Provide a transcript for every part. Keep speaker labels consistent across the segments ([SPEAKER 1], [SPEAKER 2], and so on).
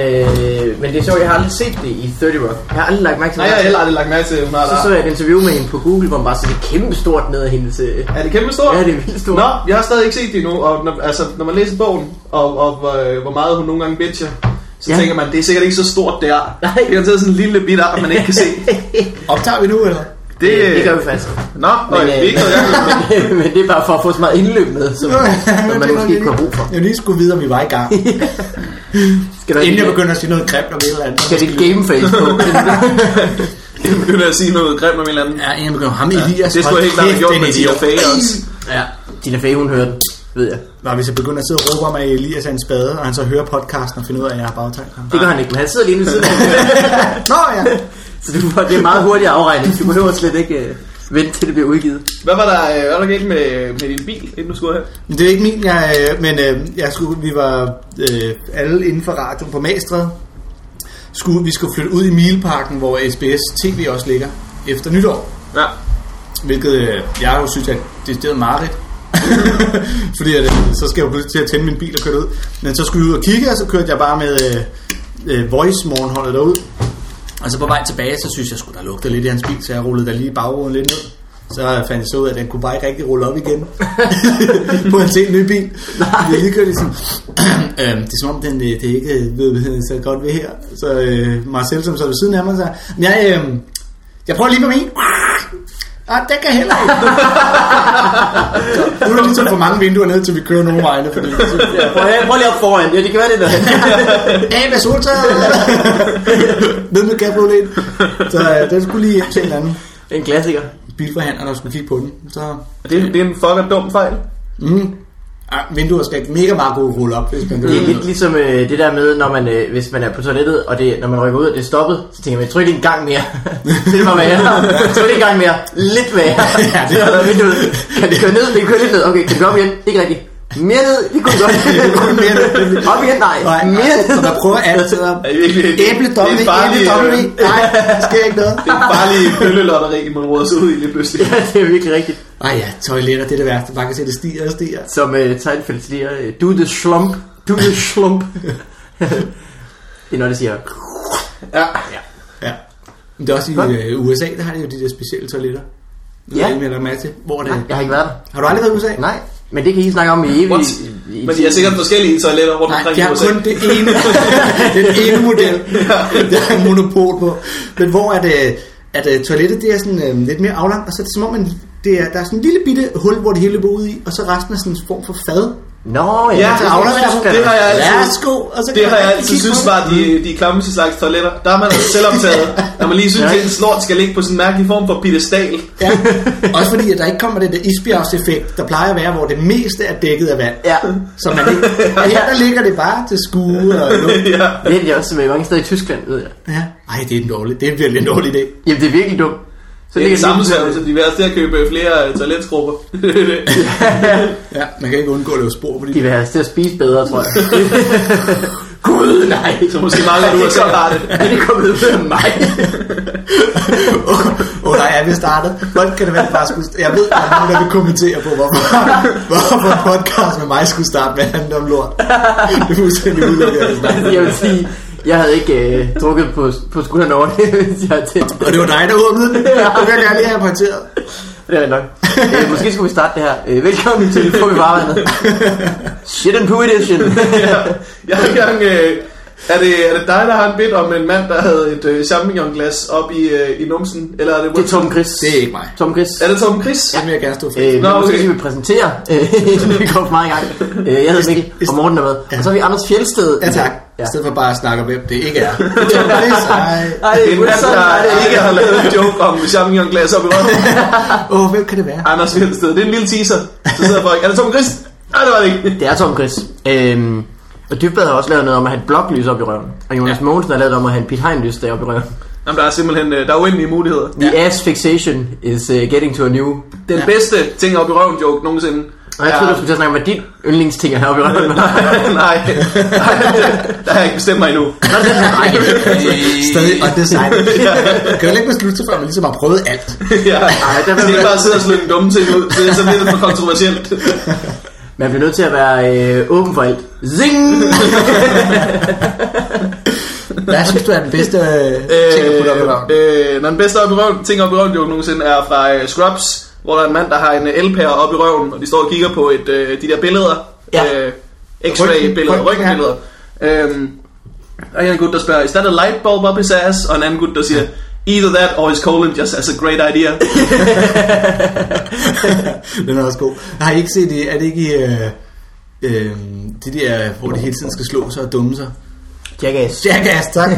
[SPEAKER 1] øh, men det er sjovt, jeg har aldrig set det i 30 Rock. Jeg har aldrig lagt mærke til
[SPEAKER 2] Nej, jeg har heller aldrig lagt mærke til, at hun har
[SPEAKER 1] Så så jeg et interview med hende på Google, hvor man bare så det kæmpe stort ned øh, af hende til...
[SPEAKER 2] Er det kæmpe stort?
[SPEAKER 1] Ja, det er vildt stort.
[SPEAKER 2] Nå, jeg har stadig ikke set det endnu, og når, altså, når man læser bogen, og, og hvor- hvor meget hun nogle gange bitcher, så
[SPEAKER 1] Ja.
[SPEAKER 2] ja. tænker man, det er sikkert ikke så stort det er.
[SPEAKER 1] Nej.
[SPEAKER 2] Det er taget sådan en lille bit af, man ikke kan se.
[SPEAKER 3] Optager vi nu, eller?
[SPEAKER 2] Det,
[SPEAKER 1] det gør vi faktisk.
[SPEAKER 2] Nå, men,
[SPEAKER 1] Men,
[SPEAKER 2] øh, vi er
[SPEAKER 1] øh,
[SPEAKER 2] ikke noget gang.
[SPEAKER 1] men det er bare for at få så meget indløb med, som, som man måske ikke har brug for.
[SPEAKER 3] Jeg vil lige skulle vide, om vi var i gang.
[SPEAKER 1] Skal der
[SPEAKER 3] Inden jeg
[SPEAKER 1] ikke-
[SPEAKER 3] begynder at sige noget grimt om et eller andet.
[SPEAKER 1] Skal det gameface på?
[SPEAKER 2] Jeg begynder at sige noget grimt om en eller anden.
[SPEAKER 3] Ja, inden jeg begynder. Ham Elias.
[SPEAKER 2] Det skulle
[SPEAKER 3] hold
[SPEAKER 2] jeg helt klart have
[SPEAKER 3] kæft,
[SPEAKER 2] gjort
[SPEAKER 3] det er
[SPEAKER 2] med
[SPEAKER 3] en
[SPEAKER 2] de
[SPEAKER 3] idiot.
[SPEAKER 2] fag også.
[SPEAKER 1] ja, Tina Fey, hun hører den, ved jeg.
[SPEAKER 3] Nå, hvis jeg begynder at sidde og råbe om, at Elias er en spade, og han så hører podcasten og finder ud af, at jeg har bagtalt ham.
[SPEAKER 1] Det gør han ikke, men han sidder lige ved siden af
[SPEAKER 3] Nå ja,
[SPEAKER 1] Så du får, det er meget hurtig afregning. Du behøver slet ikke øh, vente til det bliver udgivet.
[SPEAKER 2] Hvad var der, øh, hvad var der galt med, med din bil, inden du skulle her?
[SPEAKER 3] men det er ikke min, jeg, øh, men øh, jeg skulle, vi var øh, alle inden for radioen på Magstred. Skulle, vi skulle flytte ud i Milparken, hvor SBS TV også ligger efter nytår.
[SPEAKER 2] Ja.
[SPEAKER 3] Hvilket øh, jeg jo synes er et decideret mareridt. Fordi at, øh, så skal jeg jo pludselig til at tænde min bil og køre ud. Men så skulle jeg ud og kigge, og så kørte jeg bare med øh, øh, Voice morgenholdet derud. Og så på vej tilbage, så synes jeg skulle der lugtede lidt i hans bil, så jeg rullede der lige bagruden lidt ned. Så fandt jeg så ud af, at den kunne bare ikke rigtig rulle op igen på en helt ny bil. Jeg lige kørte ligesom, øhm, det er som om, den, øh, det er ikke øh, ved, ved, så godt ved her. Så øh, Marcel, som så ved siden af mig, så "Men jeg, øh, jeg prøver lige med min. Ah, den kan heller ikke. Så, nu er der ligesom for mange vinduer ned, til vi kører nogle vegne. Fordi,
[SPEAKER 1] Ja, prøv, her, prøv lige op foran. Ja, det kan være det der.
[SPEAKER 3] af med soltaget. Ned med cabriolet. Så øh, den skulle lige hjem til en eller anden
[SPEAKER 1] en klassiker.
[SPEAKER 3] bilforhandler, der skulle kigge på den. Så,
[SPEAKER 2] Det, er- det er en fucking dum fejl.
[SPEAKER 3] mm. Ah, vinduer skal ikke mega meget gode rulle op, hvis man
[SPEAKER 1] Det er lidt ligesom øh, det der med, når man, øh, hvis man er på toilettet, og det, når man rykker ud, og det er stoppet, så tænker man, tryk lige en gang mere. det var værre. Tryk lige en gang mere. Lidt værre.
[SPEAKER 3] Ja, det-
[SPEAKER 1] Så er der vinduet. Kan det køre ned? Det kan køre lidt ned. Okay, kan det gå op igen? Ikke rigtigt. Mere ned? Det kunne godt.
[SPEAKER 3] Mere ned.
[SPEAKER 1] op igen? Nej.
[SPEAKER 3] Nej,
[SPEAKER 1] Mere ned.
[SPEAKER 3] og der prøver altid at...
[SPEAKER 2] Er det virkelig, det,
[SPEAKER 3] Æble,
[SPEAKER 2] det er
[SPEAKER 3] dobbelt,
[SPEAKER 2] en farlig,
[SPEAKER 3] æble,
[SPEAKER 2] øh,
[SPEAKER 3] dobbelt, nej, der sker ikke noget.
[SPEAKER 2] det er en farlig bøllelotteri, man råder sig ud i lige pludselig.
[SPEAKER 1] Ja, det er virkelig rigtigt.
[SPEAKER 3] Ej ja, toiletter, det er det værste. Bare kan se, det stiger og stiger.
[SPEAKER 1] Som øh, Seinfeld siger, øh, do the slump, do the slump. det er noget, det siger.
[SPEAKER 2] Ja.
[SPEAKER 3] Ja. Men det er også i øh, USA, der har de jo de der specielle toiletter.
[SPEAKER 1] Ja.
[SPEAKER 3] Ja. Jeg med masse. Hvor er det?
[SPEAKER 1] Nej, "Øh, jeg har ikke været der.
[SPEAKER 3] Har du aldrig været i USA?
[SPEAKER 1] Nej, men det kan I snakke om i evigt.
[SPEAKER 2] What? Men de er sikkert forskellige toiletter rundt
[SPEAKER 3] Nej,
[SPEAKER 2] omkring
[SPEAKER 3] de
[SPEAKER 2] i
[SPEAKER 3] har
[SPEAKER 2] USA.
[SPEAKER 3] kun det ene, den ene model, der er monopol på. Men hvor er det, at øh, toilettet det er sådan øh, lidt mere aflangt, og så er det som om, man, det er, der er sådan en lille bitte hul, hvor det hele løber ud i, og så resten er sådan en form for fad.
[SPEAKER 1] Nå, ja,
[SPEAKER 2] Ja,
[SPEAKER 1] det
[SPEAKER 3] Så
[SPEAKER 1] er
[SPEAKER 3] aflangt
[SPEAKER 1] Tyskland.
[SPEAKER 3] er der-
[SPEAKER 2] det har jeg altid-
[SPEAKER 3] Værsgo, og så kan
[SPEAKER 2] Det har
[SPEAKER 3] man
[SPEAKER 2] jeg
[SPEAKER 3] rigtig
[SPEAKER 2] altid
[SPEAKER 3] kigge på
[SPEAKER 2] synes
[SPEAKER 3] det.
[SPEAKER 2] var de, de klammeste slags toiletter. Der er man altså selvoptaget, når man lige synes,
[SPEAKER 1] Ja.
[SPEAKER 2] at ens lort skal ligge på sådan en mærkelig form for piedestal.
[SPEAKER 3] Ja. Også fordi, at der ikke kommer den der isbjergseffekt, der plejer at være, hvor det meste er dækket af vand.
[SPEAKER 1] Ja,
[SPEAKER 3] Så man ikke, og her der ligger det bare til skue og luft.
[SPEAKER 2] ja.
[SPEAKER 1] det er det også med mange steder i Tyskland, ved jeg.
[SPEAKER 3] Ja. Ej, det er en dårlig, det er virkelig en dårlig idé.
[SPEAKER 1] Jamen, det er virkelig dumt. Så
[SPEAKER 2] Det er
[SPEAKER 1] ligger
[SPEAKER 2] det samme
[SPEAKER 1] lige-
[SPEAKER 2] som de værste at købe flere øh, toiletsgrupper.
[SPEAKER 3] Ja, man kan ikke undgå at lave spor på de
[SPEAKER 1] De vil have os til at spise bedre, tror jeg. Gud, nej.
[SPEAKER 2] Så måske meget godt, du har selv har det.
[SPEAKER 1] Er det kommet ud af mig?
[SPEAKER 3] Åh oh, nej, er vi startet? Hvordan kan det være, at bare skulle... Jeg ved, at der er nogen, der vil kommentere på, hvorfor, hvorfor podcast med mig skulle starte med at handle om lort. Det er fuldstændig altså. udelukket. at snakke om det.
[SPEAKER 1] jeg vil sige, jeg havde ikke øh, drukket på, på skulderen over det, hvis jeg havde tænkt.
[SPEAKER 3] Og det var dig, der åbnede den. Det vil jeg gerne lige have pointeret.
[SPEAKER 1] Det er det nok. Øh, måske skulle vi starte det her. Øh, velkommen til Få i farvandet. Shit and poo edition.
[SPEAKER 2] ja. Jeg har ikke engang... Øh, er, det, er det dig, der har en bit om en mand, der havde et øh, champignonglas op i, øh, i numsen? Eller er det...
[SPEAKER 1] Det er Tom Chris.
[SPEAKER 3] Det er ikke mig.
[SPEAKER 1] Tom Chris.
[SPEAKER 2] Er det Tom Chris?
[SPEAKER 3] Det vil jeg gerne stå for.
[SPEAKER 1] Øh, Nå,
[SPEAKER 2] Nå,
[SPEAKER 1] okay.
[SPEAKER 2] okay.
[SPEAKER 1] Måske vi præsentere, øh, inden vi går for meget i gang. Øh, jeg hedder Mikkel, og Morten er med. Og så har vi Anders Fjeldsted.
[SPEAKER 3] Ja tak. I
[SPEAKER 1] Ja.
[SPEAKER 3] stedet for bare at snakke om, hvem det ikke er. Tobias, ej.
[SPEAKER 1] Ej,
[SPEAKER 2] En mand,
[SPEAKER 1] Wilson, nej, det er
[SPEAKER 2] der
[SPEAKER 1] ikke.
[SPEAKER 2] ikke har lavet en joke om champignonglas op i røven.
[SPEAKER 3] Åh, hvem kan det være?
[SPEAKER 2] Anders Fjeldsted. Det er en lille teaser. Så sidder folk, er det Tom Christ? Nej, det var det ikke.
[SPEAKER 1] Det er Tom Chris. Øhm, og Dybbad har også lavet noget om at have et bloklys op i røven. Og Jonas ja. Mogensen har lavet om at have en Pete Hein lys op i røven.
[SPEAKER 2] Jamen, der er simpelthen øh, der er uendelige muligheder.
[SPEAKER 1] The ass fixation is uh, getting to a new...
[SPEAKER 2] Den ja. bedste ting op i røven joke nogensinde.
[SPEAKER 1] Og jeg troede, du skulle til at snakke om, hvad dit yndlingsting er heroppe i røven.
[SPEAKER 2] Nej, Nej, det- der har jeg ikke bestemt mig endnu.
[SPEAKER 1] Nå, det er nej.
[SPEAKER 3] Stadig undecided. Man kan jo ikke beslutte sig, før man ligesom har prøvet alt.
[SPEAKER 2] ja.
[SPEAKER 1] Ej, der
[SPEAKER 2] Jeg
[SPEAKER 1] vil
[SPEAKER 2] skal ikke
[SPEAKER 1] man-
[SPEAKER 2] bare sidde og slå en dumme ting ud. Det er sådan lidt for kontroversielt.
[SPEAKER 1] Man bliver nødt til at være øh, åben for alt. Zing!
[SPEAKER 3] Hvad synes du er den bedste øh, ting at putte op i røven?
[SPEAKER 2] Øh, øh, når den bedste op i røven, ting op i røven joke nogensinde er fra øh, Scrubs, hvor der er en mand, der har en øh, elpære op i røven, og de står og kigger på et, øh, de der billeder.
[SPEAKER 1] Ja.
[SPEAKER 2] Øh, x-ray billeder,
[SPEAKER 3] Ryggen, ryggen, ja.
[SPEAKER 2] røntgenbilleder. Øhm, og en gut, der spørger, is that a light bulb up his ass? Og en anden gut, der siger, either that or his colon just has a great idea.
[SPEAKER 3] den er også god. Har I ikke set det? Er det ikke i... Øh, øh, det der, hvor de hele tiden skal slå sig og dumme sig?
[SPEAKER 1] Jackass.
[SPEAKER 3] Jackass, tak.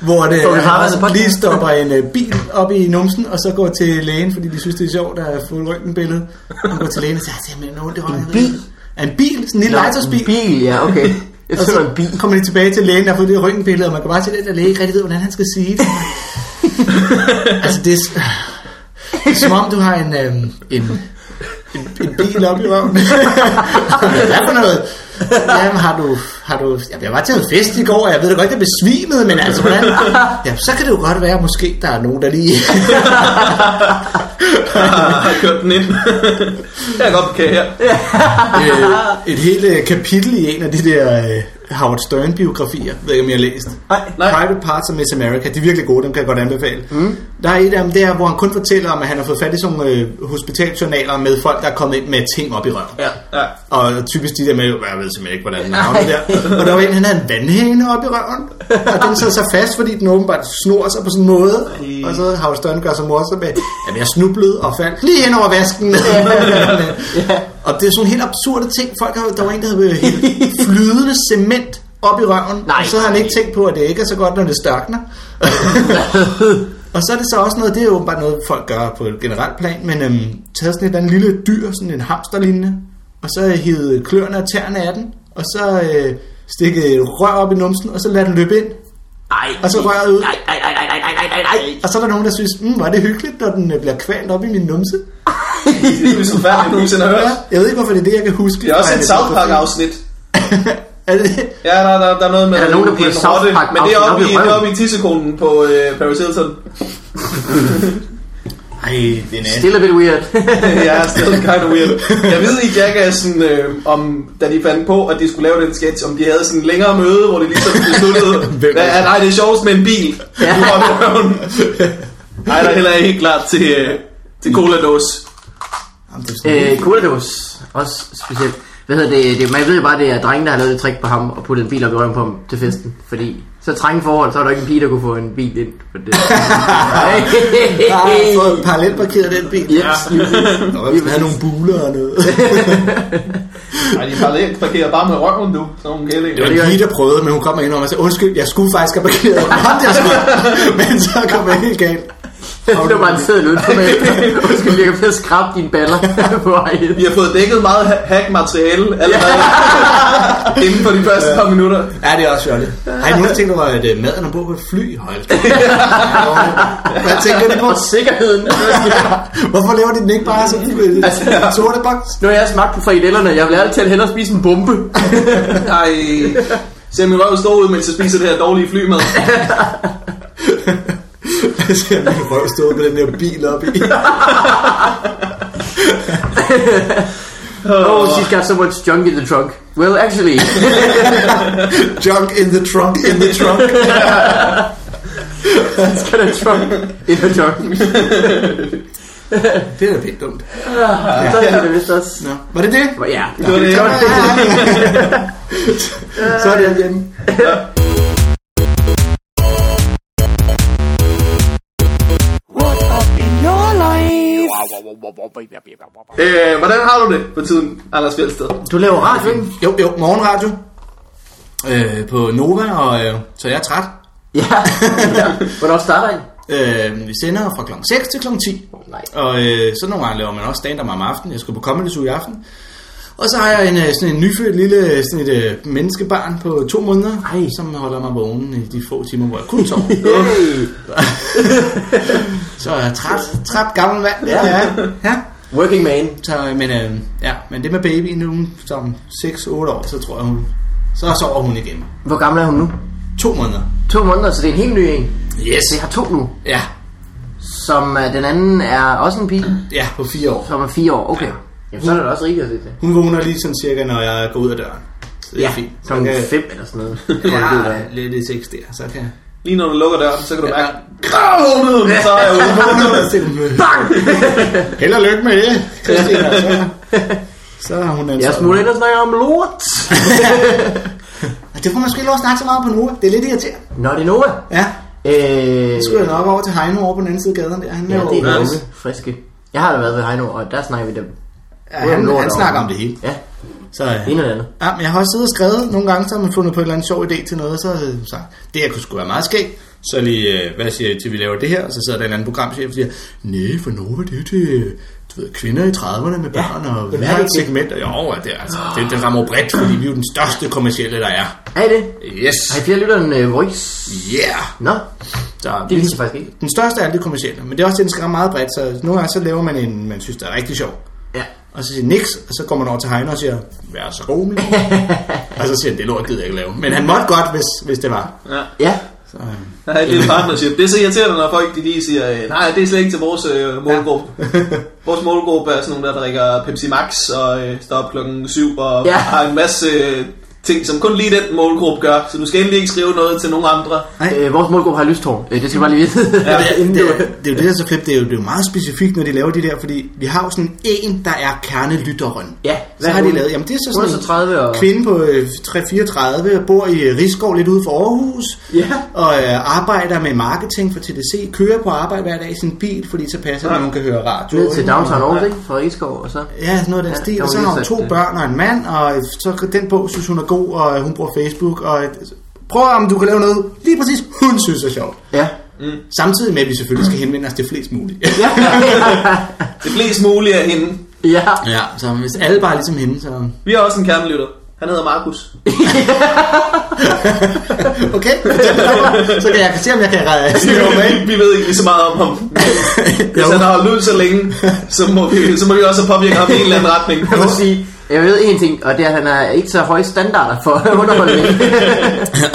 [SPEAKER 3] hvor det,
[SPEAKER 1] Douglas Harvey er på
[SPEAKER 3] han lige stopper en øh, bil op i numsen, og så går til lægen, fordi de synes, det er sjovt at få røntgenbillede. Han går til lægen og siger, at jeg har ondt i røven.
[SPEAKER 1] En bil?
[SPEAKER 3] Ja, en bil, sådan en lille legetøjsbil.
[SPEAKER 1] En bil, ja, okay. Jeg tror,
[SPEAKER 3] Og
[SPEAKER 1] det var en bil.
[SPEAKER 3] så kommer de tilbage til lægen, der har fået det røntgenbillede, og man kan bare se, at den der læge ikke rigtig ved, hvordan han skal sige det. altså, det er, s- det er som om, du har en, øhm, en, en, en bil op i røven. Hvad for noget? Jamen, har du... Har du jamen, jeg var til en fest i går, og jeg ved da godt, jeg besvimede, men altså, hvordan... Jamen, så kan det jo godt være, måske der er nogen, der lige...
[SPEAKER 2] har kørt den ind. jeg kan godt bekære her.
[SPEAKER 3] øh, et helt øh, kapitel i en af de der øh, Howard Stern-biografier, ved ikke, om jeg har læst.
[SPEAKER 1] Nej.
[SPEAKER 2] Nej.
[SPEAKER 3] Private Parts of Miss America, de er virkelig gode, dem kan jeg godt anbefale. Mm. Der er et af dem der, hvor han kun fortæller om, at han har fået fat i sådan nogle øh, hospitaljournaler med folk, der er kommet ind med ting op i røven.
[SPEAKER 2] Ja, ja.
[SPEAKER 3] Og typisk de der med, jeg ved simpelthen ikke, hvordan den har det der. Og der var en, han havde en vandhæne op i røven, og den sad så fast, fordi den åbenbart snor sig på sådan en måde.
[SPEAKER 2] Ej.
[SPEAKER 3] Og så har Støren gør sig morsom med, at jeg snublede og faldt lige hen over vasken. og det er sådan helt absurde ting. Folk har, der var en, der havde hældt flydende cement op i røven,
[SPEAKER 1] Nej.
[SPEAKER 3] og så har han ikke tænkt på, at det ikke er så godt, når det størkner. Og så er det så også noget, det er jo bare noget, folk gør på et generelt plan, men øhm, taget sådan et eller andet lille dyr, sådan en hamsterlignende, og så hede kløerne og tæerne af den, og så øh, stikke et rør op i numsen, og så lade den løbe ind.
[SPEAKER 1] Nej.
[SPEAKER 3] Og så rører jeg ud.
[SPEAKER 1] Nej, nej, nej, nej, nej, nej, nej, nej.
[SPEAKER 3] Og så er der nogen, der synes, mm, var det hyggeligt, når den øh, bliver kvalt op i min numse.
[SPEAKER 2] Det er jo så færdigt, jeg nogensinde har hørt.
[SPEAKER 3] Jeg ved ikke, hvorfor det er det, jeg kan huske.
[SPEAKER 2] Det er også
[SPEAKER 3] fra
[SPEAKER 2] et
[SPEAKER 3] det
[SPEAKER 2] South Park
[SPEAKER 3] fotografi.
[SPEAKER 2] afsnit.
[SPEAKER 3] er det?
[SPEAKER 2] Ja, der, der, der er noget med
[SPEAKER 1] Er der nogen, der
[SPEAKER 2] en
[SPEAKER 1] putter South
[SPEAKER 2] rotte,
[SPEAKER 1] Park
[SPEAKER 2] Men det er
[SPEAKER 1] afsnit op
[SPEAKER 2] oppe i,
[SPEAKER 1] i
[SPEAKER 2] det er
[SPEAKER 1] røven?
[SPEAKER 2] oppe i tissekonen på øh, Paris Hilton.
[SPEAKER 3] Ej, det er næste.
[SPEAKER 1] Still a bit weird.
[SPEAKER 2] ja, still kind of weird. Jeg ved i Jackassen, øh, om, da de fandt på, at de skulle lave den sketch, om de havde sådan en længere møde, hvor de ligesom besluttede,
[SPEAKER 3] Hvem er
[SPEAKER 2] hvad er, nej, det er sjovest med en bil. Ja. Nej, der er heller ikke helt klart til, øh, til cola-dås.
[SPEAKER 3] Jamen, det er sådan-
[SPEAKER 1] øh, Kuldos. Også specielt. Hvad hedder det? det? Man ved jo bare, det er drengen, der har lavet et trick på ham og puttet en bil op i røven på ham til festen. Fordi så trænge forhold, så er der ikke en pige, der kunne få en bil ind. For det.
[SPEAKER 3] Jeg har fået parallelt parkeret den bil.
[SPEAKER 1] Jeps, øh. lige præcis.
[SPEAKER 3] Nå, vi havde nogle buler og noget.
[SPEAKER 2] Nej, de parallelt parkerer bare med røven nu, så hun kan
[SPEAKER 3] Det
[SPEAKER 2] ikke.
[SPEAKER 3] var lige der prøvede, men hun kom ind og sagde, undskyld, jeg skulle faktisk have parkeret på Honda-skud, men så kom jeg helt galt.
[SPEAKER 1] Det var bare en sædel ud på mig. Undskyld, jeg kan blive skrabe dine baller på vej ind.
[SPEAKER 2] Vi har fået dækket meget ha- hack-materiale allerede inden for de første par minutter.
[SPEAKER 3] Ja, det er også fjollet. Har I nogensinde tænkt over, at øh, maden er på et fly? Hold da. Hvad tænker de på?
[SPEAKER 1] Og sikkerheden.
[SPEAKER 3] Hvorfor laver de den ikke bare som øh, sorte boks?
[SPEAKER 1] Nu har jeg smagt på fridellerne. Jeg vil ærligt talt hellere spise en bombe.
[SPEAKER 2] Ej, se min røv stå ud, mens jeg spiser det her dårlige flymad.
[SPEAKER 3] Jeg ser min røv stå med den der bil op i.
[SPEAKER 1] Oh, she's got so much junk in the trunk. Well, actually.
[SPEAKER 3] Junk in the trunk, in the trunk.
[SPEAKER 1] It's got a trunk in the trunk.
[SPEAKER 3] Det er da pænt dumt.
[SPEAKER 1] Så er det vist også.
[SPEAKER 3] Nå, var det det?
[SPEAKER 1] Ja,
[SPEAKER 2] Det var det.
[SPEAKER 3] Så er det igen.
[SPEAKER 4] What up in your life?
[SPEAKER 2] Øh, hvordan har du det på tiden, Anders Fjeldsted?
[SPEAKER 1] Du laver radio, ikke?
[SPEAKER 3] Jo, jo, morgenradio. Øh, på Nova, og øh, så jeg er træt.
[SPEAKER 1] Ja. Hvornår starter I?
[SPEAKER 3] Øh, vi sender fra kl. 6 til kl. 10.
[SPEAKER 1] Nej.
[SPEAKER 3] Og øh, så nogle gange laver man også stand-up om aftenen. Jeg skal på Comedy Zoo i aften. Og så har jeg en, øh, sådan en nyfødt lille øh, sådan et, øh, menneskebarn på to måneder,
[SPEAKER 1] Ej.
[SPEAKER 3] som holder mig vågen i de få timer, hvor jeg kun sover.
[SPEAKER 1] Hey.
[SPEAKER 3] så er jeg træt, træt gammel mand. Ja, ja. ja.
[SPEAKER 1] Working man.
[SPEAKER 3] Så, øh, men, øh, ja, men det med baby nu, som 6-8 år, så tror jeg, hun, så sover hun igen.
[SPEAKER 1] Hvor gammel er hun nu?
[SPEAKER 3] To måneder.
[SPEAKER 1] To måneder, så det er en helt ny en.
[SPEAKER 3] Yes.
[SPEAKER 1] Vi har to nu.
[SPEAKER 3] Ja,
[SPEAKER 1] Som øh, den anden er også en pige,
[SPEAKER 3] ja på fire år.
[SPEAKER 1] som er fire år. Okay. Jamen, så er det da også rigtigt at se det.
[SPEAKER 3] Hun vågner lige sådan cirka, når jeg går ud af døren. Så det er
[SPEAKER 1] Ja,
[SPEAKER 3] fint. Så
[SPEAKER 1] klokken
[SPEAKER 3] kan-
[SPEAKER 1] 5 eller sådan noget. tror jeg, det
[SPEAKER 3] Ja,
[SPEAKER 1] er.
[SPEAKER 3] lidt i 6 der, så kan jeg...
[SPEAKER 2] Lige når du lukker døren, så kan du mærke, krav vågnede den, så er jeg ude.
[SPEAKER 3] Held og lykke med det, Christina. Så, så har hun altså...
[SPEAKER 1] Jeg smutter ind og snakker om lort.
[SPEAKER 3] Og Det får man sgu ikke lov at snakke så meget på Nova. Det er lidt irriterende.
[SPEAKER 1] Nå, det er Nova.
[SPEAKER 3] Ja.
[SPEAKER 1] Øh,
[SPEAKER 3] Så skulle jeg nok over til Heino over på den anden side af gaden der. Han,
[SPEAKER 1] ja, det er
[SPEAKER 2] Nice.
[SPEAKER 1] Nova. Friske. Jeg har da været ved Heino, og der snakker vi dem.
[SPEAKER 3] ja, han, han snakker om det hele.
[SPEAKER 1] Ja,
[SPEAKER 3] Så,
[SPEAKER 1] det ene eller andet.
[SPEAKER 3] Ja, men jeg har også siddet og skrevet nogle gange, så har man fundet på en eller anden sjov idé til noget, og så har jeg sagt, det her kunne sgu være meget skægt. Så lige, øh, hvad siger I til, vi laver det her? Og så sidder der en anden programchef og siger, nej, for Nova, det er jo til du ved, kvinder i 30'erne med børn ja, og
[SPEAKER 1] det er
[SPEAKER 3] hvert
[SPEAKER 1] rigtigt.
[SPEAKER 3] segment. Og jo, ja, det, er, altså, det, det rammer jo bredt, fordi vi er jo den største kommercielle, der er.
[SPEAKER 1] Er I det?
[SPEAKER 3] Yes,
[SPEAKER 1] Har I flere lyttere end øh, Voice?
[SPEAKER 3] yeah.
[SPEAKER 1] Nå,
[SPEAKER 3] Så
[SPEAKER 1] det vidste jeg faktisk ikke.
[SPEAKER 3] den største er alle de kommercielle, men det er også den, der rammer meget bredt, så nogle gange så laver man en, man synes, der er rigtig sjov.
[SPEAKER 1] Ja.
[SPEAKER 3] Og så siger Nix, og så går man over til Heino og siger, vær så god, min. og så siger han, det lort gider jeg ikke lave. Men han måtte godt, hvis, hvis det var.
[SPEAKER 2] Ja.
[SPEAKER 1] Ja,
[SPEAKER 3] Så, øhm,
[SPEAKER 2] Der er et lille partnership. Det er så irriterende, når folk de lige siger, øh, nej, det er slet ikke til vores øh, målgruppe. Vores målgruppe er sådan nogle, der drikker Pepsi Max og øh, står op klokken 7 og
[SPEAKER 1] Ja.
[SPEAKER 2] har en masse øh, ting, som kun lige den målgruppe gør. Så du skal endelig ikke skrive noget til nogen andre.
[SPEAKER 1] øh, vores målgruppe har lysthår. Øh, det skal jeg bare lige vide.
[SPEAKER 2] Ja,
[SPEAKER 3] det, det, det, er jo det, der er så flip. Det er jo, det er jo meget specifikt, når de laver de der, fordi vi har jo sådan en, der er kernelytteren.
[SPEAKER 1] Ja,
[SPEAKER 3] så har de lavet, jamen det er så sådan en
[SPEAKER 1] 130 og...
[SPEAKER 3] kvinde på øh, 3-34, bor i øh, Rigskov lidt ude for Aarhus,
[SPEAKER 1] Ja.
[SPEAKER 3] og øh, arbejder med marketing for TDC, kører på arbejde hver dag i sin bil, fordi så passer det, at hun kan høre radio.
[SPEAKER 1] Ned til Downtown
[SPEAKER 3] Og-
[SPEAKER 1] Aarhus, ikke? Fra Rigskov og så...
[SPEAKER 3] Ja, sådan noget af den
[SPEAKER 1] Ja,
[SPEAKER 3] stil.
[SPEAKER 1] der
[SPEAKER 3] Og
[SPEAKER 1] var
[SPEAKER 3] så
[SPEAKER 1] lige
[SPEAKER 3] har hun
[SPEAKER 1] sat,
[SPEAKER 3] to
[SPEAKER 1] øh,
[SPEAKER 3] børn og en mand, og så den bog synes hun er god, og hun bruger Facebook. Og prøv om du kan lave noget, lige præcis hun synes er sjovt.
[SPEAKER 1] Ja.
[SPEAKER 3] Samtidig med, at vi selvfølgelig skal henvende os til flest muligt.
[SPEAKER 1] Ja.
[SPEAKER 2] Det flest muligt af hende.
[SPEAKER 1] ja.
[SPEAKER 3] ja, så hvis alle bare er ligesom hende, så...
[SPEAKER 2] Vi har også en kernelytter. Han hedder Markus.
[SPEAKER 3] Okay, så kan jeg kan se, om jeg kan redde
[SPEAKER 2] vi, vi ved ikke lige så meget om ham. Hvis
[SPEAKER 3] Jo.
[SPEAKER 2] han har holdt ud så længe, så må vi, så må vi også påvirke ham i en eller anden retning.
[SPEAKER 1] Jeg må sige, jeg ved én ting, og det er, at han er ikke så høje standarder for underholdning. altså,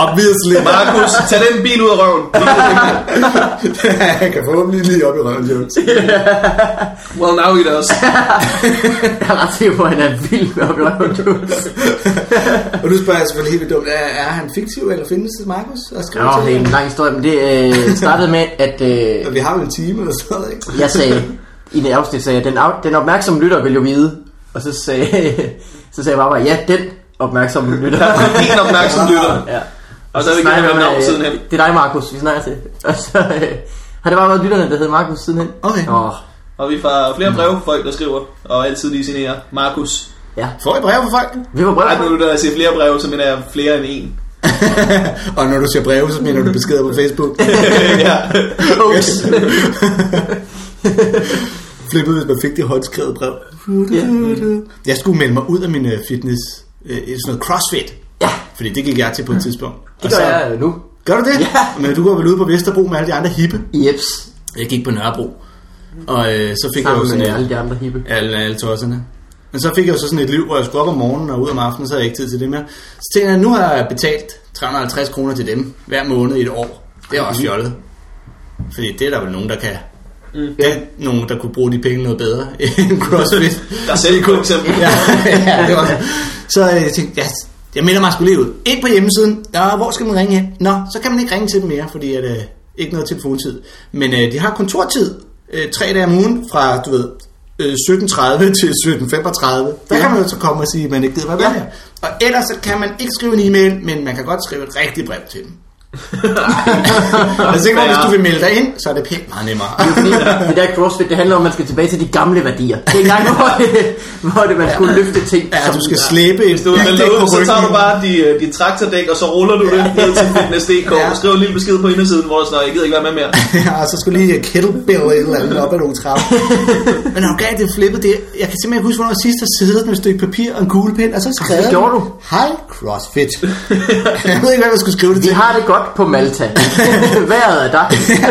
[SPEAKER 3] Obviously.
[SPEAKER 2] Markus, tag den bil ud af røven.
[SPEAKER 3] jeg kan forhåbentlig lige op i røven, Jones.
[SPEAKER 2] Well, now he does.
[SPEAKER 1] jeg er ret sikker på, at han er vild med at blive
[SPEAKER 3] og nu spørger jeg selvfølgelig helt vildt dumt, er, er han fiktiv, eller findes det, Markus? Og skriver
[SPEAKER 1] Nå,
[SPEAKER 3] til
[SPEAKER 1] det er
[SPEAKER 3] ham?
[SPEAKER 1] en lang historie, men det øh, startede med, at øh,
[SPEAKER 3] Og Vi har jo en time eller sådan noget, ikke?
[SPEAKER 1] jeg sagde, i det afsnit sagde jeg, den, af, den opmærksomme lytter vil jo vide. Og så sagde, så sagde jeg bare, ja, den opmærksomme lytter.
[SPEAKER 2] En opmærksom lytter.
[SPEAKER 1] ja.
[SPEAKER 2] Og så vil vi gerne have navn siden hen.
[SPEAKER 1] øh, Det er dig, Markus, vi snakker til. Og så øh, har det bare været lytterne, der hedder Markus sidenhen.
[SPEAKER 3] Okay.
[SPEAKER 1] Åh,
[SPEAKER 2] Og vi får
[SPEAKER 3] Mm.
[SPEAKER 2] flere brev fra folk, der skriver, og altid lige signerer Markus.
[SPEAKER 1] ja.
[SPEAKER 3] Får I brev fra folk?
[SPEAKER 1] Vi var
[SPEAKER 2] Ej,
[SPEAKER 1] brødre.
[SPEAKER 2] nu der siger flere brev, så mener jeg flere end en.
[SPEAKER 3] og når du ser breve, så mener du beskeder på Facebook.
[SPEAKER 2] ja.
[SPEAKER 3] Yes. Flippet, hvis man fik det håndskrevet brev.
[SPEAKER 1] Ja.
[SPEAKER 3] Jeg skulle melde mig ud af min øh, fitness, øh, sådan noget crossfit.
[SPEAKER 1] Ja.
[SPEAKER 3] Fordi det gik jeg til på et tidspunkt.
[SPEAKER 1] Det
[SPEAKER 3] Og så-
[SPEAKER 1] gør jeg øh, nu.
[SPEAKER 3] Gør du det?
[SPEAKER 1] Ja.
[SPEAKER 3] Men du går vel ud på Vesterbro med alle de andre hippe.
[SPEAKER 1] Jeps.
[SPEAKER 3] Jeg gik på Nørrebro. Og øh, så fik jeg jo
[SPEAKER 1] Sammen med
[SPEAKER 3] sådan
[SPEAKER 1] alle
[SPEAKER 3] et,
[SPEAKER 1] de andre hippe.
[SPEAKER 3] alle, alle tosserne. Men så fik jeg jo så sådan et liv, hvor jeg skulle op om morgenen og ud om aftenen, så havde jeg ikke tid til det mere. Så tænkte jeg, nu har jeg betalt 350 kroner til dem hver måned i et år. Det er også fjollet. Fordi det er der vel nogen, der kan. Mm. Det er nogen, der kunne bruge de penge noget bedre end CrossFit.
[SPEAKER 2] Der er selv kun eksempel.
[SPEAKER 3] ja, ja, det var det. Så øh, jeg tænkte, ja, jeg melder mig sgu lige ud. Ind på hjemmesiden. Nå, hvor skal man ringe hen? Nå, så kan man ikke ringe til dem mere, fordi at, øh, ikke noget telefontid. Men øh, de har kontortid øh, tre dage om ugen fra, du ved, øh, 17.30 til 17.35. Der ja. kan man jo så komme og sige, at man ikke gider være ja. her. Og ellers så kan man ikke skrive en e-mail, men man kan godt skrive et rigtigt brev til dem. altså ikke, hvis du vil melde dig ind, så er det pænt meget nemmere.
[SPEAKER 1] Fordi det der crossfit, det handler om, at man skal tilbage til de gamle værdier. Det er en gang, hvor, det, hvor det, man skulle løfte ting.
[SPEAKER 3] Ja,
[SPEAKER 1] som-
[SPEAKER 3] du skal slæbe et
[SPEAKER 2] Hvis du vil låne, så tager du bare de, øh, dit traktordæk, og så ruller du det ned til fitness.dk
[SPEAKER 3] Ja.
[SPEAKER 2] og skriver en lille besked på indersiden, hvor der står, jeg gider ikke være med mere.
[SPEAKER 3] ja, og så skulle lige kettlebell et eller andet op ad nogle trapper. Men når gav det flippet, det, jeg kan simpelthen ikke huske, hvornår jeg sidst har siddet med et stykke papir og en kuglepen, og så skrev
[SPEAKER 1] det gjorde du.
[SPEAKER 3] Hej, CrossFit. jeg ved ikke, hvad jeg skulle skrive det
[SPEAKER 1] Vi
[SPEAKER 3] til.
[SPEAKER 1] har det godt på Malta. Vejret er der.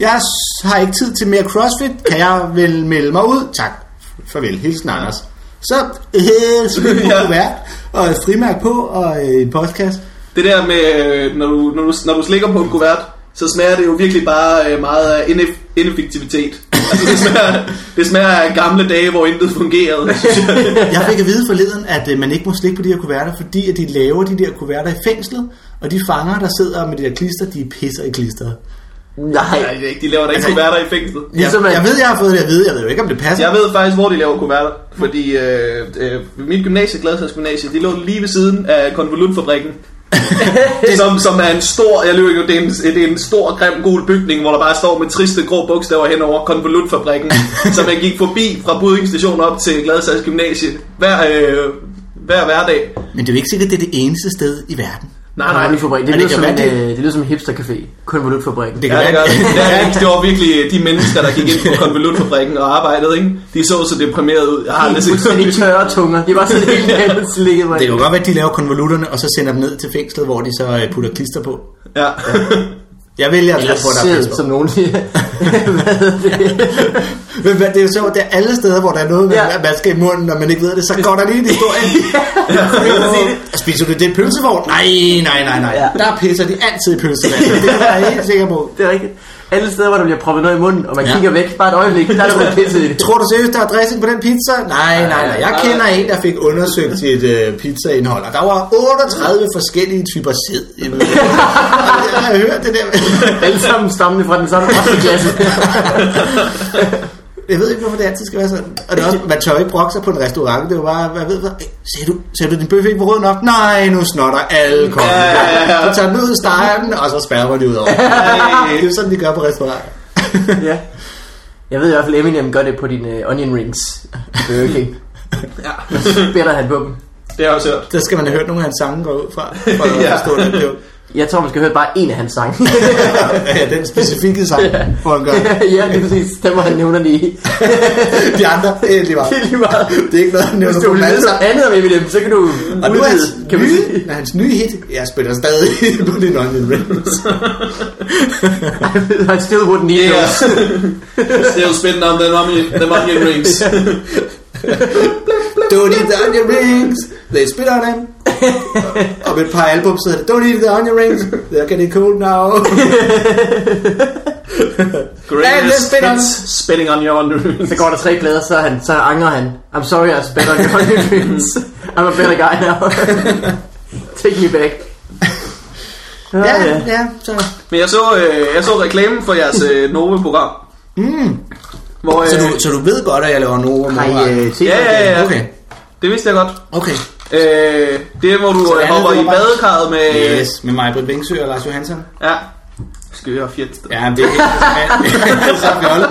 [SPEAKER 3] Jeg s- har ikke tid til mere CrossFit. Kan jeg vel melde mig ud? Tak. Farvel. Hilsen, Anders. Så øh, smidt på
[SPEAKER 2] Ja.
[SPEAKER 3] kuvert, og et frimærk på, og øh, en postkasse.
[SPEAKER 2] Det der med, øh, når du, når du, når du slikker på en kuvert, så smager det jo virkelig bare øh, meget af ineff- ineffektivitet. Altså, det, smager, det smager af gamle dage, hvor intet fungerede. synes jeg.
[SPEAKER 3] Jeg fik at vide forleden, at øh, man ikke må slikke på de her kuverter, fordi at de laver de der kuverter i fængslet, og de fanger, der sidder med det der klister, de pisser i klisteret.
[SPEAKER 1] Nej.
[SPEAKER 2] Nej, det er ikke- de laver da ikke kuverter i fængslet.
[SPEAKER 3] Jeg,
[SPEAKER 1] Ligesom at-
[SPEAKER 3] jeg ved, jeg har fået det at vide. Jeg ved jo ikke, om det passer.
[SPEAKER 2] Jeg ved faktisk, hvor de laver kuverter, fordi øh, øh, mit gymnasie, Gladsags Gymnasie, de lå lige ved siden af konvolutfabrikken. som, som er en stor, jeg løber jo, det er en, det er en stor, grim, gul bygning, hvor der bare står med triste grå bogstaver hen over konvolutfabrikken, som jeg gik forbi fra Budding station op til Gladsags Gymnasie hver, øh, hver hverdag.
[SPEAKER 3] Men det er jo ikke sikkert, det er det eneste sted i verden.
[SPEAKER 2] Nej, nej,
[SPEAKER 1] Nej,
[SPEAKER 2] det,
[SPEAKER 1] det,
[SPEAKER 3] Men
[SPEAKER 1] lyder
[SPEAKER 3] det kan
[SPEAKER 1] som
[SPEAKER 3] være,
[SPEAKER 1] en,
[SPEAKER 3] det-
[SPEAKER 1] øh, det lyder som en hipstercafé. Konvolutfabrikken.
[SPEAKER 3] Det
[SPEAKER 2] Ja,
[SPEAKER 3] kan
[SPEAKER 2] det, gør
[SPEAKER 3] være,
[SPEAKER 2] det. Det, er, det var virkelig øh, de mennesker, der gik ind på konvolutfabrikken og arbejdede, ikke? De så så deprimeret ud. Jeg har aldrig
[SPEAKER 1] Det er
[SPEAKER 2] set sådan
[SPEAKER 1] fuldstændig
[SPEAKER 2] et
[SPEAKER 1] tørre tunger. Det var sådan helt andet slikket mig.
[SPEAKER 3] det kan jo godt være, at de laver konvolutterne, og så sender dem ned til fængslet, hvor de så øh, putter klister på.
[SPEAKER 2] Ja.
[SPEAKER 3] Jeg vælger at tro
[SPEAKER 1] Eller
[SPEAKER 3] på, at der er
[SPEAKER 1] sæd,
[SPEAKER 3] pis på.
[SPEAKER 1] som nogen siger. Hvad hedder det?
[SPEAKER 3] Men hvad- det er jo sjovt, det er alle steder, hvor der er noget, man,
[SPEAKER 1] Ja.
[SPEAKER 3] ja. man skal i munden, og man ikke ved det, så går der lige en historie. ja. Spiser du det pølsevogn? Nej, nej, nej, nej.
[SPEAKER 1] Ja.
[SPEAKER 3] Ja. Der pisser de altid i pølsevandet. Det er jeg helt sikker på.
[SPEAKER 1] Det er rigtigt. Alle steder, hvor der bliver proppet noget i munden, og man
[SPEAKER 3] Ja.
[SPEAKER 1] kigger væk bare et øjeblik, der er der blevet pisset i det.
[SPEAKER 3] Tror du seriøst, der er dressing på den pizza? Nej, nej, nej. Jeg
[SPEAKER 2] Nej.
[SPEAKER 3] kender en, der fik undersøgt sit øh, pizzaindhold, og der var 38 forskellige typer sæd. i den. Og Jeg har hørt det der.
[SPEAKER 1] Alle sammen stammende fra den samme resteklasse.
[SPEAKER 3] Jeg ved ikke, hvorfor det altid skal være sådan. Og det er også, man tør ikke brokke sig på en restaurant. Det var bare, hvad ved jeg, ser du, ser du din bøf ikke på rød nok? Nej, nu snotter alle kongen.
[SPEAKER 2] Ja, ja, ja.
[SPEAKER 3] Så tager den ud, steger den, og så spærrer man det ud over.
[SPEAKER 2] Ej.
[SPEAKER 3] Det er jo sådan, de gør på restauranter.
[SPEAKER 1] ja. Jeg ved i hvert fald, Eminem gør det på dine uh, onion rings. Burger King.
[SPEAKER 2] ja.
[SPEAKER 1] Spiller han på dem.
[SPEAKER 2] Det har jeg også hørt.
[SPEAKER 3] Der skal man have hørt nogle af hans sange gå ud fra, for at
[SPEAKER 2] Ja.
[SPEAKER 3] ja. forstå det. Jo.
[SPEAKER 1] Jeg tror, man skal høre bare en af hans sange.
[SPEAKER 3] Ja, den specifikke sang, hvor han gør det.
[SPEAKER 1] ja, det er præcis. Den var han nævner lige.
[SPEAKER 3] De andre, det er lige meget.
[SPEAKER 1] Det er lige meget.
[SPEAKER 3] Det er ikke noget, han
[SPEAKER 1] Hvis
[SPEAKER 3] nævner
[SPEAKER 1] du
[SPEAKER 3] på
[SPEAKER 1] vil
[SPEAKER 3] dem alle
[SPEAKER 1] vide
[SPEAKER 3] sammen.
[SPEAKER 1] noget andet om Eminem, så kan du
[SPEAKER 3] Og nu er hans,
[SPEAKER 1] udvide, kan man sige.
[SPEAKER 3] nye, hans nye hit, jeg spiller stadig på din onion rings.
[SPEAKER 1] I still wouldn't need
[SPEAKER 2] Yeah.
[SPEAKER 1] those.
[SPEAKER 2] Still spinning on the onion, the onion rings.
[SPEAKER 3] Don't eat the onion rings, they spit on them. Om et par album så hedder det, Don't eat the onion rings, they're getting cold now.
[SPEAKER 2] Greatest
[SPEAKER 3] spit on.
[SPEAKER 2] hits, spinning on your onion rings.
[SPEAKER 1] Så går der tre plader, så, han, så angrer han. I'm sorry, I spent on your onion rings. I'm a better guy now. Take me back. Oh,
[SPEAKER 3] ja, ja, så.
[SPEAKER 2] Men jeg så, øh, jeg så reklamen for jeres øh, Nova-program. Mm. Hvor, øh,
[SPEAKER 3] Så du, så du ved godt, at jeg laver Nova
[SPEAKER 1] Har I
[SPEAKER 3] Mora?
[SPEAKER 1] øh, set
[SPEAKER 2] Ja, ja, ja.
[SPEAKER 3] Okay,
[SPEAKER 2] det vidste jeg godt.
[SPEAKER 3] okay.
[SPEAKER 2] Øh, det er, hvor du
[SPEAKER 3] Så
[SPEAKER 2] øh,
[SPEAKER 3] alle
[SPEAKER 2] hopper
[SPEAKER 3] ved,
[SPEAKER 2] i
[SPEAKER 3] hvor man-
[SPEAKER 2] badekarret med...
[SPEAKER 3] Yes, med mig, Britt Vingsø og Lars Johansson.
[SPEAKER 2] Ja. Skøre fjet.
[SPEAKER 3] Ja, men det er helt så fjollet.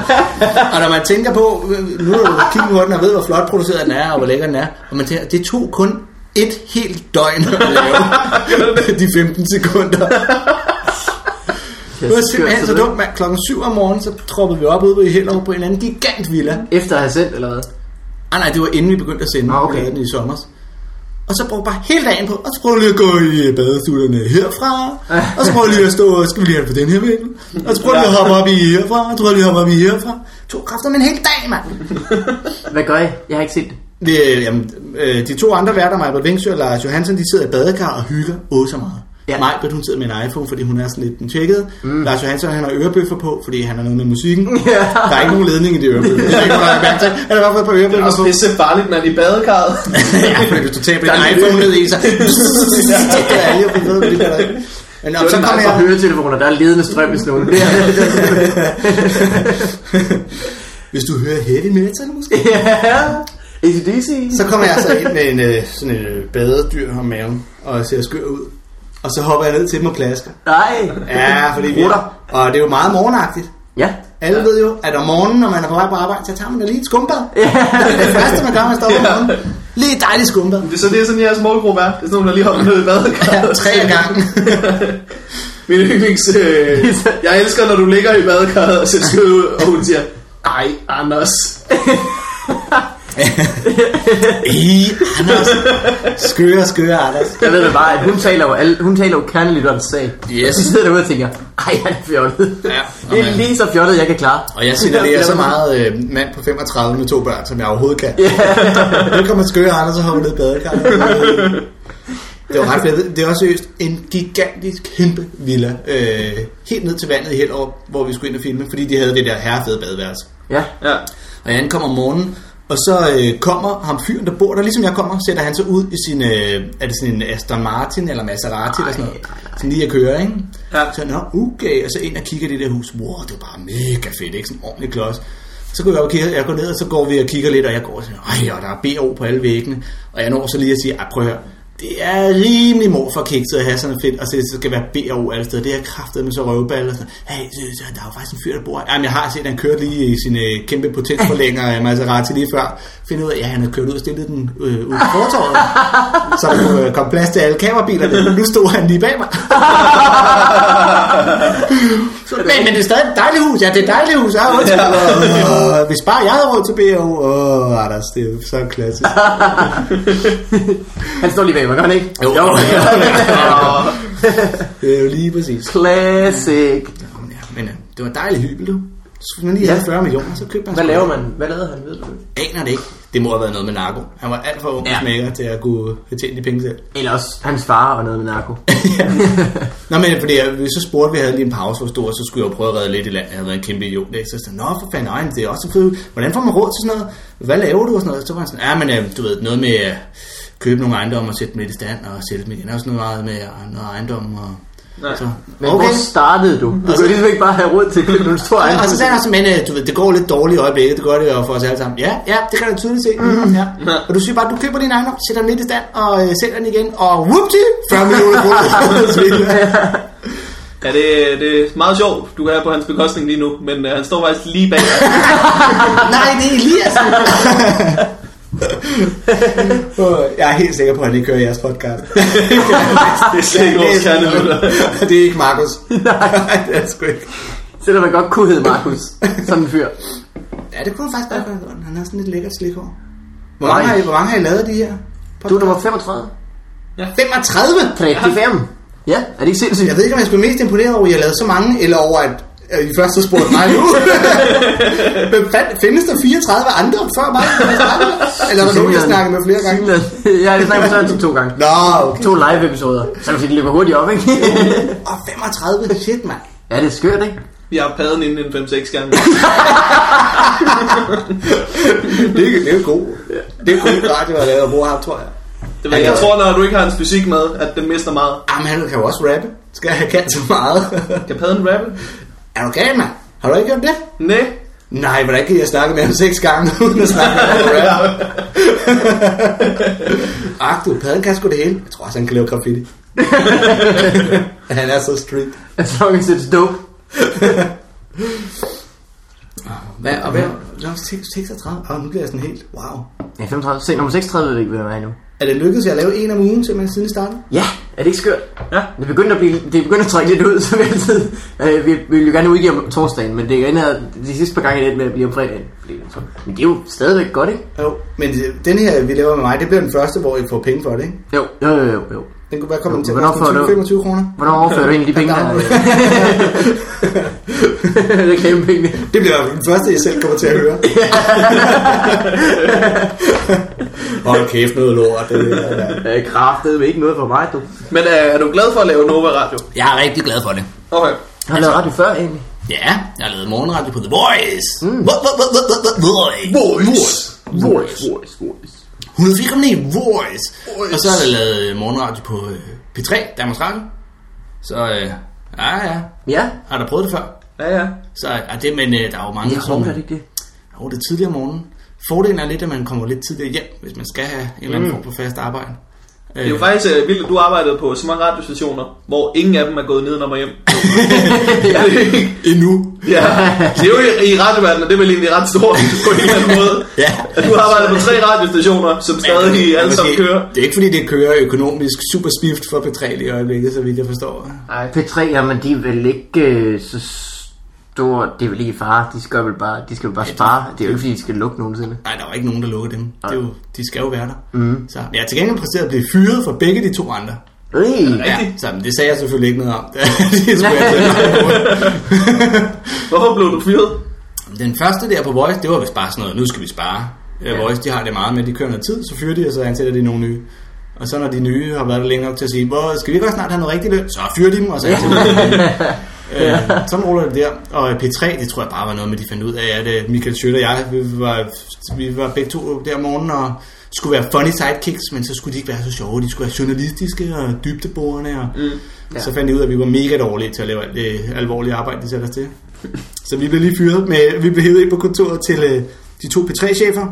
[SPEAKER 3] Og når man tænker på, øh, nu når du kigger på den og ved, hvor flot produceret den er, og hvor lækker den er, og man tænker, det tog kun et helt døgn at lave de 15 sekunder. Det var simpelthen så dumt, mand. Klokken 7 om morgenen, så troppede vi op ude ved Hellerup på en eller anden gigant villa.
[SPEAKER 1] Efter at have sendt, eller hvad?
[SPEAKER 3] Ah, nej, det var inden vi begyndte at sende
[SPEAKER 1] Ah,
[SPEAKER 3] ah,
[SPEAKER 1] okay.
[SPEAKER 3] okay. den i sommer. Og så brugte jeg bare hele dagen på, og så prøvede jeg lige at gå i øh, badestuerne herfra, og så prøvede jeg lige at stå, og skal vi lige have det på den her vinkel, og så prøvede jeg lige at hoppe op i herfra, og så prøvede jeg lige at hoppe op i herfra. To kræfter med en hel dag, mand.
[SPEAKER 1] Hvad gør I? Jeg har ikke set det.
[SPEAKER 3] Det, øh, jamen, øh, de to andre værter, Majbert Vingsø og Lars Johansson, de sidder i badekar og hygger åh så meget.
[SPEAKER 1] Ja.
[SPEAKER 3] Ja. Majbert, hun sidder med en iPhone, fordi hun er sådan lidt den tjekkede. Mm. Lars Johansson, han har ørebøffer på, fordi han har noget med musikken.
[SPEAKER 1] Ja.
[SPEAKER 3] Der er ikke nogen ledning i de ørebøffer. Det er ikke, man har mærke til. Han har i hvert fald på
[SPEAKER 2] Det er
[SPEAKER 3] ørebøffer
[SPEAKER 2] også
[SPEAKER 3] på.
[SPEAKER 2] pisse farligt, mand, i badekarret.
[SPEAKER 3] ja, fordi hvis du taber
[SPEAKER 2] Der er
[SPEAKER 3] din
[SPEAKER 2] lidt-
[SPEAKER 3] iPhone ned i, så... Det er alle, jeg ved, det gør der ikke. Men og
[SPEAKER 1] Så
[SPEAKER 3] så kom
[SPEAKER 1] kommer jeg
[SPEAKER 3] jeg...
[SPEAKER 1] altså høretelefoner, der er ledende strøm, hvis nogen bliver.
[SPEAKER 3] Hvis du hører heavy metal, måske?
[SPEAKER 1] ja. ACDC.
[SPEAKER 3] Så kommer jeg så ind med en, øh, sådan en øh, badedyr om maven, og ser skør ud. Og så hopper jeg ned til dem og plasker.
[SPEAKER 1] Nej.
[SPEAKER 3] Ja, fordi vi...
[SPEAKER 1] Rutter.
[SPEAKER 3] Og det er jo meget morgenagtigt.
[SPEAKER 1] Ja.
[SPEAKER 3] Alle ved jo, at om morgenen, når man er på vej på arbejde, så tager man da lige et skumbad. Det er det første, man gør, når man står op om morgenen. Lige et dejligt skumbad.
[SPEAKER 2] Det, er så det er sådan, jeres målgruppe er. Det er sådan nogen, der lige hopper ned i badekarret.
[SPEAKER 3] Ja, tre af gangen.
[SPEAKER 2] Min yndlings... Øh, jeg elsker, når du ligger i badekarret og ser skød ud, og hun siger... Ej, Anders.
[SPEAKER 3] I, Anders. Skøre, skøre, Anders.
[SPEAKER 1] Jeg ved det bare, at hun taler jo, alle, hun taler jo kernelytterens sag.
[SPEAKER 3] Yes.
[SPEAKER 1] Så sidder jeg derude og tænker, ej, han er fjollet.
[SPEAKER 3] Ja,
[SPEAKER 1] det er lige så fjollet, jeg kan klare.
[SPEAKER 3] Og jeg signalerer så meget øh, mand på 35 med to børn, som jeg overhovedet kan. Nu kommer skøre Anders og hopper ned i badekarret. Det var ret fedt. Det var seriøst en gigantisk kæmpe villa. Øh, helt ned til vandet i Hellerup, hvor vi skulle ind og filme, fordi de havde det der herrefede badeværelse.
[SPEAKER 1] Ja.
[SPEAKER 2] Ja.
[SPEAKER 3] Og jeg ankommer om morgenen, og så øh, kommer ham fyren, der bor der, ligesom jeg kommer, sætter han sig ud i sin, øh, er det sådan en Aston Martin eller Maserati eller sådan noget, sådan lige at køre, ikke?
[SPEAKER 2] Ja.
[SPEAKER 3] Så nå, okay, og så ind og kigger i det der hus, wow, det er bare mega fedt, ikke? Sådan en ordentlig klods. Så går jeg op og kigger, jeg går ned, og så går vi og kigger lidt, og jeg går og siger, ej, og der er BO på alle væggene, og jeg når så lige at sige, ej, prøv at høre, det er rimelig mor for kikset at have sådan en fedt, og så det skal være BO alle steder. Det er kraftet med så røvballe og sådan noget. Hey, så- så- der er jo faktisk en fyr, der bor her. Jamen, jeg har set, han kørte lige i sin øh, kæmpe potensforlænger af Maserati lige før. Finder ud af, ja, han havde kørt ud og stillet den øh, ud på fortorvet. så der kunne, øh, kom plads til alle kamerabilerne. Nu stod han lige bag mig. Så, men, men det er stadig et dejligt hus. Ja, det er et dejligt hus. Jeg har råd til det. Åh, Hvis bare jeg havde råd til BO. Åh, Anders, det er jo så klassisk.
[SPEAKER 1] Han står lige bag mig, gør han ikke?
[SPEAKER 3] Jo.
[SPEAKER 1] Åh,
[SPEAKER 3] Det er jo lige præcis.
[SPEAKER 1] Classic.
[SPEAKER 3] Jamen, ja, men øh, det var en dejlig hybel, du. Så skulle man lige
[SPEAKER 1] Ja.
[SPEAKER 3] have 40 millioner, så købte man
[SPEAKER 1] Hvad
[SPEAKER 3] sgu
[SPEAKER 1] laver
[SPEAKER 3] en.
[SPEAKER 1] man? Hvad lavede han, ved du?
[SPEAKER 3] Aner det ikke. Det må have været noget med narko. Han var alt for ung
[SPEAKER 1] Ja.
[SPEAKER 3] ja. smækker til at kunne have tjent de penge selv.
[SPEAKER 1] Eller også hans far og noget med narko.
[SPEAKER 3] Nå, men fordi jeg, så spurgte vi, havde lige en pause, hvor stor, så skulle jeg jo prøve at redde lidt i land. Jeg havde været en kæmpe idiot. Ikke? Så sagde jeg, nå for fanden, ej, men det er også fedt. Hvordan får man råd til sådan noget? Hvad laver du? Og sådan noget. Så var han sådan, ja, men øh, du ved, noget med at købe nogle ejendomme og sætte dem lidt i stand og sælge dem igen. Og sådan noget meget med øh, noget ejendomme og...
[SPEAKER 2] Nej.
[SPEAKER 3] Så,
[SPEAKER 1] Men okay. hvor startede du? Du kunne ligesom ikke bare have råd til at købe nogle store
[SPEAKER 3] Ja, og så sagde
[SPEAKER 1] ejendomme.
[SPEAKER 3] han også, men øh, du ved, det går lidt dårligt i øjeblikket, det gør det jo for os alle sammen. Ja, ja, det kan du tydeligt se. Mm, ja. Og du siger bare, du køber din ejendom, sætter den lidt i stand og øh, sælger den igen, og whoopty, 40 millioner
[SPEAKER 1] altså,
[SPEAKER 3] kroner.
[SPEAKER 2] Ja, det, det er meget sjovt, du kan have på hans bekostning lige nu, men øh, han står faktisk lige bag.
[SPEAKER 3] Nej, det er Elias. Åh, jeg er helt sikker på, at han ikke kører jeres podcast.
[SPEAKER 2] det er slet ikke vores kernelutter.
[SPEAKER 3] det er ikke Markus. Nej, det er sgu ikke.
[SPEAKER 1] Selvom man godt kunne hedde Markus. Sådan en fyr.
[SPEAKER 3] Ja, det kunne han faktisk godt gøre. Han har sådan lidt lækkert slikhår. Hvor
[SPEAKER 1] Nej.
[SPEAKER 3] mange, har I, hvor mange har I lavet de her?
[SPEAKER 1] Du er nummer 35.
[SPEAKER 3] 35!
[SPEAKER 1] 35. Ja, er det ikke sindssygt?
[SPEAKER 3] Jeg ved ikke, om jeg skulle være mest imponeret over, at jeg lavede så mange, eller over, at at I først så spurgte mig nu. Men fandt, findes der 34 andre før mig? Eller er der nogen, jeg snakker med flere gange?
[SPEAKER 1] Ja, det snakker med Søren til to gange.
[SPEAKER 3] Nå, okay.
[SPEAKER 1] To live-episoder. Så kan vi sige, det løber hurtigt op, ikke?
[SPEAKER 3] Og 35, shit, mand.
[SPEAKER 1] ja, det er skørt, ikke?
[SPEAKER 2] Vi har padden inden en 5-6 gange.
[SPEAKER 3] Det, er- det er jo god. Det er god radio at lave, og bruge ham, tror jeg.
[SPEAKER 2] Det var, jeg tror, når du ikke har hans fysik med, at den mister meget.
[SPEAKER 3] Jamen, han kan jo også rappe. Skal jeg kan så meget?
[SPEAKER 2] Kan padden rappe?
[SPEAKER 3] er du gal, mand? Har du ikke gjort det?
[SPEAKER 2] Nej.
[SPEAKER 3] Nej, hvordan kan jeg snakke med ham seks gange, uden at snakke med ham rap? Ak, du, padden kan sgu det hele. Jeg tror også, han kan lave graffiti. han er så street.
[SPEAKER 1] As long as it's dope.
[SPEAKER 3] Hvad, og hvad? Jeg er 36. Åh, nu bliver jeg sådan helt, wow.
[SPEAKER 1] Ja, 35. Se, nummer 36 ved vi ikke, hvem er endnu.
[SPEAKER 3] Er det lykkedes jer at lave en om ugen, simpelthen siden I startede?
[SPEAKER 1] Ja, er det ikke skørt?
[SPEAKER 2] Ja.
[SPEAKER 1] Det begynder at, blive, det begynder at trække lidt ud, som vi altid. Øh, vi, vi vil jo gerne udgive om torsdagen, men det er ender de sidste par gange lidt med at blive om fredagen. Fordi- Men det er jo stadigvæk godt, ikke?
[SPEAKER 3] Jo, men den her, vi laver med mig, det bliver den første, hvor I får penge for det, ikke?
[SPEAKER 1] Jo, jo, jo, jo. jo.
[SPEAKER 3] Den kunne være kommet til at
[SPEAKER 1] Hvornår
[SPEAKER 3] koste
[SPEAKER 1] får du-
[SPEAKER 3] 20, 25 kroner.
[SPEAKER 1] Hvornår overfører du egentlig de penge? Der? det er kæmpe penge.
[SPEAKER 3] Det bliver den første, jeg selv kommer til at høre. Hold kæft, noget lort. Det, er-
[SPEAKER 1] Øh, kraftedeme ikke noget for mig, du.
[SPEAKER 2] Men øh, er du glad for at lave Nova Radio?
[SPEAKER 3] jeg er rigtig glad for det.
[SPEAKER 2] Okay.
[SPEAKER 1] Har du lavet radio før, egentlig?
[SPEAKER 3] Ja, Mm. jeg har lavet morgenradio på The Voice. Vo- vo- vo- vo- vo- Voice.
[SPEAKER 1] Voice,
[SPEAKER 3] Voice.
[SPEAKER 1] voice, voice.
[SPEAKER 3] 104,9 Voice. Og så har jeg lavet morgenradio på øh, P3, Danmarks Radio. Så øh, ja, ja.
[SPEAKER 1] Ja,
[SPEAKER 3] Har du prøvet det før?
[SPEAKER 2] Ja, ja.
[SPEAKER 3] Så er det, men øh, der er jo mange,
[SPEAKER 1] jeg håber det ikke det.
[SPEAKER 3] Jo, det er tidligere om morgenen. Fordelen er lidt, at man kommer lidt tidligere hjem, hvis man skal have en eller anden form for fast arbejde.
[SPEAKER 2] Det er jo faktisk øh, vildt, at du arbejdede på så mange radiostationer, hvor ingen af dem er gået ned og hjem. ja. Er det ikke?
[SPEAKER 3] endnu.
[SPEAKER 2] Ja. Det er jo i, i radioverdenen, og det er vel egentlig ret stort på en eller anden måde.
[SPEAKER 3] Ja.
[SPEAKER 2] At du arbejder på tre radiostationer, som stadig alle sammen kører.
[SPEAKER 3] Det er ikke fordi, det kører økonomisk super spift for P3 lige i øjeblikket, så vidt jeg forstår.
[SPEAKER 1] Ej, P3, jamen de er vel ikke øh, så store, det er vel ikke i fare, de skal vel bare, de skal vel bare spare, det er jo ikke fordi, de skal lukke nogensinde.
[SPEAKER 3] Nej, der er jo ikke nogen, der lukker dem. Det er jo, de skal jo være der.
[SPEAKER 2] Mhm.
[SPEAKER 3] Mm. Så jeg er til gengæld præsteret at blive fyret fra begge de to andre.
[SPEAKER 1] Øh,
[SPEAKER 3] Ja, så, men det sagde jeg selvfølgelig ikke noget om. det skulle jeg selv
[SPEAKER 2] Hvorfor blev du fyret?
[SPEAKER 3] Den første der på Voice, det var Øh, vist bare sådan noget, nu skal vi spare. Ja. Voice, de har det meget med, de kører noget tid, så fyrer de, og så ansætter de nogle nye. Og så når de nye har været der længe nok til at sige, hvor skal vi ikke også snart have noget rigtig løn? Så fyr de dem, og så er Øh, sådan ruller det der. Og øh, P3, det tror jeg bare var noget med, de fandt ud af, at øh, Michael Schødt og jeg, vi var, vi var begge to der om morgenen og skulle være funny sidekicks, men så skulle de ikke være så sjove. De skulle være journalistiske og dybdeborende. Og mm,
[SPEAKER 1] ja.
[SPEAKER 3] ja. Så fandt de ud af, at vi var mega dårlige til at lave alt det alvorlige arbejde, de satte os til. Så vi blev lige fyret med, vi blev hævet ind på kontoret til øh, de to P3-chefer,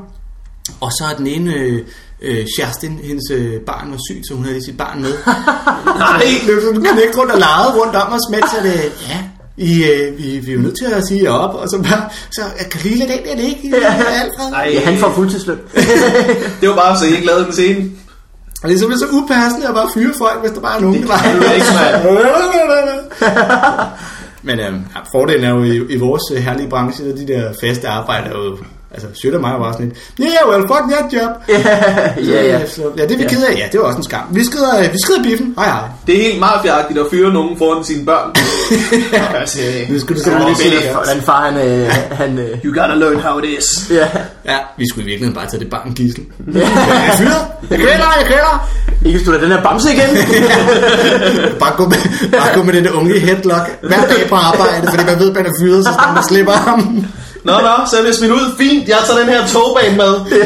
[SPEAKER 3] og så er den ene, øh, øh, Kerstin, hendes øh, barn var syg, så hun havde lige sit barn med. Nej, løb sådan knægt rundt og legede rundt om os, mens at, øh, ja, I, øh, vi, vi er jo nødt til at sige jer op, og så bare, så øh, kan lige lade den der, det ikke? Ja. Alfred.
[SPEAKER 2] Ej,
[SPEAKER 1] Ja, han får fuldtidsløn.
[SPEAKER 2] Det var bare, så I ikke lavede den scene.
[SPEAKER 3] Og det er simpelthen så upassende at bare fyre folk, hvis der bare er nogen,
[SPEAKER 2] Det
[SPEAKER 3] der
[SPEAKER 2] kan du ikke,
[SPEAKER 3] Men øh, ja, fordelen er jo i, i vores øh, herlige branche, at de der faste arbejder er jo, altså Sjøt og mig var sådan lidt, yeah, well, fuck that job.
[SPEAKER 1] ja, ja.
[SPEAKER 3] Så, ja, det er vi ked af. Ja, det var også en skam. Vi skrider, øh, vi skrider biffen. Hej, hej.
[SPEAKER 2] Det er helt mafiagtigt at fyre nogen foran sine børn. altså,
[SPEAKER 3] Nu skal du simpelthen
[SPEAKER 2] Åh,
[SPEAKER 3] ikke
[SPEAKER 2] Philip.
[SPEAKER 3] se det.
[SPEAKER 1] Hvordan far han... Øh, han øh,
[SPEAKER 2] you gotta learn how it is.
[SPEAKER 1] ja.
[SPEAKER 3] Ja, vi skulle i virkeligheden bare tage det barn gissel. Jeg fyrer. Jeg kvæler, jeg kvæler.
[SPEAKER 1] Ikke hvis du lader den her bamse igen.
[SPEAKER 3] Bare gå med, bare gå med den der unge i headlock hver dag på arbejde, fordi man ved, at man er fyret, så snart man slipper ham.
[SPEAKER 2] Nå, nå, så er det smidt ud. Fint, jeg tager den her togbane med.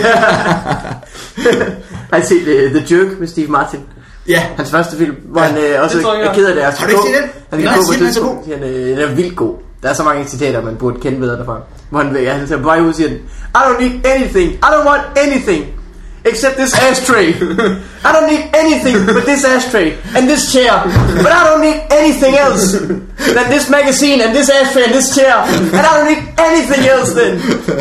[SPEAKER 1] Har I set øh, The Jerk med Steve Martin?
[SPEAKER 3] Ja,
[SPEAKER 1] Hans første film, hvor ja, han øh, også
[SPEAKER 2] tror jeg, jeg
[SPEAKER 1] er
[SPEAKER 2] har.
[SPEAKER 1] ked af det. Har
[SPEAKER 3] du ikke set den?
[SPEAKER 1] Han
[SPEAKER 3] Nej,
[SPEAKER 1] kan gå på
[SPEAKER 3] siger den er så god.
[SPEAKER 1] tidspunkt. Han øh, den er vildt god. Der er så mange citater, man burde kende bedre derfra. Hvor han, ja, han tager bare ud og siger, den, I don't need anything. I don't want anything. Except this ashtray. I don't need anything but this ashtray and this chair. But I don't need anything else than this magazine and this ashtray and this chair. And I don't need anything else than,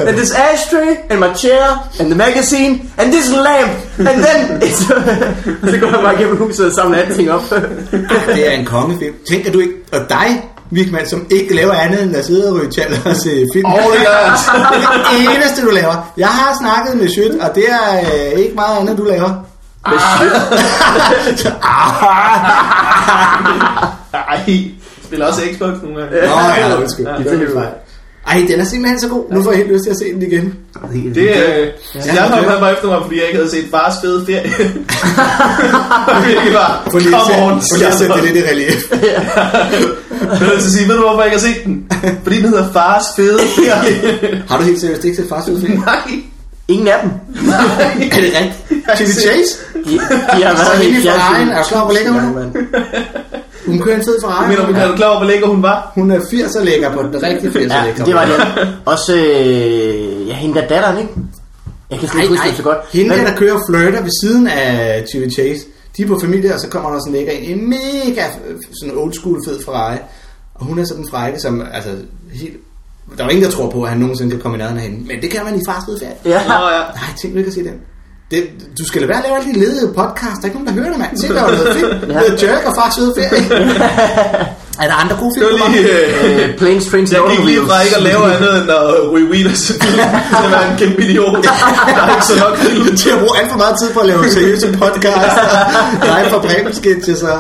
[SPEAKER 1] than this ashtray and my chair and the magazine and this lamp. And then it's... Og så går han bare gennem huset og samler alting op.
[SPEAKER 3] det er en kongefilm. Tænker du ikke, og dig, Vigman, som ikke laver andet end at sidde og ryge tjal og se film.
[SPEAKER 2] Oh, det gør jeg.
[SPEAKER 3] Det er det eneste, du laver. Jeg har snakket med Sjøt, og det er øh, ikke meget andet, du laver.
[SPEAKER 2] Ej, spiller også Xbox nogle gange.
[SPEAKER 3] Nå, ja, undskyld.
[SPEAKER 2] Ja,
[SPEAKER 3] det er min fejl. Ej, den er simpelthen så god. Nu får jeg helt lyst til at se den igen.
[SPEAKER 2] Det, øh, jeg kom han var efter mig, fordi jeg ikke havde set fars fede ferie. Og virkelig bare,
[SPEAKER 3] For lige at
[SPEAKER 2] come
[SPEAKER 3] sætte,
[SPEAKER 2] on,
[SPEAKER 3] for lige at sætte det lidt i relief.
[SPEAKER 2] Jeg vil sige, ved du hvorfor jeg ikke har set den? Fordi den hedder fars fede ferie.
[SPEAKER 3] Har du helt seriøst ikke set Fast Food Film?
[SPEAKER 2] Nej,
[SPEAKER 1] Ingen af dem.
[SPEAKER 3] Er det rigtigt? Chevy Chase?
[SPEAKER 1] De, de har
[SPEAKER 3] Så
[SPEAKER 1] været
[SPEAKER 3] hende i
[SPEAKER 1] i
[SPEAKER 3] Ferrari'en, er du klar, hvor lækker hun er?
[SPEAKER 1] Ja, mand.
[SPEAKER 3] Hun kører en fed Ferrari.
[SPEAKER 2] mener du, er du klar over, hvor lækker hun var?
[SPEAKER 3] Hun er 80'er lækker på den rigtige 80'er
[SPEAKER 1] Ja,
[SPEAKER 3] lækker.
[SPEAKER 1] det var det. Også, øh, ja, hende der datteren, ikke? Jeg kan slet ikke huske det så godt.
[SPEAKER 3] Hende
[SPEAKER 1] Men-
[SPEAKER 3] der, der kører og flirter ved siden af Chevy Chase. De er på familie, og så kommer der sådan en lækker ind. i En mega øh, sådan old school fed Ferrari. Og hun er sådan en frække, som altså helt... Der er jo ingen, der tror på, at han nogensinde kan komme i nærheden af hende. Men det kan man i Fast Food Ferie.
[SPEAKER 1] Ja.
[SPEAKER 2] Nå ja.
[SPEAKER 3] Nej, tænk du ikke at se den. Det, du skal lade være at lave alle de ledede podcast. Der er ikke nogen, der hører dig, mand. Se, der er jo noget fedt.
[SPEAKER 1] Ja.
[SPEAKER 3] Det er Jerk og fars søde ferie. er der andre gode film?
[SPEAKER 2] Det var lige...
[SPEAKER 3] Mark?
[SPEAKER 2] Øh,
[SPEAKER 1] Øh, Planes, Trains
[SPEAKER 2] jeg
[SPEAKER 1] and
[SPEAKER 2] gik lige
[SPEAKER 1] Automobiles.
[SPEAKER 2] fra ikke at lave andet end at ryge weed og så til at være en kæmpe idiot. Der er ikke så nok film.
[SPEAKER 3] øh, til at bruge alt for meget tid på at lave seriøse podcast. Der er for bremsketches og...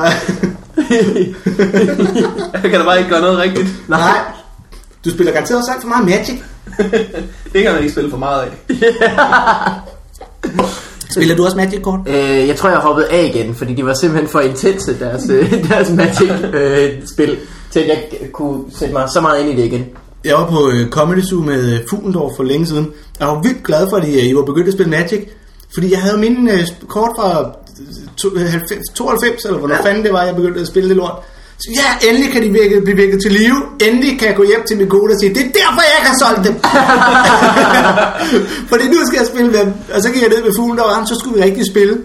[SPEAKER 2] Jeg kan da bare ikke gøre noget rigtigt.
[SPEAKER 3] Nej. Du spiller garanteret også alt for meget Magic.
[SPEAKER 2] Det kan man ikke spille for meget af.
[SPEAKER 3] Spiller du også Magic-kort?
[SPEAKER 1] Øh, jeg tror, jeg hoppede af igen, fordi de var simpelthen for intense, deres, øh, deres Magic-spil, til at jeg kunne sætte mig så meget ind i det igen.
[SPEAKER 3] Jeg var på øh, Comedy Zoo med øh, Fuglendorf for længe siden. Jeg var vildt glad for, at I, øh, I var begyndt at spille Magic. Fordi jeg havde mine øh, sp- kort fra øh, to- øh, 90 92, eller hvornår fanden det var, jeg begyndte at spille det lort. Så ja, endelig kan de virke, blive vækket til live. Endelig kan jeg gå hjem til min kone og sige, det er derfor, jeg ikke har solgt dem. fordi nu skal jeg spille med dem. Og så gik jeg ned med Fuglendorf, og ham, så skulle vi rigtig spille.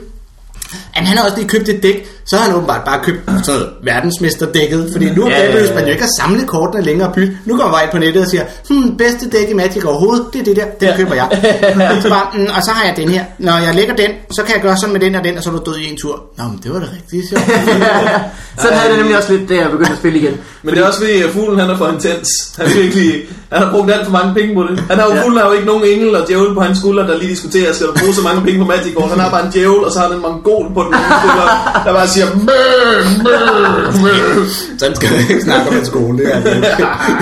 [SPEAKER 3] Men han har også lige købt et dæk, så har han åbenbart bare købt sådan noget verdensmesterdækket, fordi nu
[SPEAKER 1] Ja,
[SPEAKER 3] yeah.
[SPEAKER 1] ja,
[SPEAKER 3] behøves
[SPEAKER 1] ja.
[SPEAKER 3] man jo ikke at samle kortene længere og bytte. Nu går man bare ind på nettet og siger, hmm, bedste dæk i Magic overhovedet, det er det der, den køber jeg. så bare, mm, og så har jeg den her. Når jeg lægger den, så kan jeg gøre sådan med den og den, og så er du død i en tur. Nå, men det var da rigtigt, sjovt.
[SPEAKER 1] Sådan havde jeg det nemlig også lidt, da jeg begyndte at spille igen.
[SPEAKER 2] Men det er også fordi, at fuglen han er for intens. Han, er virkelig, han har brugt alt for mange penge på det. Han har jo,
[SPEAKER 1] Ja.
[SPEAKER 2] ja. Fuglen har jo ikke nogen engel og djævel på hans skulder, der lige diskuterer, skal du bruge så mange penge på Magic Ball. Han har bare en djævel, og så har han en mongol på den anden skulder, der bare siger, mø, mø, mø.
[SPEAKER 3] sådan skal man ikke snakke om en skole, det er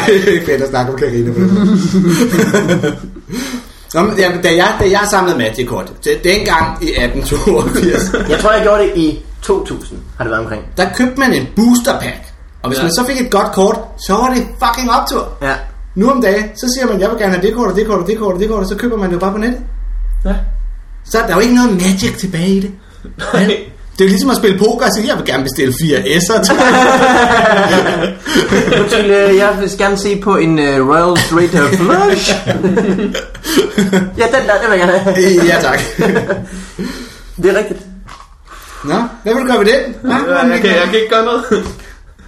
[SPEAKER 3] det. ikke fedt at snakke om Karina på den måde. Nå, men, da, da, jeg, da jeg samlede Magikort, det- dengang i 1882,
[SPEAKER 1] Jeg tror, jeg gjorde det i 2000, har det været omkring.
[SPEAKER 3] der købte man en booster pack. Og hvis
[SPEAKER 2] Ja.
[SPEAKER 3] ja. man så fik et godt kort, så var det fucking optur.
[SPEAKER 1] Ja.
[SPEAKER 3] Nu om dagen, så siger man, jeg vil gerne have det kort, og det kort, og det kort, og det kort, og så køber man det jo bare på nettet.
[SPEAKER 2] Ja.
[SPEAKER 3] Så er der jo ikke noget magic tilbage i det.
[SPEAKER 2] Nej.
[SPEAKER 3] Det er jo ligesom at spille poker og sige, jeg vil gerne bestille fire S'er. til-
[SPEAKER 1] Undskyld, øh, jeg vil gerne se på en uh, Royal Straight uh, Flush. ja, den der, den vil jeg gerne have.
[SPEAKER 3] Øh, ja, tak.
[SPEAKER 1] Det er rigtigt.
[SPEAKER 3] Nå, hvad vil du gøre ved den? Nå, men,
[SPEAKER 2] Jeg kan, jeg kan ikke gøre noget.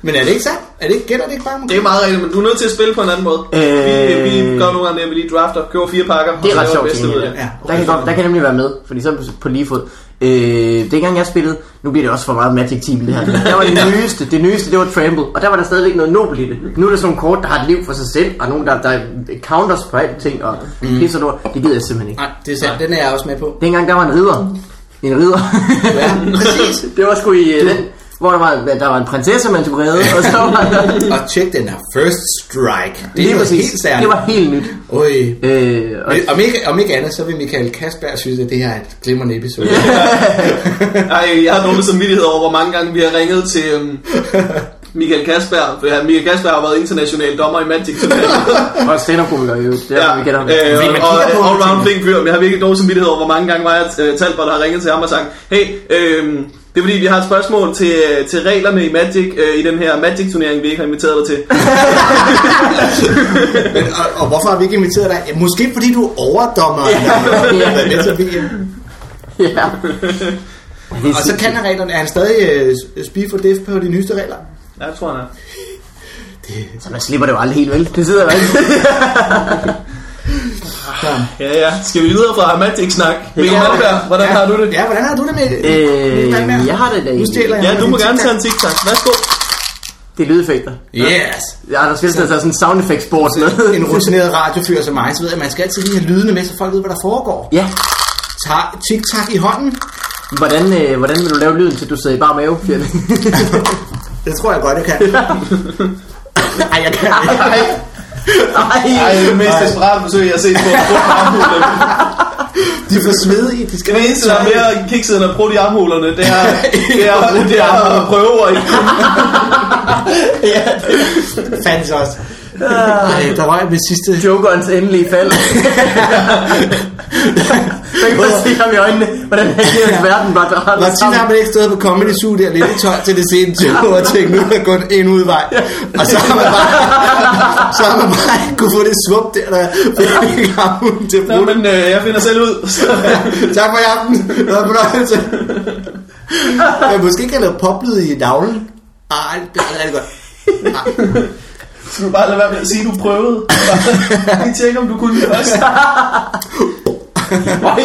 [SPEAKER 3] men er det ikke sandt? Er det ikke gætter det ikke bare?
[SPEAKER 2] Det er meget rigtigt, men du er nødt til at spille på en anden måde.
[SPEAKER 1] Øh.
[SPEAKER 2] Vi, vi gør nogle gange det, at vi lige drafter, køber fire pakker,
[SPEAKER 1] Det er ret
[SPEAKER 2] og så laver
[SPEAKER 1] sjovt
[SPEAKER 2] det bedste
[SPEAKER 1] ting.
[SPEAKER 2] ud af
[SPEAKER 1] Ja.
[SPEAKER 2] det.
[SPEAKER 3] Ja,
[SPEAKER 1] Der, kan godt, der kan nemlig være med, fordi så er du på lige fod. Øh, dengang jeg spillede, nu bliver det også for meget Magic Team det her. Der var det nyeste, det nyeste, det var Trample, og der var der stadigvæk noget nobelt i det. Nu er der sådan nogle kort, der har et liv for sig selv, og nogen, der, der counters på alt ting, og
[SPEAKER 2] Mm.
[SPEAKER 1] det er sådan noget, det gider jeg simpelthen ikke.
[SPEAKER 3] Nej, det er sandt. Den er jeg også med på.
[SPEAKER 1] Dengang der var en ridder. En ridder.
[SPEAKER 3] Ja, præcis.
[SPEAKER 1] det var sgu i øh, den, hvor der var, der var en prinsesse, man skulle redde, og så var der...
[SPEAKER 3] Og tjek den her first strike. Det er
[SPEAKER 1] Lige
[SPEAKER 3] noget
[SPEAKER 1] præcis.
[SPEAKER 3] helt særligt.
[SPEAKER 1] Det var helt nyt.
[SPEAKER 3] Oj.
[SPEAKER 1] Øh, og,
[SPEAKER 3] Om ikke, om ikke andet, så vil Michael Kasberg synes, at det her er et glimrende episode.
[SPEAKER 2] Ej, jeg har dårlig samvittighed over, hvor mange gange vi har ringet til øhm, Michael Kasper. For han- Michael Kasper har været international dommer i Magic turneringen.
[SPEAKER 1] og stand-up-komiker, jo. Det er,
[SPEAKER 2] Ja,
[SPEAKER 1] ja, vi kender ham.
[SPEAKER 2] øh,
[SPEAKER 3] Fordi man
[SPEAKER 2] og
[SPEAKER 3] kigger på
[SPEAKER 2] all
[SPEAKER 3] ham og
[SPEAKER 2] round flink fyr, men jeg har virkelig dårlig samvittighed over, hvor mange gange var jeg øh, Talbot har ringet til ham og sagt, hey, øh, det er fordi, vi har et spørgsmål til, øh, til reglerne i Magic, øh, i den her Magic-turnering, vi ikke har inviteret dig til.
[SPEAKER 3] Men, og, og, hvorfor har vi ikke inviteret dig? Ja, Måske fordi du er overdommer.
[SPEAKER 1] Ja.
[SPEAKER 3] Med til VM.
[SPEAKER 1] ja. Det er
[SPEAKER 3] Og så kan han reglerne. Er han stadig øh, spil for det på de nyeste regler?
[SPEAKER 2] Ja, det tror jeg, han er.
[SPEAKER 1] Så man slipper det jo aldrig helt vel. Det sidder jo altid.
[SPEAKER 2] Ja, ja. Skal vi videre fra Magic-snak? Mikkel Malmberg, hvordan
[SPEAKER 3] ja,
[SPEAKER 2] har du det?
[SPEAKER 3] Ja, hvordan har du det med
[SPEAKER 1] Øh,
[SPEAKER 3] Malmberg?
[SPEAKER 1] jeg har det da
[SPEAKER 3] Nu
[SPEAKER 1] egentlig.
[SPEAKER 3] stjæler jeg.
[SPEAKER 2] Ja, du må
[SPEAKER 3] din
[SPEAKER 2] gerne tage
[SPEAKER 3] TikTok.
[SPEAKER 2] en tiktak. Værsgo.
[SPEAKER 1] Det er lydeffekter.
[SPEAKER 3] Yes!
[SPEAKER 1] Ja, der spiller sig sådan en sound effects board med.
[SPEAKER 3] En rutineret radiofyr som mig, så ved jeg, at man skal altid lige have lydene med, så folk ved, hvad der foregår.
[SPEAKER 1] Ja.
[SPEAKER 3] Tag tic-tac i hånden.
[SPEAKER 1] Hvordan, øh, hvordan vil du lave lyden til, du sidder i bar mave? Fjell?
[SPEAKER 3] Det tror jeg godt, jeg kan. Ej, jeg kan ikke.
[SPEAKER 1] Nej.
[SPEAKER 2] Ej, det er
[SPEAKER 1] Nej.
[SPEAKER 2] det mest desperate forsøg, jeg har set på. Prøv at armhule.
[SPEAKER 3] De er for svedige. De skal
[SPEAKER 2] Det eneste, der er mere kikset end at bruge de armhulerne, det er, det er, det er at prøve at ikke
[SPEAKER 3] Ja, det fandtes også. Ej, der røg med sidste...
[SPEAKER 1] Jokerens endelige fald. Så kan man se ham i øjnene, hvordan han giver hans verden bare drejer
[SPEAKER 3] Hvor tit har man ikke stået på Comedy Zoo der lidt i 12 til det sene show og tænkt, nu er der kun en udvej. Og så har man bare, så har man bare ikke kunne få det svup der, der fik ham til at
[SPEAKER 2] Nå,
[SPEAKER 3] bruge det.
[SPEAKER 2] men øh, jeg finder selv ud.
[SPEAKER 3] Tak for i aften. Det var en fornøjelse. Jeg måske ikke have lavet poplyd i navlen. Ej, det er det godt.
[SPEAKER 2] Skal du bare lade være med at sige, at du prøvede? Bare Lige tjekke, om du kunne det først.
[SPEAKER 1] Oj,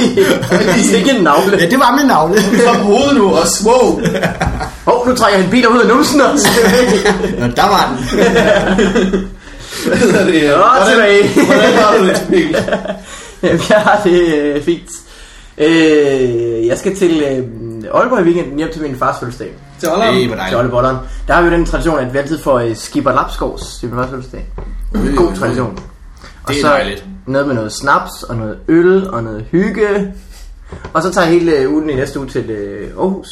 [SPEAKER 1] sikke en navle.
[SPEAKER 3] Ja, det var min navle.
[SPEAKER 2] Kom på hovedet nu også. Wow.
[SPEAKER 1] Hov, nu trækker han biler ud af numsen også.
[SPEAKER 3] Nå, der var den.
[SPEAKER 2] Hvad hedder det?
[SPEAKER 1] Nå, tilbage.
[SPEAKER 2] hvordan har du det, Mikkel?
[SPEAKER 1] Jamen, jeg har det øh, fint. Øh, jeg skal til øh, Aalborg i weekenden hjem til min fars fødselsdag.
[SPEAKER 2] Til Holland.
[SPEAKER 3] Det var
[SPEAKER 1] Til
[SPEAKER 3] dejligt.
[SPEAKER 1] Olle Bolleren. Der har vi jo den tradition, at vi altid får øh, skipper Lapskovs til min fars fødselsdag. En god tradition. Og
[SPEAKER 3] Det er
[SPEAKER 1] så
[SPEAKER 3] dejligt.
[SPEAKER 1] Noget med noget snaps og noget øl og noget hygge. Og så tager jeg hele øh, ugen i næste uge til øh, Aarhus.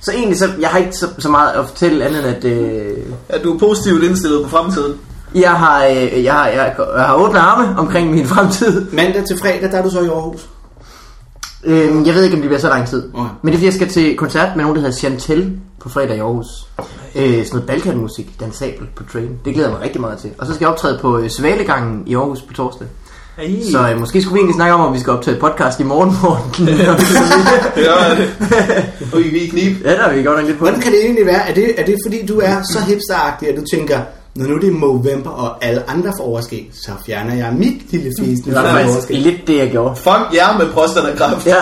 [SPEAKER 1] Så egentlig, så, jeg har ikke så, så meget at fortælle andet end, at øh,
[SPEAKER 2] Ja, du er positivt indstillet på fremtiden.
[SPEAKER 1] jeg, har, øh, jeg, har, jeg, jeg har åbne arme omkring min fremtid.
[SPEAKER 3] Mandag til fredag, der er du så i Aarhus.
[SPEAKER 1] Øhm, jeg ved ikke, om det bliver så lang tid.
[SPEAKER 3] Okay.
[SPEAKER 1] Men det er, fordi jeg skal til koncert med nogen, der hedder Chantel på fredag i Aarhus. Øh, sådan noget balkanmusik, dansabel på train. Det glæder jeg mig rigtig meget til. Og så skal jeg optræde på øh, Svalegangen i Aarhus på torsdag.
[SPEAKER 2] Ej.
[SPEAKER 1] Så øh, måske skulle vi egentlig snakke om, om vi skal optage et podcast i morgen morgen.
[SPEAKER 2] Ja, det. Ui, vi er i knib.
[SPEAKER 1] ja, der er vi godt nok lidt på.
[SPEAKER 3] Hvordan kan det egentlig være? Er det, er det fordi, du er så hipsteragtig, at du tænker, når nu det er Movember og alle andre får overskæg, så fjerner jeg mit lille fisen.
[SPEAKER 1] Det var faktisk lidt det, jeg gjorde.
[SPEAKER 2] Fuck jer med prostatakræft.
[SPEAKER 1] Ja.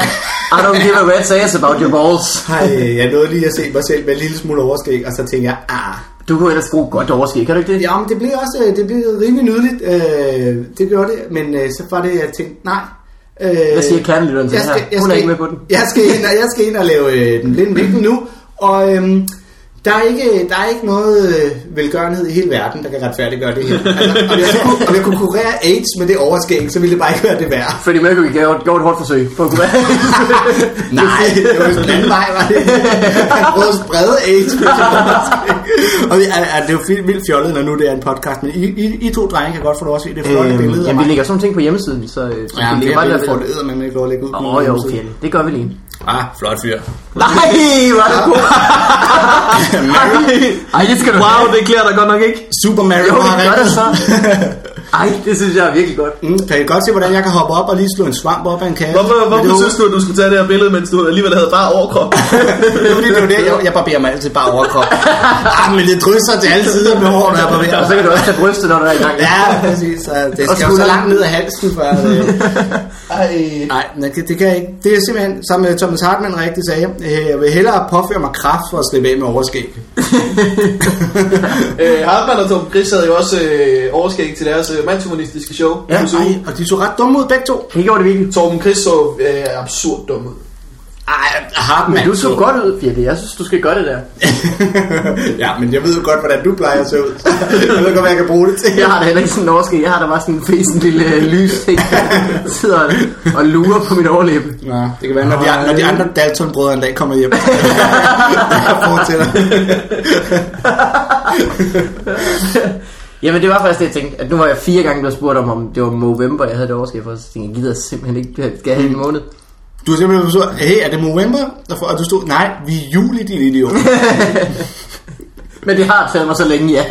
[SPEAKER 1] I don't give a rat's ass about your balls.
[SPEAKER 3] Hej, jeg nåede lige at se mig selv med en lille smule overskæg, og så tænker jeg, ah,
[SPEAKER 1] Du kunne ellers bruge godt overskæg, kan du ikke det?
[SPEAKER 3] ja, men det blev også øh, det blev rimelig nydeligt, øh, det gjorde det, men øh, så var det, jeg tænkte, nej. Øh,
[SPEAKER 1] Hvad siger kernelytteren til det
[SPEAKER 3] jeg
[SPEAKER 1] her?
[SPEAKER 3] jeg
[SPEAKER 1] Hun er
[SPEAKER 3] skal-
[SPEAKER 1] ikke med på den.
[SPEAKER 3] Jeg skal ind, og, jeg skal ind og lave øh, den blinde vinkel nu, og øhm, Der er ikke, der er ikke noget øh, velgørenhed i hele verden, der kan retfærdiggøre det her. Altså, om, jeg så kunne, om jeg kunne kurere AIDS med det overskæg, så ville det bare ikke være det værd.
[SPEAKER 1] Freddie Mercury gav gav et hårdt forsøg på at kunne være.
[SPEAKER 3] Nej, det var den anden vej, var det ikke? Han prøvede at sprede AIDS. med sit overskæg. Og det er, er, det er jo vildt- vildt fjollet, når nu det er en podcast, men I, I, I to drenge kan godt få lov at se det flotte
[SPEAKER 1] øhm,
[SPEAKER 3] billede af
[SPEAKER 1] jamen, vi
[SPEAKER 3] mig.
[SPEAKER 1] lægger sådan nogle ting på hjemmesiden, så... øh, så
[SPEAKER 3] Ja,
[SPEAKER 1] vi
[SPEAKER 3] men det
[SPEAKER 1] lægger
[SPEAKER 3] her
[SPEAKER 1] bare
[SPEAKER 3] billede får
[SPEAKER 1] der-
[SPEAKER 3] det eddermame ikke lov at lægge ud. på
[SPEAKER 1] Åh,
[SPEAKER 3] min
[SPEAKER 1] jo,
[SPEAKER 3] hjemmeside.
[SPEAKER 1] fjerde. Det gør vi lige.
[SPEAKER 3] Ah, flot fyr.
[SPEAKER 1] Mm. Nej, hvor er det god. Ej, det skal du
[SPEAKER 2] Wow,
[SPEAKER 1] have.
[SPEAKER 2] det klæder dig godt nok ikke.
[SPEAKER 3] Super Mario
[SPEAKER 1] Jo, det
[SPEAKER 3] har
[SPEAKER 1] gør det
[SPEAKER 3] ringet.
[SPEAKER 1] så. Ej, det synes jeg er virkelig godt.
[SPEAKER 3] Mm, kan I godt se, hvordan jeg kan hoppe op og lige slå en svamp op af en kasse?
[SPEAKER 2] Hvorfor,
[SPEAKER 3] Men
[SPEAKER 2] hvorfor
[SPEAKER 3] det var-
[SPEAKER 2] synes du, at du skulle tage det her billede, mens du alligevel havde bare overkrop?
[SPEAKER 3] Det er fordi, det er jo det, jeg, jeg barberer mig altid bare overkrop. ah, men det drysser til alle sider med hår, når jeg barberer
[SPEAKER 1] Og så
[SPEAKER 3] mig.
[SPEAKER 1] kan du også tage brystet, når du er i gang.
[SPEAKER 3] Ja, præcis. Så det
[SPEAKER 1] Og
[SPEAKER 3] skal jo så
[SPEAKER 1] skulderen.
[SPEAKER 3] langt ned af halsen, for at, øh,
[SPEAKER 2] øh,
[SPEAKER 3] Nej, men det, det kan jeg ikke. Det er simpelthen, som øh, Thomas Hartmann rigtig sagde, øh, jeg vil hellere påføre mig kraft for at slippe af med overskæg.
[SPEAKER 2] øh, Hartmann og Tom Chris havde jo også øh, overskæg til deres øh, mandshumanistiske show.
[SPEAKER 3] Ja,
[SPEAKER 2] i Zoo.
[SPEAKER 3] ej, og de så ret dumme ud begge to.
[SPEAKER 1] Det gjorde det virkelig.
[SPEAKER 2] Torben Chris så øh, absurd dum ud.
[SPEAKER 3] Ej, Hartmann.
[SPEAKER 1] Men du så godt ud, Fjerde. Jeg synes, du skal gøre det der.
[SPEAKER 3] ja, men jeg ved jo godt, hvordan du plejer at se ud. jeg ved godt, hvad jeg kan bruge det til.
[SPEAKER 1] Jeg har da heller ikke sådan en overskæg. Jeg har da bare sådan en fesen lille øh, lys ting, der sidder og- og lurer på min overlæbe.
[SPEAKER 3] Nå, det kan være, når de, når de andre Dalton-brødre en dag kommer hjem. jeg fortæller.
[SPEAKER 1] Jamen, det var faktisk det, jeg tænkte. At nu var jeg fire gange blevet spurgt om, om det var Movember, jeg havde det overskæg for. Så tænkte jeg, gider simpelthen ikke. Skal jeg have en måned?
[SPEAKER 3] Du har simpelthen så, hey, er det Movember? Og for- Og du stod, nej, vi er juli, din idiot.
[SPEAKER 1] Men det har taget mig så længe, ja.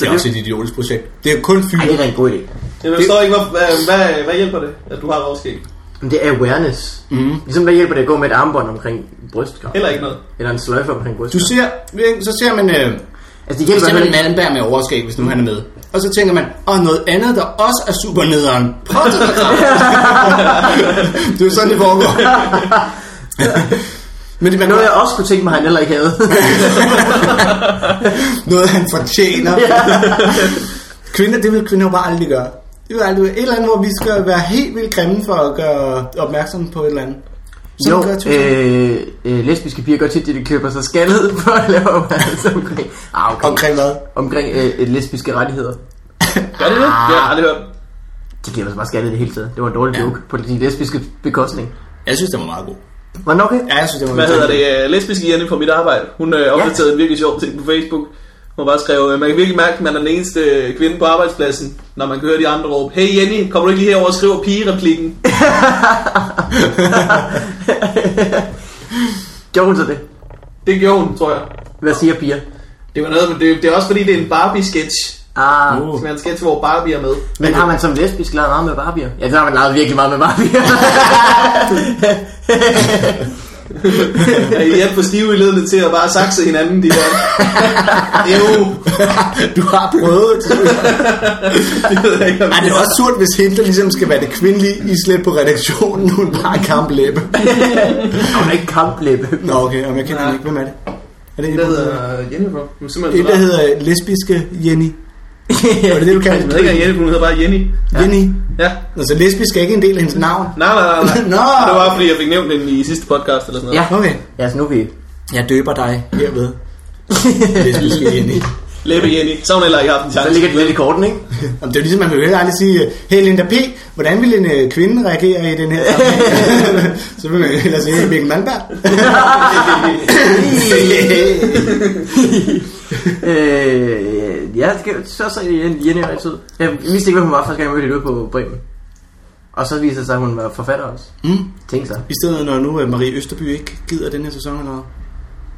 [SPEAKER 3] Det er også et idiotisk projekt. Det er jo kun
[SPEAKER 1] Ej, det er
[SPEAKER 3] fyre.
[SPEAKER 1] da en god idé.
[SPEAKER 2] Jeg forstår ikke, hvor, øh, hvad, hvad hjælper det, at du har overskæg?
[SPEAKER 1] Men det er awareness. Mm. Ligesom hvad hjælper det at gå med et armbånd omkring brystkar?
[SPEAKER 2] Heller ikke noget.
[SPEAKER 1] Eller en sløjfe omkring
[SPEAKER 3] Du
[SPEAKER 1] brystkar?
[SPEAKER 3] ser, så ser man, øh,
[SPEAKER 1] Altså, det
[SPEAKER 3] så
[SPEAKER 1] hjælper
[SPEAKER 3] ser man
[SPEAKER 1] heller
[SPEAKER 3] en
[SPEAKER 1] ikke.
[SPEAKER 3] Malmberg med overskæg, hvis nu han er med. Og så tænker man, åh, noget andet, der også er super nederen. Prøv at tage dig sammen. det er jo sådan, det foregår. Men det, man,
[SPEAKER 1] Noget, jeg også kunne tænke mig, han heller ikke havde.
[SPEAKER 3] noget han fortjener.
[SPEAKER 1] Ja.
[SPEAKER 3] Kvinder, det vil kvinder jo bare aldrig gøre. Det vil aldrig være et eller andet, hvor vi skal være helt vildt grimme for at gøre opmærksom på et eller andet. Sådan
[SPEAKER 1] jo,
[SPEAKER 3] gør tyskerne.
[SPEAKER 1] øh, øh, lesbiske piger gør tit, at de klipper sig skaldet for at lave opmærksom omkring, ah, okay.
[SPEAKER 3] Omkring hvad?
[SPEAKER 1] omkring øh, øh, lesbiske rettigheder.
[SPEAKER 2] Gør det det? Det har jeg aldrig hørt.
[SPEAKER 1] De klipper sig bare skaldet det hele taget. Det var en dårlig
[SPEAKER 3] Ja.
[SPEAKER 1] joke på de lesbiske bekostning.
[SPEAKER 3] Jeg synes, det var meget god.
[SPEAKER 1] Var den okay?
[SPEAKER 3] Ja, jeg synes, det var
[SPEAKER 2] Hvad
[SPEAKER 3] virkelig
[SPEAKER 2] hedder
[SPEAKER 3] god.
[SPEAKER 2] det? Øh, Lesbiske Jenny fra mit arbejde. Hun øh, opdaterede en virkelig sjov ting på Facebook. Hun bare skrev, øh, man kan virkelig mærke, at man er den eneste øh, kvinde på arbejdspladsen, når man kan høre de andre råbe, hey Jenny, kommer du ikke lige herover og skriver pigereplikken?
[SPEAKER 1] Gjorde hun så det?
[SPEAKER 2] Det gjorde hun, tror jeg.
[SPEAKER 1] Hvad siger piger?
[SPEAKER 2] Det var noget, men det, det er også fordi, det er en Barbie-sketch.
[SPEAKER 1] Ah,
[SPEAKER 3] Uh.
[SPEAKER 2] Som er en sketch, hvor Barbie er med.
[SPEAKER 1] men har man som lesbisk lavet meget med barbier? Ja, det har man lavet virkelig meget med barbier.
[SPEAKER 2] Er I alt for stive i ledene til at bare sakse hinanden, de der? Jo,
[SPEAKER 3] Du har prøvet.
[SPEAKER 2] det ved jeg ikke, om
[SPEAKER 3] Ej, det er også surt, hvis hende, der ligesom skal være det kvindelige islet på redaktionen, hun bare har kamplæbe.
[SPEAKER 1] hun er ikke kamplæbe.
[SPEAKER 3] Nå, okay, om jeg kender hende ikke. Hvem er det? Er det en,
[SPEAKER 2] Det
[SPEAKER 3] der hedder...
[SPEAKER 2] hedder Jenny, bro. Hun er
[SPEAKER 3] En,
[SPEAKER 2] simpelthen
[SPEAKER 3] der hedder lesbiske Jenny. Var det det, du kaldte
[SPEAKER 2] Jeg ved ikke, at Jenny, hun hedder bare Jenny.
[SPEAKER 3] Jenny.
[SPEAKER 2] Ja.
[SPEAKER 3] Altså, lesbisk er ikke en del af hendes navn.
[SPEAKER 2] Nej, nej, nej, nej.
[SPEAKER 3] Nå.
[SPEAKER 2] Det var fordi, jeg fik nævnt den i sidste podcast eller sådan noget.
[SPEAKER 1] Ja.
[SPEAKER 3] Okay.
[SPEAKER 1] Ja, så nu er vi...
[SPEAKER 3] Jeg døber dig herved. Lesbiske Jenny.
[SPEAKER 2] Læbe Jenny. Så har hun heller ikke haft en
[SPEAKER 1] Så
[SPEAKER 2] chance.
[SPEAKER 1] ligger det lidt i korten, ikke?
[SPEAKER 3] Jamen, det er jo ligesom, man vil jo heller aldrig sige, hey Linda P., hvordan vil en øh, kvinde reagere i den her sammenhæng? så vil man jo hellere sige, hey Mikkel Malmberg.
[SPEAKER 1] øh, ja, det skal, så så Jenny, Jenny var altid. Jeg vidste ikke, hvem hun var, første gang jeg mødte hende ude på Bremen. Og så viste det sig, at hun var forfatter også.
[SPEAKER 3] mm.
[SPEAKER 1] Tænk sig.
[SPEAKER 3] I stedet, når nu øh, Marie Østerby ikke gider den her sæson, eller hvad?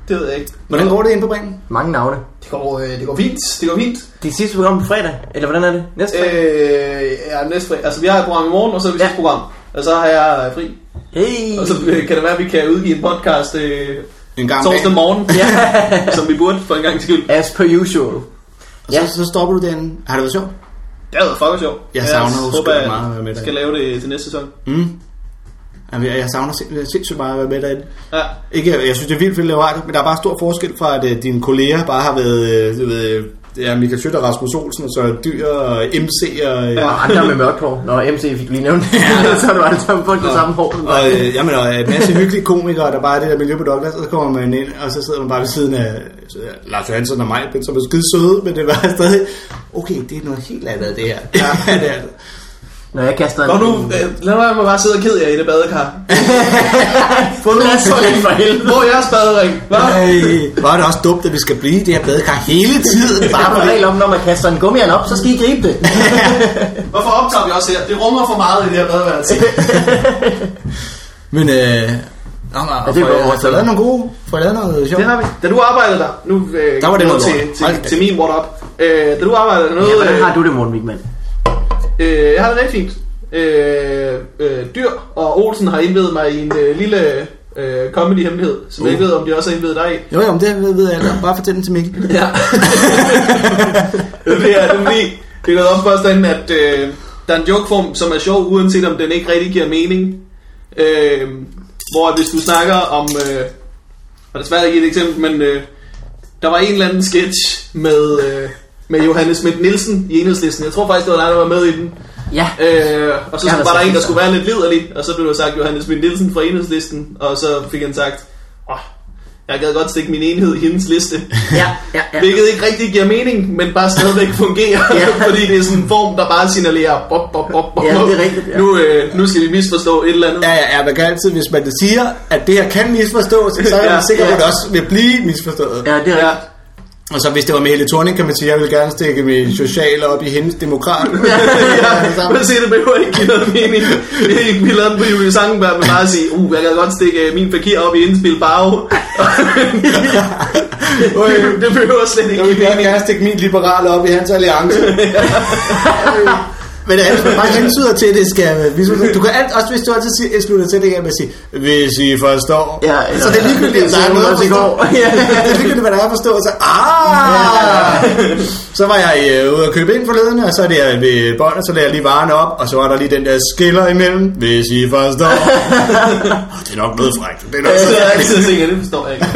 [SPEAKER 2] Det ved jeg ikke.
[SPEAKER 3] Hvordan går det ind på Bremen?
[SPEAKER 1] Mange navne.
[SPEAKER 2] Det går, øh, det går fint. Det går fint.
[SPEAKER 1] Det sidste program på fredag, eller hvordan er det? Næste fredag?
[SPEAKER 2] Øh, ja, næste fredag. Altså, vi har et program i morgen, og så er vi
[SPEAKER 1] Ja.
[SPEAKER 2] ja. sidste program. Og så har jeg øh, fri.
[SPEAKER 1] Hey!
[SPEAKER 2] Og så øh, kan det være, at vi kan udgive en podcast øh,
[SPEAKER 3] En gang om
[SPEAKER 2] torsdag
[SPEAKER 3] dagen.
[SPEAKER 2] morgen,
[SPEAKER 1] Ja.
[SPEAKER 2] som vi burde for en gang skyld.
[SPEAKER 1] As per usual.
[SPEAKER 3] Og så,
[SPEAKER 1] Ja.
[SPEAKER 3] så stopper du den. Har det været sjovt?
[SPEAKER 2] Det har været fucking sjovt.
[SPEAKER 3] Jeg savner jo sgu
[SPEAKER 2] håber,
[SPEAKER 3] da meget at være med
[SPEAKER 2] at
[SPEAKER 3] dig.
[SPEAKER 2] jeg skal lave det til næste sæson.
[SPEAKER 3] Mm. Jamen, jeg jeg savner sind- sindssygt meget at være med derinde.
[SPEAKER 2] Ja.
[SPEAKER 3] Ikke, jeg synes, det er vildt fedt at lave radio, men der er bare stor forskel fra, at øh, dine kolleger bare har været øh, du ved, øh, ja, Michael Schødt og Rasmus Olsen, og så dyr og MC og... øh, Ja.
[SPEAKER 1] Og andre Ah, med mørkt hår. Nå, MC fik du lige nævnt. så er du alle sammen folk med samme hår.
[SPEAKER 3] Og, øh, jamen, og øh, en masse hyggelige komikere, der bare er det der miljø på Douglas, og så kommer man ind, og så sidder man bare ved siden af øh, Lars Johansson og mig, som er skide søde, men det var stadig, okay, det er noget helt andet, det her. Ja, det er det.
[SPEAKER 1] Når jeg kaster en...
[SPEAKER 2] Nå nu, øh, lad mig bare sidde og kede jer i det badekar.
[SPEAKER 1] få den af sådan for helvede.
[SPEAKER 2] Hvor er jeres badering? Hva?
[SPEAKER 3] Ej, hvor er det også dumt, at vi skal blive i det her badekar hele tiden,
[SPEAKER 1] Der
[SPEAKER 3] bare
[SPEAKER 1] er en
[SPEAKER 3] på det.
[SPEAKER 1] regel om, når man kaster en gummian op, så skal I gribe det.
[SPEAKER 2] Hvorfor optager vi også her? Det rummer for meget i det her badeværelse.
[SPEAKER 3] Men, øh, nå, nå, ja,
[SPEAKER 1] det var vores-
[SPEAKER 3] får jeg lavet nogle gode, får jeg lavet noget sjovt?
[SPEAKER 2] Det har vi. Da du arbejdede der, nu øh,
[SPEAKER 3] Der var det
[SPEAKER 2] noget
[SPEAKER 3] noget
[SPEAKER 2] til,
[SPEAKER 3] lort.
[SPEAKER 2] til,
[SPEAKER 3] Hold
[SPEAKER 2] til,
[SPEAKER 3] da.
[SPEAKER 2] til min what up. Øh, da du arbejdede der noget...
[SPEAKER 1] Ja, hvordan
[SPEAKER 2] øh,
[SPEAKER 1] har du det, Morten Wigman?
[SPEAKER 2] Øh, jeg har det rigtig fint. Øh, øh, dyr og Olsen har indvedet mig i en øh, lille øh, comedy-hemmelighed, som uh. jeg ikke ved, om de også har indvedet dig i.
[SPEAKER 3] Jo, jo, men det ved, ved jeg. da. Bare fortæl den til Mikkel.
[SPEAKER 2] Ja. det er nemlig, det er gået op for os derinde, at øh, der er en jokeform, som er sjov, uanset om den ikke rigtig giver mening. Øh, hvor hvis du snakker om, øh, og desværre ikke et eksempel, men øh, der var en eller anden sketch med, øh, med Johannes Schmidt Nielsen i enhedslisten. Jeg tror faktisk, det var dig, der var med i den.
[SPEAKER 1] Ja.
[SPEAKER 2] Øh, og så
[SPEAKER 1] Jeg har
[SPEAKER 2] var der
[SPEAKER 1] sagt
[SPEAKER 2] en, der
[SPEAKER 1] det.
[SPEAKER 2] skulle være lidt liderlig, og så blev der sagt Johannes Vind Nielsen fra enhedslisten, og så fik han sagt, åh, jeg gad godt stikke min enhed i hendes liste.
[SPEAKER 1] Ja, ja, ja.
[SPEAKER 2] Hvilket ikke rigtig giver mening, men bare stadigvæk fungerer,
[SPEAKER 1] Ja.
[SPEAKER 2] fordi det er sådan en form, der bare signalerer, bop, bop, bop, bop,
[SPEAKER 1] Ja, det er
[SPEAKER 2] bop.
[SPEAKER 1] rigtigt, ja.
[SPEAKER 2] nu, øh, nu skal vi misforstå et eller andet.
[SPEAKER 3] Ja, ja, ja, man kan altid, hvis man siger, at det her kan misforstås, så er
[SPEAKER 2] Ja,
[SPEAKER 3] man sikker på,
[SPEAKER 2] ja.
[SPEAKER 3] at det også vil blive misforstået.
[SPEAKER 1] Ja, det er
[SPEAKER 2] Ja.
[SPEAKER 1] rigtigt.
[SPEAKER 3] Og så hvis det var med Helle Thorning, kan man sige, at jeg vil gerne stikke min sociale op i hendes demokrat.
[SPEAKER 2] Ja, men se, det behøver ikke give noget mening. Vi- Vi lavede den på Julie Sangenberg med bare at sige, uh, jeg kan godt stikke øh, min fakir op i hendes Bilbao.
[SPEAKER 3] Øh,
[SPEAKER 2] det behøver slet ikke
[SPEAKER 3] Jeg vil
[SPEAKER 2] give
[SPEAKER 3] gerne,
[SPEAKER 2] mening.
[SPEAKER 3] gerne stikke min liberale op i hans alliance. Øh, Men altså, man bare hensyder til, at det skal... øh, Hvis du, du kan alt, også hvis du altid siger, slutter til det her med at sige, hvis I forstår.
[SPEAKER 1] Ja, ja,
[SPEAKER 3] så det er ligegyldigt,
[SPEAKER 1] ja,
[SPEAKER 3] at der er noget at
[SPEAKER 1] så det
[SPEAKER 3] forstå.
[SPEAKER 1] går. Ja.
[SPEAKER 3] det er ligegyldigt, hvad der er at forstå. og Så, ah! så var jeg øh, ude og købe ind forleden, og så er det jeg ved bånd, og så lagde jeg lige varen op, og så var der lige den der skiller imellem, hvis I forstår. Åh, det er nok noget frækt. Det er nok
[SPEAKER 2] Så jeg altid tænker, det forstår jeg ikke.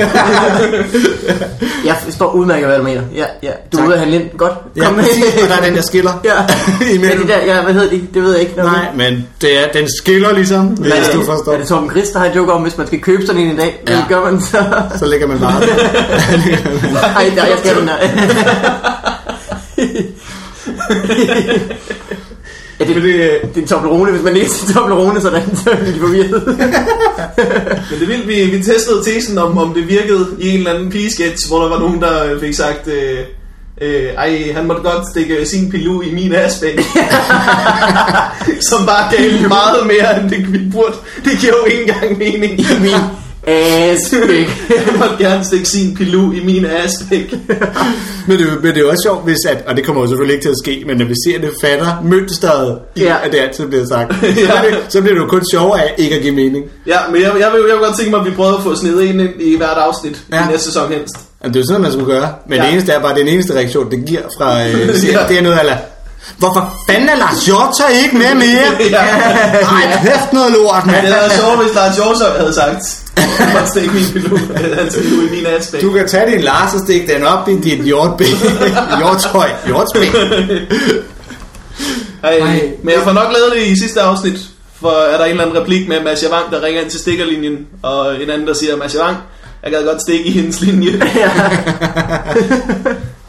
[SPEAKER 1] Jeg forstår udmærket, hvad du mener. Ja, ja. Du er
[SPEAKER 3] Tak.
[SPEAKER 1] ude at handle ind. Godt.
[SPEAKER 3] Ja,
[SPEAKER 1] Kom med.
[SPEAKER 3] præcis, og der er den der skiller.
[SPEAKER 1] Ja. Men
[SPEAKER 3] imellem.
[SPEAKER 1] det der, ja, hvad hedder de? Det ved jeg ikke. Hvad
[SPEAKER 3] Nej, men det er, den skiller ligesom, hvis
[SPEAKER 1] er det,
[SPEAKER 3] du forstår.
[SPEAKER 1] Er det Torben Chris, der har en joke om, hvis man skal købe sådan en i dag? Ja.
[SPEAKER 3] Ja.
[SPEAKER 1] Det gør man så.
[SPEAKER 3] Så lægger man bare.
[SPEAKER 1] Ej, der, jeg skal den der. ja, det,
[SPEAKER 2] Men det,
[SPEAKER 1] det er en Toblerone. Hvis man ikke siger Toblerone, så er den- så er de forvirret.
[SPEAKER 2] Men det vildt, vi, vi testede tesen om, om det virkede i en eller anden pigesketch, hvor der var nogen, der øh, fik sagt, øh, øh, ej, han måtte godt stikke sin pilu i min aspæk. Som bare gav meget mere, end det vi burde. Det giver jo ikke engang mening.
[SPEAKER 1] Min aspæk.
[SPEAKER 2] Han måtte gerne stikke sin pilu i min aspæk.
[SPEAKER 3] men, det, men det er jo også sjovt, hvis at, og det kommer jo selvfølgelig ikke til at ske, men når vi ser det fatter mønstret i,
[SPEAKER 1] Ja.
[SPEAKER 3] ja. at det altid bliver sagt, så, bliver det, så bliver det jo kun sjovere af ikke at give mening.
[SPEAKER 2] Ja, men jeg, jeg, vil, jeg vil godt tænke mig, at vi prøver at få snedet en ind i hvert afsnit ja.
[SPEAKER 3] Ja.
[SPEAKER 2] i næste sæson helst.
[SPEAKER 3] Altså, det er jo sådan, man skulle gøre. Men
[SPEAKER 2] Ja.
[SPEAKER 3] ja. det eneste er bare, den eneste reaktion, det giver fra øh, serien,
[SPEAKER 2] Ja.
[SPEAKER 3] det er noget ala, Hvorfor fanden er Lars Hjorta ikke med mere?
[SPEAKER 2] Ja.
[SPEAKER 3] Nej, kæft noget lort, mand.
[SPEAKER 2] Det havde sjovt, hvis Lars Jorsøv havde sagt, han måtte stikke min pilu, hans pilu i min aspæk.
[SPEAKER 3] Du kan tage din Lars og stikke den op i dit hjortben. Hjortøj. Hjortben.
[SPEAKER 2] Ej,
[SPEAKER 3] Ej.
[SPEAKER 2] men jeg får nok lavet det i sidste afsnit, for er der en eller anden replik med Mads Javang, der ringer ind til stikkerlinjen, og en anden, der siger, Mads Javang, jeg gad godt stikke i hendes linje.
[SPEAKER 1] Ja.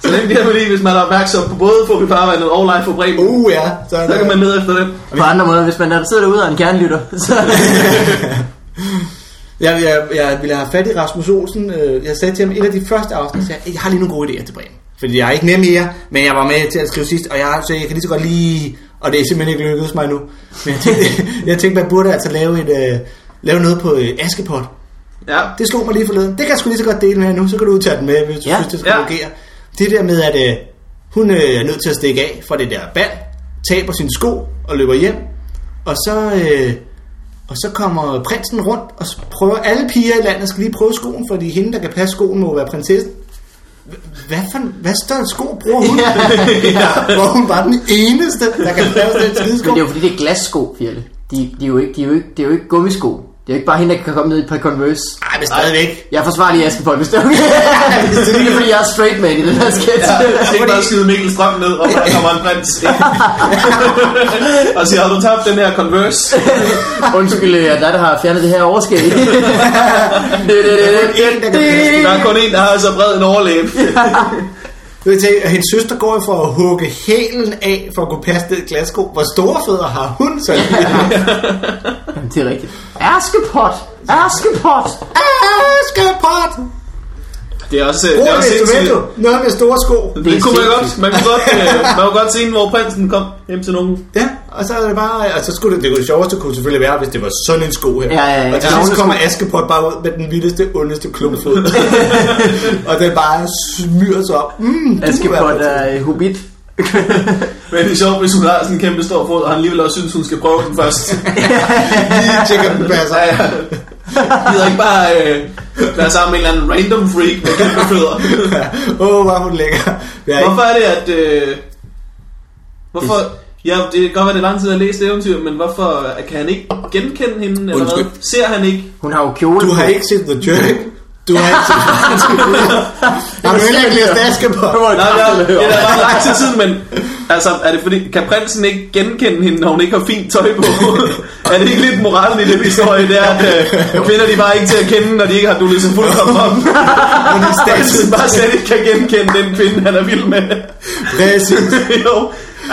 [SPEAKER 2] Så den bliver man lige, hvis man er opmærksom på både Fobi Farvandet og Live for Bremen. Uh.
[SPEAKER 3] Uh, ja. Så,
[SPEAKER 2] Så kan man lede efter den.
[SPEAKER 1] På andre måder, hvis man er- sidder derude og er en kernlytter, så...
[SPEAKER 3] Jeg, jeg, jeg ville have fat i Rasmus Olsen. øh, Jeg sagde til ham, et af de første afsnit, sagde, jeg, jeg har lige nogle gode idéer til Bremen. Fordi jeg er ikke nem mere, men jeg var med til at skrive sidst, og jeg, så jeg kan lige så godt lige... Og det er simpelthen ikke lykkedes mig nu. Men jeg tænkte, jeg tænkte man burde altså lave, et, øh, lave noget på øh, Askepot.
[SPEAKER 2] Ja.
[SPEAKER 3] Det slog mig lige forleden. Det kan jeg sgu lige så godt dele med jer nu, så kan du tage den med, hvis du
[SPEAKER 1] Ja,
[SPEAKER 3] ja. synes, det skal
[SPEAKER 2] ja.
[SPEAKER 3] ja. fungere. Det der med, at øh, hun øh, er nødt til at stikke af fra det der band, taber sin sko og løber hjem, og så, øh, og så kommer prinsen rundt, og så prøver alle piger i landet skal lige prøve skoen, fordi hende, der kan passe skoen, må være prinsessen. H- Hvad for en- hvad større sko bruger hun? ja. Hvor hun var den eneste, der kan passe den skidesko.
[SPEAKER 1] Men det er jo fordi, det er glassko, Fjelle. De, de er jo ikke, de er jo ikke, det er jo ikke gummisko. Det er jo ikke bare hende, der kan komme ned i et par Converse.
[SPEAKER 3] Nej, men stadigvæk.
[SPEAKER 1] Jeg forsvarer lige Askepot, hvis det er okay. det er fordi, jeg er straight man i den her sketch.
[SPEAKER 2] Jeg skal ikke bare skide Mikkel Strøm ned, og der kommer en prins ind. og siger, har du tabt den her Converse?
[SPEAKER 1] Undskyld, jeg er dig, der har fjernet det her overskæg. Det- det- det- det- det- det-
[SPEAKER 2] Der er kun en, der har så bred en overlæb.
[SPEAKER 3] Du kan tænke, at hendes søster går jo for at hugge hælen af, for at kunne passe det glassko. Hvor store fødder har hun så lige?
[SPEAKER 1] Det er rigtigt. Askepot! Askepot!
[SPEAKER 3] Ah, Askepot!
[SPEAKER 2] Det er også... øh, Det
[SPEAKER 3] Brug
[SPEAKER 2] er
[SPEAKER 3] et
[SPEAKER 2] også
[SPEAKER 3] instrumento.
[SPEAKER 2] sindssygt.
[SPEAKER 3] Noget med store sko.
[SPEAKER 2] det kunne man godt, man kunne godt, øh, man kunne godt se, hvor prinsen kom hjem til nogen.
[SPEAKER 3] Ja, og så er det bare... Og så skulle det, det, kunne det sjoveste kunne selvfølgelig være, hvis det var sådan en sko her.
[SPEAKER 1] Ja, ja, ja.
[SPEAKER 3] og til sidst kommer Askepot bare ud med den vildeste, ondeste klumpfod. og den bare smyrer sig op. Mm,
[SPEAKER 1] Askepot er øh, hobbit.
[SPEAKER 2] Men det er sjovt, hvis hun har sådan en kæmpe stor fod, og han alligevel også synes, hun skal prøve den først.
[SPEAKER 3] Lige tjekker den passer.
[SPEAKER 2] Ja, ja. Gider ikke bare øh, være sammen med en eller anden random freak med kæmpe fødder.
[SPEAKER 3] Åh, oh, hvor er hun lækker. Jeg er
[SPEAKER 2] Hvorfor er det, at... Øh, hvorfor... Ja, det kan godt være, det er lang tid, jeg har læst eventyr, men hvorfor... øh, Kan han ikke genkende hende, eller hvad?
[SPEAKER 3] Undskyld.
[SPEAKER 2] Ser han ikke?
[SPEAKER 1] Hun har jo kjole
[SPEAKER 3] Du har
[SPEAKER 1] på.
[SPEAKER 3] ikke set The Jerk. Du har ikke set Har du heller ikke læst Askepot?
[SPEAKER 2] Nej, det er, det er da bare lang tid siden, men... Altså, er det fordi... Kan prinsen ikke genkende hende, når hun ikke har fint tøj på? er det ikke lidt moralen i den historie, det er, at øh, kvinder de bare ikke til at kende, når de ikke har dullet sig fuldkommen op?
[SPEAKER 3] Hun er
[SPEAKER 2] Prinsen
[SPEAKER 3] statsen.
[SPEAKER 2] bare slet ikke kan genkende den kvinde, han er vild med.
[SPEAKER 3] Præcis.
[SPEAKER 2] jo.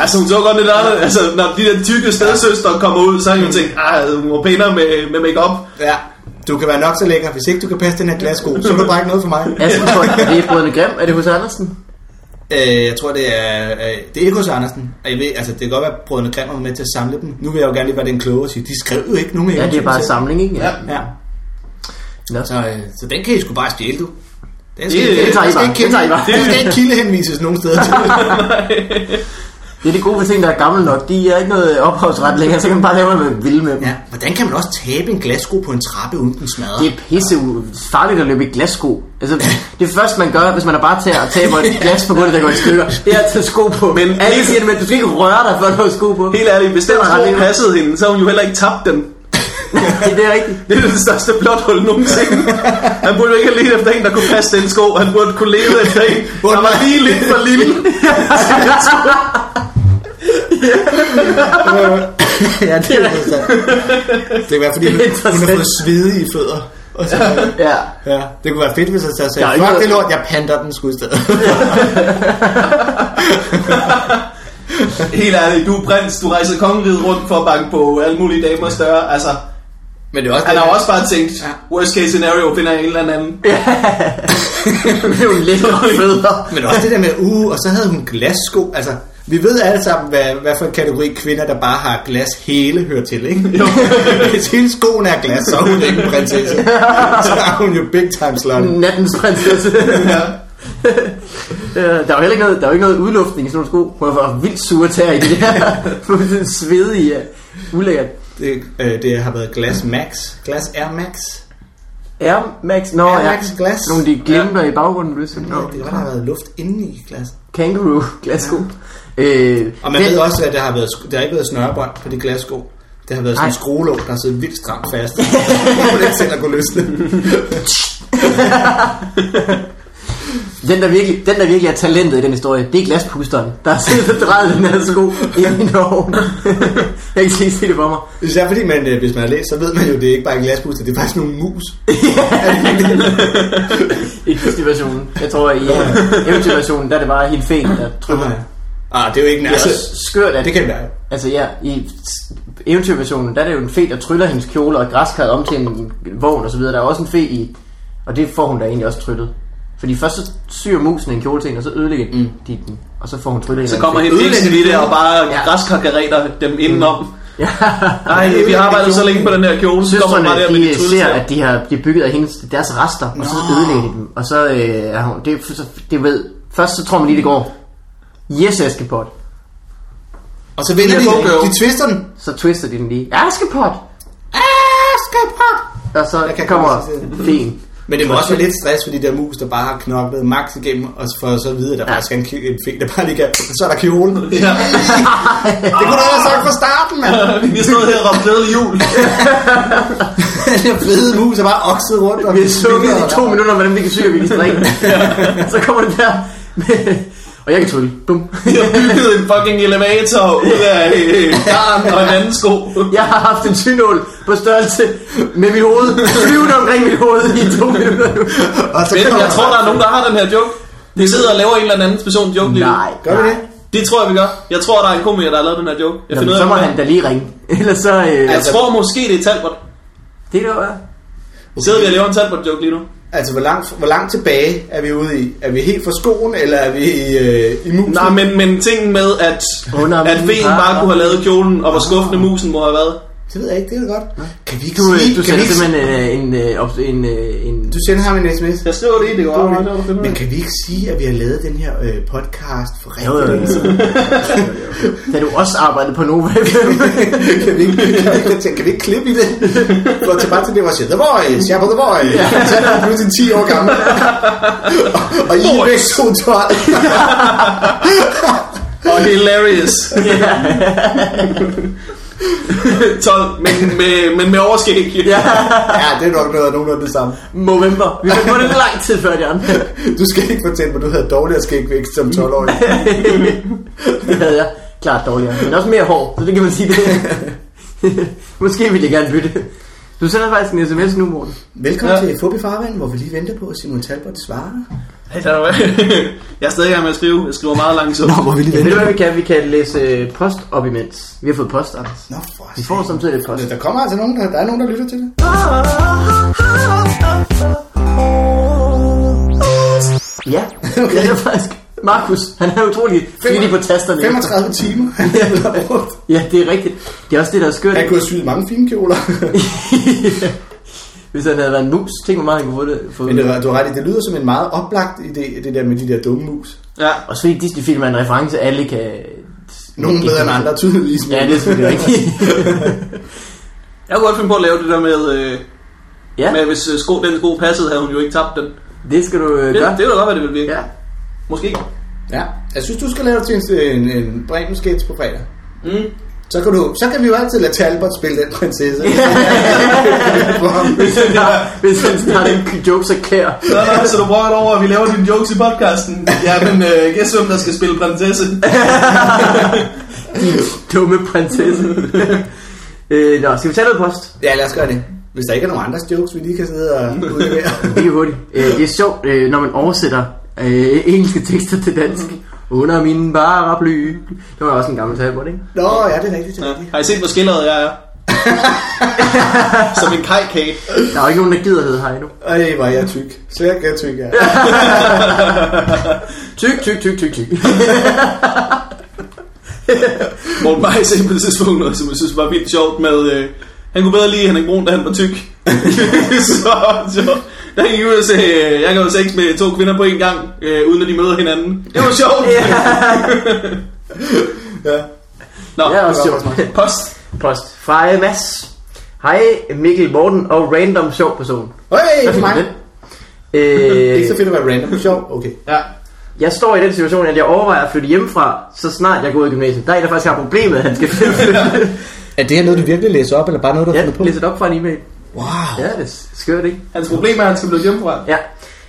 [SPEAKER 2] Altså, hun så godt lidt andet. Altså, når de der tykke stedsøstre kommer ud, så har hun tænkt, ah, hun var pænere med, med make-up.
[SPEAKER 3] Ja. Du kan være nok så lækker. Hvis ikke du kan passe den her glassko, så er du bare ikke noget for mig.
[SPEAKER 1] Askepot, er det Brødrene Grimm? Er det hos Andersen?
[SPEAKER 3] Øh, jeg tror, det er, øh, det er ikke hos Andersen. Og jeg ved, altså, det kan godt være, at Brødrene Grimm var med til at samle dem. Nu vil jeg jo gerne lige være den kloge og sige, de skrev jo ikke nogen
[SPEAKER 1] Ja, det er
[SPEAKER 3] eventyr
[SPEAKER 1] bare en
[SPEAKER 3] selv.
[SPEAKER 1] samling, ikke? Ja.
[SPEAKER 3] Ja.
[SPEAKER 1] Nå.
[SPEAKER 3] Så, øh, så den kan I sgu bare stjæle, du. Den
[SPEAKER 2] Det- det
[SPEAKER 1] tager I
[SPEAKER 3] den skal
[SPEAKER 1] bare.
[SPEAKER 3] ikke
[SPEAKER 1] Det tager I bare.
[SPEAKER 3] kilde- den skal ikke kildehenvises nogen steder til.
[SPEAKER 1] Det er det gode ved ting, der er gamle nok. De er ikke noget ophavsret længere, så kan man bare lave noget vilde med dem.
[SPEAKER 3] ja. Hvordan kan man også tabe en glassko på en trappe, uden den smadrer?
[SPEAKER 1] Det er pisse u- farligt at løbe i glassko. Altså, det første man gør, hvis man er bare til at tabe et glas på gulvet, der går i stykker, det er at tage sko på. Men alle siger det, men du skal ikke røre dig, før du har sko på.
[SPEAKER 2] Helt ærligt, hvis den
[SPEAKER 1] Det er ret
[SPEAKER 2] sko
[SPEAKER 1] lækkert.
[SPEAKER 2] passede hende, så har hun jo heller ikke tabt den.
[SPEAKER 1] det er rigtigt.
[SPEAKER 2] Det er det største blot hul nogensinde. Han burde jo ikke have let efter en, der kunne passe den sko. Han burde kunne lede efter en, der var lige lidt for lille.
[SPEAKER 3] ja, det er interessant. Det kan være, fordi hun, hun har
[SPEAKER 1] Interessant.
[SPEAKER 3] fået svedige fødder. Og så,
[SPEAKER 1] Ja.
[SPEAKER 3] ja, det kunne være fedt, hvis jeg så sagde,
[SPEAKER 1] Der er ikke
[SPEAKER 3] fuck
[SPEAKER 1] noget-
[SPEAKER 3] det lort, jeg panter den sgu i stedet.
[SPEAKER 2] Helt ærligt, du er prins. Du rejser kongeriget rundt for at banke på alle mulige damer større. Altså,
[SPEAKER 3] Men det er også
[SPEAKER 2] han
[SPEAKER 3] det,
[SPEAKER 2] har jo også bare tænkt, worst case scenario, finder jeg en eller anden.
[SPEAKER 1] Det er jo lidt federe.
[SPEAKER 3] Men også det der med, uh, og så havde hun glassko. Altså, vi ved alle sammen, hvad, hvad for en kategori kvinder, der bare har glas hele, hører til, ikke? Jo. Hvis hendes skoen er glas, så er hun ikke en prinsesse. Så er hun jo big time slutty.
[SPEAKER 1] Nattens prinsesse. Øh, der er jo heller ikke noget, der er jo ikke noget udluftning i sådan nogle sko. Hun var vildt sure tæer i det der. Fuldstændig svedige. ja. Ulækkert.
[SPEAKER 3] Det, øh, det har været glas max. Glas Air Max.
[SPEAKER 1] Air Max, nå
[SPEAKER 3] Air
[SPEAKER 1] ja.
[SPEAKER 3] Max glas.
[SPEAKER 1] Nogle af de glimter i baggrunden, hvis du
[SPEAKER 3] Ja, det kan godt have været luft inde i glas.
[SPEAKER 1] Kangaroo glassko. Øh,
[SPEAKER 3] Og man
[SPEAKER 1] den-
[SPEAKER 3] ved også, at der har, været, der har ikke været snørebånd på de glassko. Det har været sådan en
[SPEAKER 1] Nej.
[SPEAKER 3] skruelåg, der har siddet vildt stramt fast. Det kunne ikke selv at kunne løsne.
[SPEAKER 1] Den der, virkelig, den der virkelig er talentet i den historie, det er glaspusteren, der har siddet og drejet den her sko ind i Norge. jeg kan ikke lige se det for mig.
[SPEAKER 3] Især fordi man, øh, hvis man har læst, så ved man jo, det er ikke bare en glaspuster, det er faktisk nogle mus.
[SPEAKER 1] Ikke Disney versionen. Jeg tror, i uh, eventyr versionen, der er det bare helt fæn, der trykker.
[SPEAKER 3] Nej. Ah, det er jo ikke
[SPEAKER 1] Det er
[SPEAKER 3] nærmest.
[SPEAKER 1] så skørt, at...
[SPEAKER 3] det kan det være.
[SPEAKER 1] Altså ja, i s- eventyrversionen, der er det jo en fe, der tryller hendes kjole og græskarret om til en vogn og så videre. Der er også en fe i, og det får hun da egentlig også tryllet. Fordi først så syr musen en kjole til hende, og så ødelægger mm. de den, og så får hun tryllet en
[SPEAKER 2] Så
[SPEAKER 1] eller anden
[SPEAKER 2] kommer
[SPEAKER 1] fe.
[SPEAKER 2] hende
[SPEAKER 3] Ødelægge
[SPEAKER 2] ikke i det,
[SPEAKER 3] kjolen.
[SPEAKER 2] og bare
[SPEAKER 1] Ja.
[SPEAKER 2] græskakkereter dem indenom.
[SPEAKER 1] Ja.
[SPEAKER 2] Nej, vi har arbejdet så længe på den her kjole, så kommer hun bare der med
[SPEAKER 1] Søstrene, de
[SPEAKER 2] de
[SPEAKER 1] ser,
[SPEAKER 2] tryllestav.
[SPEAKER 1] at de har de er bygget af hendes, deres rester, og så
[SPEAKER 3] Nå.
[SPEAKER 1] ødelægger de dem. Og så øh, er hun, det, så, det ved, først så tror man lige, det går. Yes, Askepot.
[SPEAKER 3] Og så vender
[SPEAKER 2] Det
[SPEAKER 3] de,
[SPEAKER 2] er go-go.
[SPEAKER 3] de twister den.
[SPEAKER 1] Så twister de den lige. Askepot!
[SPEAKER 3] Ah, skal jeg prøve?
[SPEAKER 1] Og så
[SPEAKER 3] Jeg kan
[SPEAKER 1] kommer
[SPEAKER 3] godt se det.
[SPEAKER 1] feen.
[SPEAKER 3] Men det må også være lidt stress for de der mus, der bare har knoklet max igennem, og for så at vide, at der ja. faktisk er en, ki- en fing, der bare lige kan, så er der kjole.
[SPEAKER 2] Ja.
[SPEAKER 3] Det kunne du have sagt fra starten, mand.
[SPEAKER 2] Vi stod her og råbte glædelig jul.
[SPEAKER 3] Den der fede mus er bare okset rundt. Og
[SPEAKER 1] Vi har sunget i to minutter, hvordan vi kan syge, og vi kan strikke. Så kommer det der med... Og jeg kan trylle. Bum.
[SPEAKER 2] Vi har bygget en fucking elevator ud af øh, garn og en anden sko.
[SPEAKER 1] Jeg har haft en synål på størrelse med mit hoved. Flyvende omkring mit hoved i to minutter nu.
[SPEAKER 3] Og så
[SPEAKER 2] Men
[SPEAKER 3] kommer
[SPEAKER 2] jeg tror, der er nogen, der har den her joke. Vi sidder og laver en eller anden person joke lige nu.
[SPEAKER 1] Nej.
[SPEAKER 3] Gør vi
[SPEAKER 1] nej.
[SPEAKER 3] det?
[SPEAKER 2] Det tror jeg, vi gør. Jeg tror, der er en komiker, der har lavet den her joke. Jeg
[SPEAKER 1] Nå,
[SPEAKER 2] finder
[SPEAKER 1] men
[SPEAKER 2] ud af,
[SPEAKER 1] så må
[SPEAKER 2] hvem det er.
[SPEAKER 1] han da lige ringe. Ellers så... Øh,
[SPEAKER 2] Jeg tror måske, det er Talbot.
[SPEAKER 1] Det er det, jo.
[SPEAKER 2] Sidder vi og laver en Talbot-joke lige nu?
[SPEAKER 3] Altså, hvor langt, hvor langt tilbage er vi ude i? Er vi helt fra skoen, eller er vi i, øh, i musen?
[SPEAKER 2] Nej, men, men tingen med, at,
[SPEAKER 1] Under
[SPEAKER 2] at
[SPEAKER 1] min
[SPEAKER 2] feen
[SPEAKER 1] par-
[SPEAKER 2] bare kunne have lavet kjolen, og hvor skuffende musen må have været.
[SPEAKER 3] Det ved jeg ikke, det er da godt. Kan vi ikke
[SPEAKER 1] Du, øh,
[SPEAKER 3] sige...
[SPEAKER 1] du
[SPEAKER 3] kan vi
[SPEAKER 1] sender
[SPEAKER 3] ikke,
[SPEAKER 1] simpelthen øh, en... øh, op- en, øh, en
[SPEAKER 3] du sender ham en sms.
[SPEAKER 2] Jeg skriver det i det går.
[SPEAKER 3] Dårligt. Men kan vi ikke sige, at vi har lavet den her øh, podcast for
[SPEAKER 1] Jo, jo,
[SPEAKER 3] rigtig
[SPEAKER 1] jo.
[SPEAKER 3] længe siden?
[SPEAKER 1] Da du også arbejdede på Nova FM.
[SPEAKER 3] kan, vi ikke, kan, vi ikke, kan vi ikke klippe i det? Gå tilbage til det, hvor jeg siger, The Voice, jeg er på The Voice. Så er han pludselig 10 år gammel. og, og I er begge to 12.
[SPEAKER 2] Og hilarious. 12, men med, men med overskæg.
[SPEAKER 1] ja.
[SPEAKER 3] ja, det er nok noget nogenlunde det samme.
[SPEAKER 1] November. Vi har gået det lang tid før de andre.
[SPEAKER 3] Du skal ikke fortælle mig, du havde dårligere skægvækst som 12-årig.
[SPEAKER 1] det havde jeg klart dårligere. Men også mere hår, så det kan man sige det. Måske ville jeg gerne bytte. Du sender faktisk en sms nu, Morten.
[SPEAKER 3] Velkommen
[SPEAKER 2] Ja.
[SPEAKER 3] ja. til Fubi Farvand, hvor vi lige venter på, at Simon Talbot svarer.
[SPEAKER 2] Jeg er stadig i gang med at skrive. Jeg skriver meget langsomt.
[SPEAKER 3] hvor vi lige
[SPEAKER 1] Ved du hvad vi kan? Vi kan læse øh, post op imens. Vi har fået post, Anders.
[SPEAKER 3] Nå, for
[SPEAKER 1] Vi får samtidig lidt post.
[SPEAKER 3] satan. Der kommer altså nogen, der, der er nogen, der lytter til det.
[SPEAKER 1] Ja, okay. det er faktisk... Markus, han er utrolig flittig på tasterne.
[SPEAKER 3] 35 timer.
[SPEAKER 1] Ja, det er rigtigt. Det er også det, der er skørt.
[SPEAKER 3] Han kunne have syet mange fine kjoler.
[SPEAKER 1] Hvis han havde været en mus, tænk hvor meget han kunne få det. Få
[SPEAKER 3] Men det, var- du har ret i, det lyder som en meget oplagt idé, det der med de der dumme mus.
[SPEAKER 2] Ja.
[SPEAKER 1] Også fordi Disney-film er en reference, alle kan...
[SPEAKER 3] Nogle bedre end andre, tydeligvis.
[SPEAKER 1] Ja, det er selvfølgelig rigtigt.
[SPEAKER 2] Jeg kunne godt finde på at lave det der med, øh,
[SPEAKER 1] ja,
[SPEAKER 2] med hvis øh, sko, den sko passede, havde hun jo ikke tabt den.
[SPEAKER 1] det skal du øh,
[SPEAKER 2] Det,
[SPEAKER 1] gøre.
[SPEAKER 2] det ville da godt være, det ville blive.
[SPEAKER 1] Ja.
[SPEAKER 2] Måske.
[SPEAKER 3] Ja, jeg synes, du skal lave det til en, en, en bremen sketch på fredag.
[SPEAKER 2] Mm.
[SPEAKER 3] Så kan, du, så kan vi jo altid lade Talbot spille den prinsesse. For ham.
[SPEAKER 1] Hvis han, har, hvis han starter en joke, så kær.
[SPEAKER 2] Nå, nå, så du brokker dig over, at vi laver dine jokes i podcasten. Ja, men øh, gæst hvem, der skal spille prinsesse.
[SPEAKER 1] Dumme prinsesse. øh, nå, skal vi tage noget post?
[SPEAKER 3] ja, lad os gøre det. Hvis der ikke er nogen andres jokes, vi lige kan sidde og
[SPEAKER 1] Mm.
[SPEAKER 3] udlevere.
[SPEAKER 1] Det er hurtigt. Øh, det er sjovt, øh, når man oversætter øh, engelske tekster til dansk. Under min paraply. Det var også en gammel talbot, ikke?
[SPEAKER 3] Nå, ja, det er rigtigt. Det er
[SPEAKER 2] Ja.
[SPEAKER 3] rigtigt.
[SPEAKER 2] Har I set, hvor skildret jeg er? Som en kajkage.
[SPEAKER 1] Der er jo ikke nogen, der gider hedde hej nu.
[SPEAKER 3] Ej, hvor er jeg tyk. Svært jeg tyk, ja.
[SPEAKER 1] Tyk, tyk, tyk, tyk, tyk.
[SPEAKER 2] Morten Maj sagde på det tidspunkt noget, som jeg synes var vildt sjovt med... Øh, han kunne bedre lide Henrik Brun, da han var tyk. så, så der gik ud og sagde, øh, jeg kan jo sex med to kvinder på en gang, øh, uden at de møder hinanden. Det var sjovt.
[SPEAKER 3] ja.
[SPEAKER 2] Nå,
[SPEAKER 1] Det er også sjovt.
[SPEAKER 2] post.
[SPEAKER 1] Post fra øh, Mads. Hej Mikkel Morten og random sjov person.
[SPEAKER 3] Hey, for
[SPEAKER 1] Hvad
[SPEAKER 3] mig.
[SPEAKER 1] synes du om
[SPEAKER 3] Det er
[SPEAKER 1] Øh,
[SPEAKER 3] ikke så fedt at være random. Sjov, okay.
[SPEAKER 2] Ja.
[SPEAKER 1] jeg står i den situation, at jeg overvejer at flytte hjemmefra, så snart jeg går ud af gymnasiet. Der er en, der faktisk har problemet, at han skal flytte.
[SPEAKER 3] Er det her noget, du virkelig læser op, eller bare noget, du
[SPEAKER 1] ja, læser det op fra en e-mail.
[SPEAKER 3] Wow.
[SPEAKER 1] Ja, det er skørt, ikke?
[SPEAKER 2] Hans problem er, at han skal blive hjemmefra.
[SPEAKER 1] Ja.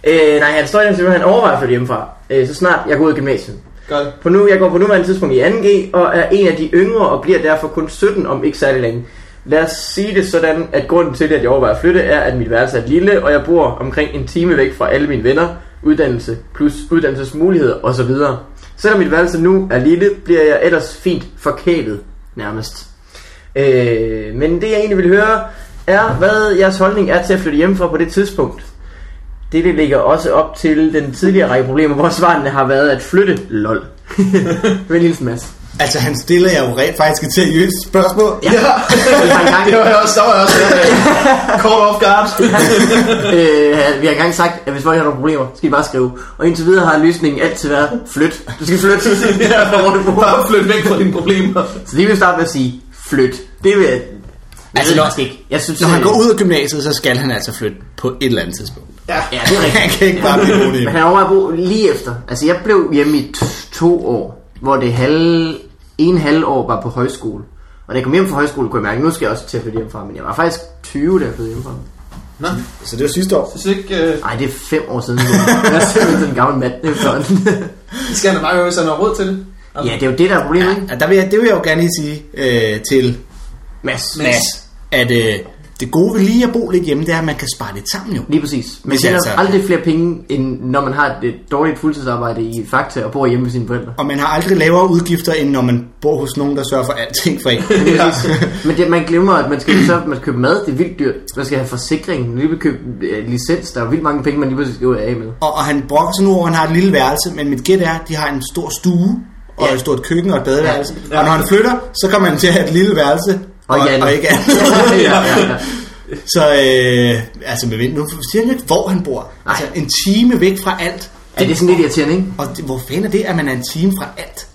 [SPEAKER 1] Øh, nej, han står i den situation, at han overvejer at flytte hjemmefra, øh, så snart jeg går ud af gymnasiet.
[SPEAKER 2] Godt.
[SPEAKER 1] På nu, jeg går på nuværende tidspunkt i 2G, og er en af de yngre, og bliver derfor kun 17 om ikke særlig længe. Lad os sige det sådan, at grunden til, at jeg overvejer at flytte, er, at mit værelse er lille, og jeg bor omkring en time væk fra alle mine venner, uddannelse plus uddannelsesmuligheder osv. Selvom mit værelse nu er lille, bliver jeg ellers fint forkælet nærmest. Øh, men det jeg egentlig vil høre, er, hvad jeres holdning er til at flytte hjemmefra på det tidspunkt. Dette ligger også op til den tidligere række problemer, hvor svarene har været at flytte. Lol. Vel hilsen, Mads.
[SPEAKER 3] Altså, han stiller jer jo rent faktisk et seriøst spørgsmål. Ja.
[SPEAKER 1] Vi har engang,
[SPEAKER 2] Det var jeg også, der var jeg også. øh, Caught off guard.
[SPEAKER 1] øh, vi har engang sagt, at hvis folk har nogle problemer, skal I bare skrive. Og indtil videre har løsningen altid været, flyt. Du skal flytte. Det er, hvor du bor.
[SPEAKER 2] Bare flyt væk fra dine problemer.
[SPEAKER 1] Så lige vil jeg starte med at sige, flyt. Det vil jeg... Altså,
[SPEAKER 3] Altså,
[SPEAKER 1] det
[SPEAKER 3] når-
[SPEAKER 1] er også ikke. Jeg synes,
[SPEAKER 3] Når han
[SPEAKER 1] øh,
[SPEAKER 3] går ud af gymnasiet, så skal han altså flytte på et eller andet tidspunkt.
[SPEAKER 1] Ja, det er rigtigt.
[SPEAKER 3] Han kan ikke bare blive boende
[SPEAKER 1] Men
[SPEAKER 3] hjemme.
[SPEAKER 1] han overvejede at bo lige efter. Altså, jeg blev hjemme i t- to år, hvor det halve, en halv år var på højskole. Og da jeg kom hjem fra højskole, kunne jeg mærke, nu skal jeg også til at flytte hjemmefra. Men jeg var faktisk 20, da jeg flyttede hjemmefra.
[SPEAKER 2] Nå,
[SPEAKER 3] Så det var sidste år.
[SPEAKER 2] hvis ikke... Øh,
[SPEAKER 1] Nej, det er fem år siden. Jeg er simpelthen den gamle mand efterhånden.
[SPEAKER 2] I skal have meget, hvis han har råd til det.
[SPEAKER 1] ja, det er jo det, der er problemet, ikke?
[SPEAKER 3] Ja, der vil jeg, det vil jeg jo gerne lige sige øh, til
[SPEAKER 1] Mads.
[SPEAKER 3] Mads, at øh, det gode ved lige at bo lidt hjemme, det er, at man kan spare lidt sammen jo.
[SPEAKER 1] Lige præcis. Man
[SPEAKER 3] Hvis jeg
[SPEAKER 1] tjener
[SPEAKER 3] altså-
[SPEAKER 1] aldrig flere penge, end når man har et dårligt fuldtidsarbejde i Fakta og bor hjemme med sine forældre.
[SPEAKER 3] Og man har aldrig lavere udgifter, end når man bor hos nogen, der sørger for alting for en.
[SPEAKER 1] Ja. Men det, man glemmer, at man skal så man skal købe mad, det er vildt dyrt. Man skal have forsikring, man skal købe øh, licens, der er vildt mange penge, man lige pludselig skal ud af med.
[SPEAKER 3] og, og han brokker sig nu over, at han har et lille værelse, men mit gæt er, at de har en stor stue, og
[SPEAKER 1] Ja.
[SPEAKER 3] et stort køkken og et badeværelse. Ja. Og når han flytter, så kommer han til at have et lille værelse,
[SPEAKER 1] Og
[SPEAKER 3] og,
[SPEAKER 1] ikke andet.
[SPEAKER 3] og ikke andet.
[SPEAKER 1] ja, ja, ja.
[SPEAKER 3] Så øh, altså med vind, nu siger han jo ikke, hvor han bor. Altså
[SPEAKER 1] Nej.
[SPEAKER 3] en time væk fra alt.
[SPEAKER 1] Ja, det er sådan lidt irriterende, ikke?
[SPEAKER 3] Og det, hvor fanden er det, at man er en time fra alt?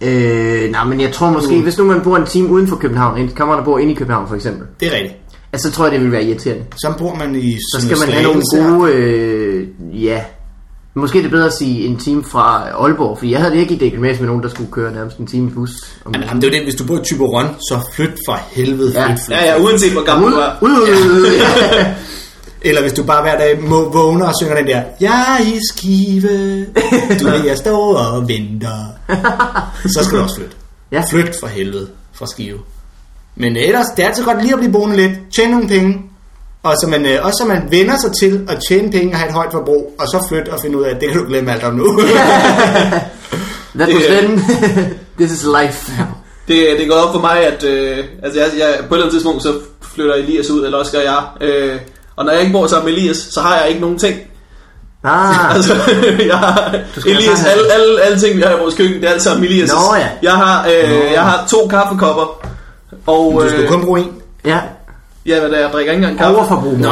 [SPEAKER 1] Øh, nej, men jeg tror måske, hvis nu man bor en time uden for København, en kammerat der bor inde i København for eksempel,
[SPEAKER 3] Det er rigtigt.
[SPEAKER 1] altså, så tror jeg, det vil være irriterende.
[SPEAKER 3] Så bor man i
[SPEAKER 1] Så skal man have nogle gode, øh, ja, måske er det bedre at sige en time fra Aalborg, fordi jeg havde det ikke i det gymnasium med nogen, der skulle køre nærmest en time i bus. Om
[SPEAKER 3] Jamen, jamen, det er jo det, hvis du bor i Tyberon, så flyt for helvede.
[SPEAKER 1] Ja.
[SPEAKER 3] Flyt, flyt.
[SPEAKER 2] Ja, ja, uanset hvor gammel
[SPEAKER 1] Ud,
[SPEAKER 2] du er.
[SPEAKER 1] ud, ud, ud, ja.
[SPEAKER 3] Eller hvis du bare hver dag må, vågner og synger den der Jeg er i skive, du ved, jeg står og venter. Så skal du også flytte.
[SPEAKER 1] Ja.
[SPEAKER 3] Flyt for helvede fra skive. Men ellers, det er altid godt lige at blive boende lidt, tjene nogle penge, og så man, øh, også så man vender sig til at tjene penge og have et højt forbrug, og så flytte og finde ud af, at det kan du glemme alt om nu.
[SPEAKER 1] That was then. This is life.
[SPEAKER 2] Det, det går op for mig, at øh, altså jeg, jeg, på et eller andet tidspunkt, så flytter Elias ud, eller også gør jeg. Øh, og når jeg ikke bor sammen med Elias, så har jeg ikke nogen ting.
[SPEAKER 1] Ah,
[SPEAKER 2] Altså, jeg har, Elias,
[SPEAKER 1] bare have-
[SPEAKER 2] alle, alle, alle ting, vi har i vores køkken, det er alt sammen Elias.
[SPEAKER 1] Nå ja.
[SPEAKER 2] Jeg har, øh, jeg har to kaffekopper. Og,
[SPEAKER 3] du skal
[SPEAKER 2] øh,
[SPEAKER 3] kun bruge en.
[SPEAKER 1] ja.
[SPEAKER 2] ja, hvad der, jeg drikker ikke engang kaffe.
[SPEAKER 1] Overforbrug.
[SPEAKER 3] Nå,
[SPEAKER 1] du